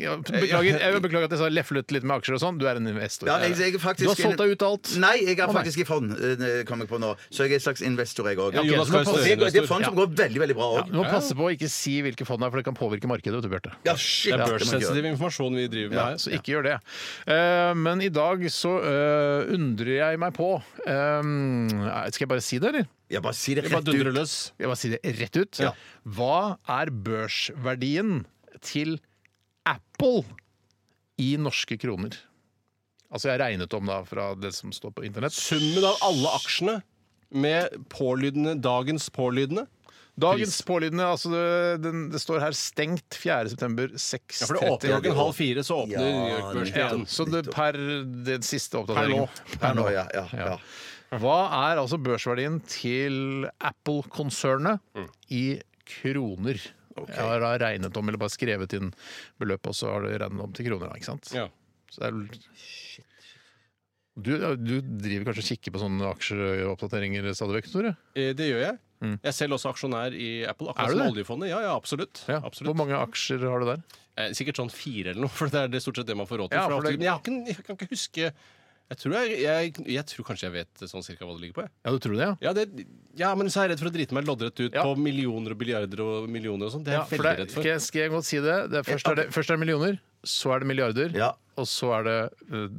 E: ja, beklager,
F: [laughs]
E: jeg beklager at jeg sa leflet litt med aksjer og sånn. Du er en investor.
F: Ja, jeg, jeg er faktisk
E: du har solgt deg ut alt.
F: Nei, jeg er
E: Å, nei.
F: faktisk i fond, eh, kom jeg på nå. Så jeg er en slags investor, jeg òg.
G: Ja, Jonas
E: så må
G: Gahr
E: passe-
F: Det,
G: Støre.
F: går- det er fond som går veldig, veldig bra
E: Ja,
F: òg.
E: du må passe på å ikke si hvilke fond det er, for det kan påvirke markedet. vet Du, Bjarte.
F: Ja, shit! det
G: Det er
F: må jeg gjøre.
G: børssensitiv informasjon vi driver med
E: Ja,
G: her.
E: så ikke gjør det. Eh, men i dag så eh, undrer jeg meg på eh, Skal jeg bare si det, eller?
F: Ja, bare si det
G: Vi bare
F: rett
G: dundrer
F: ut.
G: løs.
E: Jeg bare si det rett ut.
G: Ja.
E: Hva er børsverdien til Apple i norske kroner? Altså jeg regnet om da fra det som står på internett.
G: Summen av alle aksjene med pålydende, dagens pålydende
E: Dagens pålydende, altså det, den, det står her stengt 4.9. 6.30.
G: Ja, for det åpner klokken halv fire, så åpner
F: Ja,
G: New York-børsen
E: Ja,
G: igjen.
E: så det per den siste oppdateringen.
F: Per nå, ja, ja, ja.
E: Hva er altså børsverdien til Apple-konsernet i kroner? Jeg har da regnet om, eller bare skrevet inn beløpet, og så har det regnet om til kroner. da, Ikke sant?
G: Ja.
E: Så det er... vel- Du, du driver kanskje og kikker på sånne aksjeoppdateringer stadig vekk, Tore?
G: Eh, Det gjør jeg. Jeg er selv også aksjonær i Apple.
E: Er
G: Akkurat
E: du
G: som
E: det?
G: oljefondet. Ja, ja, absolutt.
E: Ja. Hvor
G: absolutt.
E: mange aksjer har du der?
G: Eh, Sikkert sånn fire eller noe, [laughs] for det er det stort sett det man får råd til.
E: Ja,
G: fra
E: for det-
G: avtalen. Men jeg, har ikke, jeg kan ikke huske jeg tror, jeg, jeg, jeg tror kanskje jeg vet sånn cirka hva det ligger på. jeg.
E: Ja, du tror det, ja?
G: Ja, det, ja men så er jeg redd for å drite meg loddrett ut
E: Ja.
G: på millioner og billiarder og millioner og sånn. Det er
E: Ja,
G: jeg
E: for
G: veldig
E: det,
G: redd
E: skal,
G: for.
E: jeg, skal jeg godt si det? det er først, er det først er det millioner, så er det milliarder,
F: Ja.
E: og så er det uh, uh,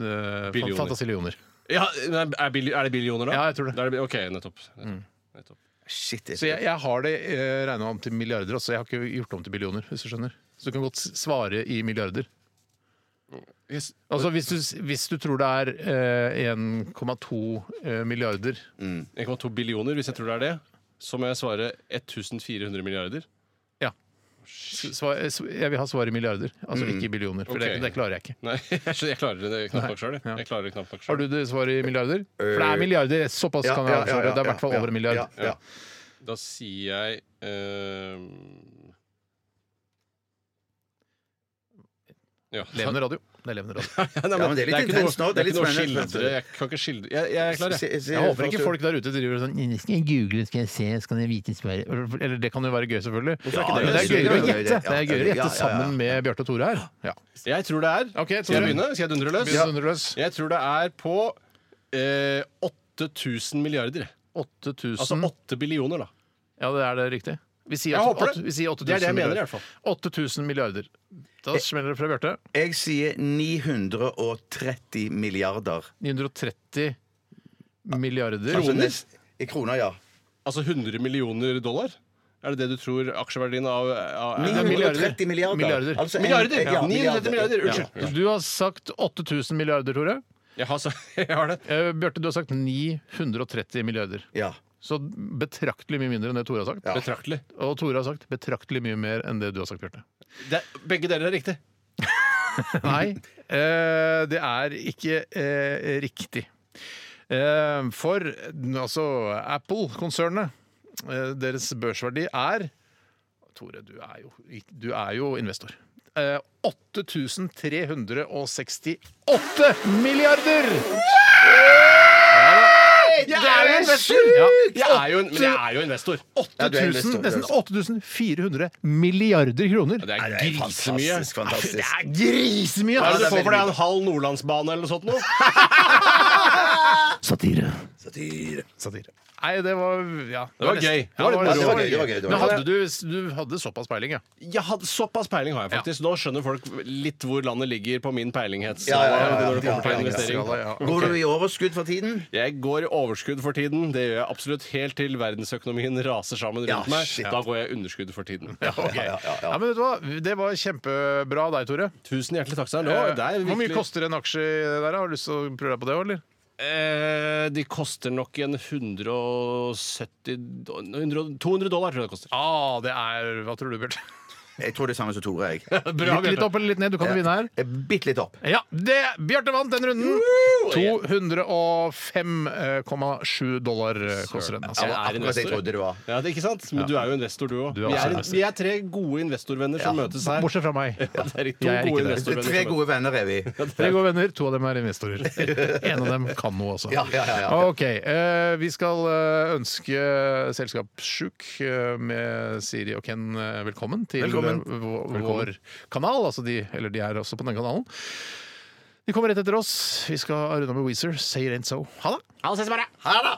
G: Billioner.
E: fantasillioner.
G: Ja, men er, billi- er det billioner, da?
E: Ja, jeg tror det.
G: Da er det Mm. bi- OK, nettopp. nettopp.
F: Shit. det-
E: Så jeg, jeg har det uh, regna om til milliarder også, jeg har ikke gjort om til billioner. hvis du skjønner. Så du kan godt s- svare i milliarder. Altså Hvis du, s- hvis du tror det er eh, 1,2 eh, milliarder
G: 1,2 billioner, hvis jeg tror det er det. Så må jeg svare 1400 milliarder.
E: Ja. Svar, s- jeg vil ha svar i milliarder, altså
F: Mm.
E: ikke i billioner. For
G: Ok.
E: det, det klarer jeg ikke.
G: Nei, [laughs] jeg, jeg klarer det knapt nok sjøl. Jeg klarer det knapt nok
E: Har
G: selv.
E: du det svaret i milliarder? For
F: Øh,
E: det er milliarder. Såpass kan jeg avsløre. Det er i hvert fall over en milliard.
F: Ja, ja.
G: Da sier jeg eh, ja.
E: Levende radio. Det er levende radio.
G: Nei,
F: Ja, men det er litt
G: ikke
F: intenst nå,
G: noe-
F: det er litt
G: ikke noe å
F: spennende.
G: skildre. Jeg kan ikke skildre Jeg, jeg er klar, jeg.
F: Se- se-
E: Jeg håper ikke folk der ute driver sånn «Nei, Skal jeg google, skal jeg se, skal jeg vite svaret Eller det kan jo være gøy, selvfølgelig.
F: ikke det?
E: Men det er gøyere å
F: Ja, det er
E: gjette
F: gøy,
E: Det er gøyere å
F: ja, ja,
E: gjette
F: ja.
E: sammen med Bjarte og Tore her. Ja.
G: Jeg tror det er
E: Ok,
G: Skal jeg
E: Tore.
G: begynne? Skal jeg dundre løs?
E: Begynn å dundre løs.
G: Jeg tror det er på eh, 8000 milliarder.
E: 8000
G: Altså 8 billioner, da.
E: Ja, det er det riktig. Vi sier, altså åtte-
G: Jeg håper det.
E: åtte- vi sier 8000
G: Det er det jeg mener, i
E: milliarder.
G: hvert fall.
E: 8000 milliarder. Da smeller det fra Bjarte.
F: Jeg sier 930 milliarder.
E: 930 milliarder.
F: Altså nest- I kroner, ja.
G: Altså 100 millioner dollar? Er det det du tror aksjeverdien av, av
E: det er milliarder.
F: 930 milliarder.
E: Milliarder.
F: Altså en-
G: Milliarder!
F: ja,
G: 930 milliarder.
F: Ja.
G: Unnskyld.
E: Du har sagt 8000 milliarder, Tore.
G: Jeg, har, sa- [laughs] jeg har det.
E: Eh, Bjarte, du har sagt 930 milliarder.
F: Ja.
E: Så betraktelig mye mindre enn det Tore har sagt.
F: Ja.
G: Betraktelig.
E: Og Tore har sagt betraktelig mye mer enn det du har sagt, [laughs] Bjarte.
G: Det, er- begge deler er riktig.
E: Nei, eh, det er ikke eh, riktig. Eh, for eh, altså Apple-konsernet, eh, deres børsverdi er Tore, du er jo, du er jo investor. Eh, 8368 milliarder! Ja da.
F: Det er jo investor!
G: Ja, jeg er jo en, men jeg er jo investor.
F: Ja, du er investor, du er
E: 8000, nesten
F: investor.
E: 8400 milliarder kroner.
G: Det er
F: Det er
G: grisemye.
F: Fantastisk, fantastisk.
E: Det er grisemye!
G: Hva er
E: altså.
G: det du får for det? En halv Nordlandsbane eller noe sånt? Noe?
F: Satire.
E: Satire. Nei, det var Ja. Det
G: var
E: nesten-
G: gøy.
E: Ja, det var
F: Ja, det var
E: gøy.
F: gøy, det var gøy, det var
E: Men
F: gøy.
E: hadde du, du hadde såpass peiling, ja.
G: Jeg hadde, såpass peiling har jeg faktisk. Nå skjønner folk litt hvor landet ligger på min peilinghetsskala.
F: Ja, ja, ja, ja,
G: når det kommer til
F: ja, ja, ja.
G: investering.
E: Skala, ja.
F: Går du i overskudd for tiden?
G: Jeg går i overskudd for tiden. Det gjør jeg absolutt helt til verdensøkonomien raser sammen rundt
F: Ja,
G: meg.
F: shit.
G: Da går jeg underskudd for tiden.
E: Ok.
F: ja, ja, ja.
E: Ja, men vet du hva? Det var kjempebra av deg, Tore.
G: [laughs] Tusen hjertelig takk. Stein. Nå,
E: Eh,
G: det er
E: Hvor mye
G: virkelig-
E: koster en aksje i det der? Har du lyst til å prøve deg på det òg, eller?
G: Eh, de koster nok en 170 do- 100, 200 dollar, tror jeg det koster.
E: Ah, det er Hva tror du, [laughs] Bjarte?
F: Jeg tror det er samme som Tore. jeg
E: Litt, litt opp eller litt ned? Du kan jo vinne her.
F: Eh, Bitte litt opp.
E: Ja, det, Bjarte vant den runden. 205,7 eh, dollar eh, koster den. Altså.
G: Jeg er
F: Akkurat det jeg
G: investor.
F: trodde det var.
G: Ja, det er ikke sant? Men du er jo investor, du òg.
E: Du er
G: Vi,
E: også
G: er-
E: investor.
G: vi er tre gode investorvenner som møtes her.
E: Bortsett fra meg.
G: [laughs] Ja, det er to
E: Jeg er
G: gode
E: ikke det.
G: investorvenner.
F: Tre
G: som møtes.
F: gode venner
E: [laughs]
F: er vi.
E: Tre gode venner, to av dem er investorer. En av dem kan noe også.
F: Ja, ja, ja, ja.
E: Ok, eh, Vi skal eh, ønske Selskapssjuk eh, med Siri og Ken eh, velkommen til
F: Velkommen.
E: eh, vå- vår kanal. Altså de, eller de er også på den kanalen. De kommer rett etter oss. Vi skal runde av med Weezer. Say it ain't so. Ha det!
G: Ha det, ses i morgen.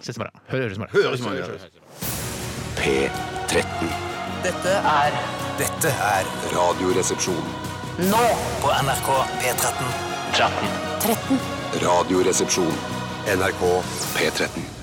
E: Ses i morgen. Hør- Høres i morgen.
F: Høres mange ganger.
B: P13.
C: Dette er
D: Dette er
B: Radioresepsjon.
C: nå
D: på NRK P13.
C: 13.
B: Radioresepsjon. NRK P13.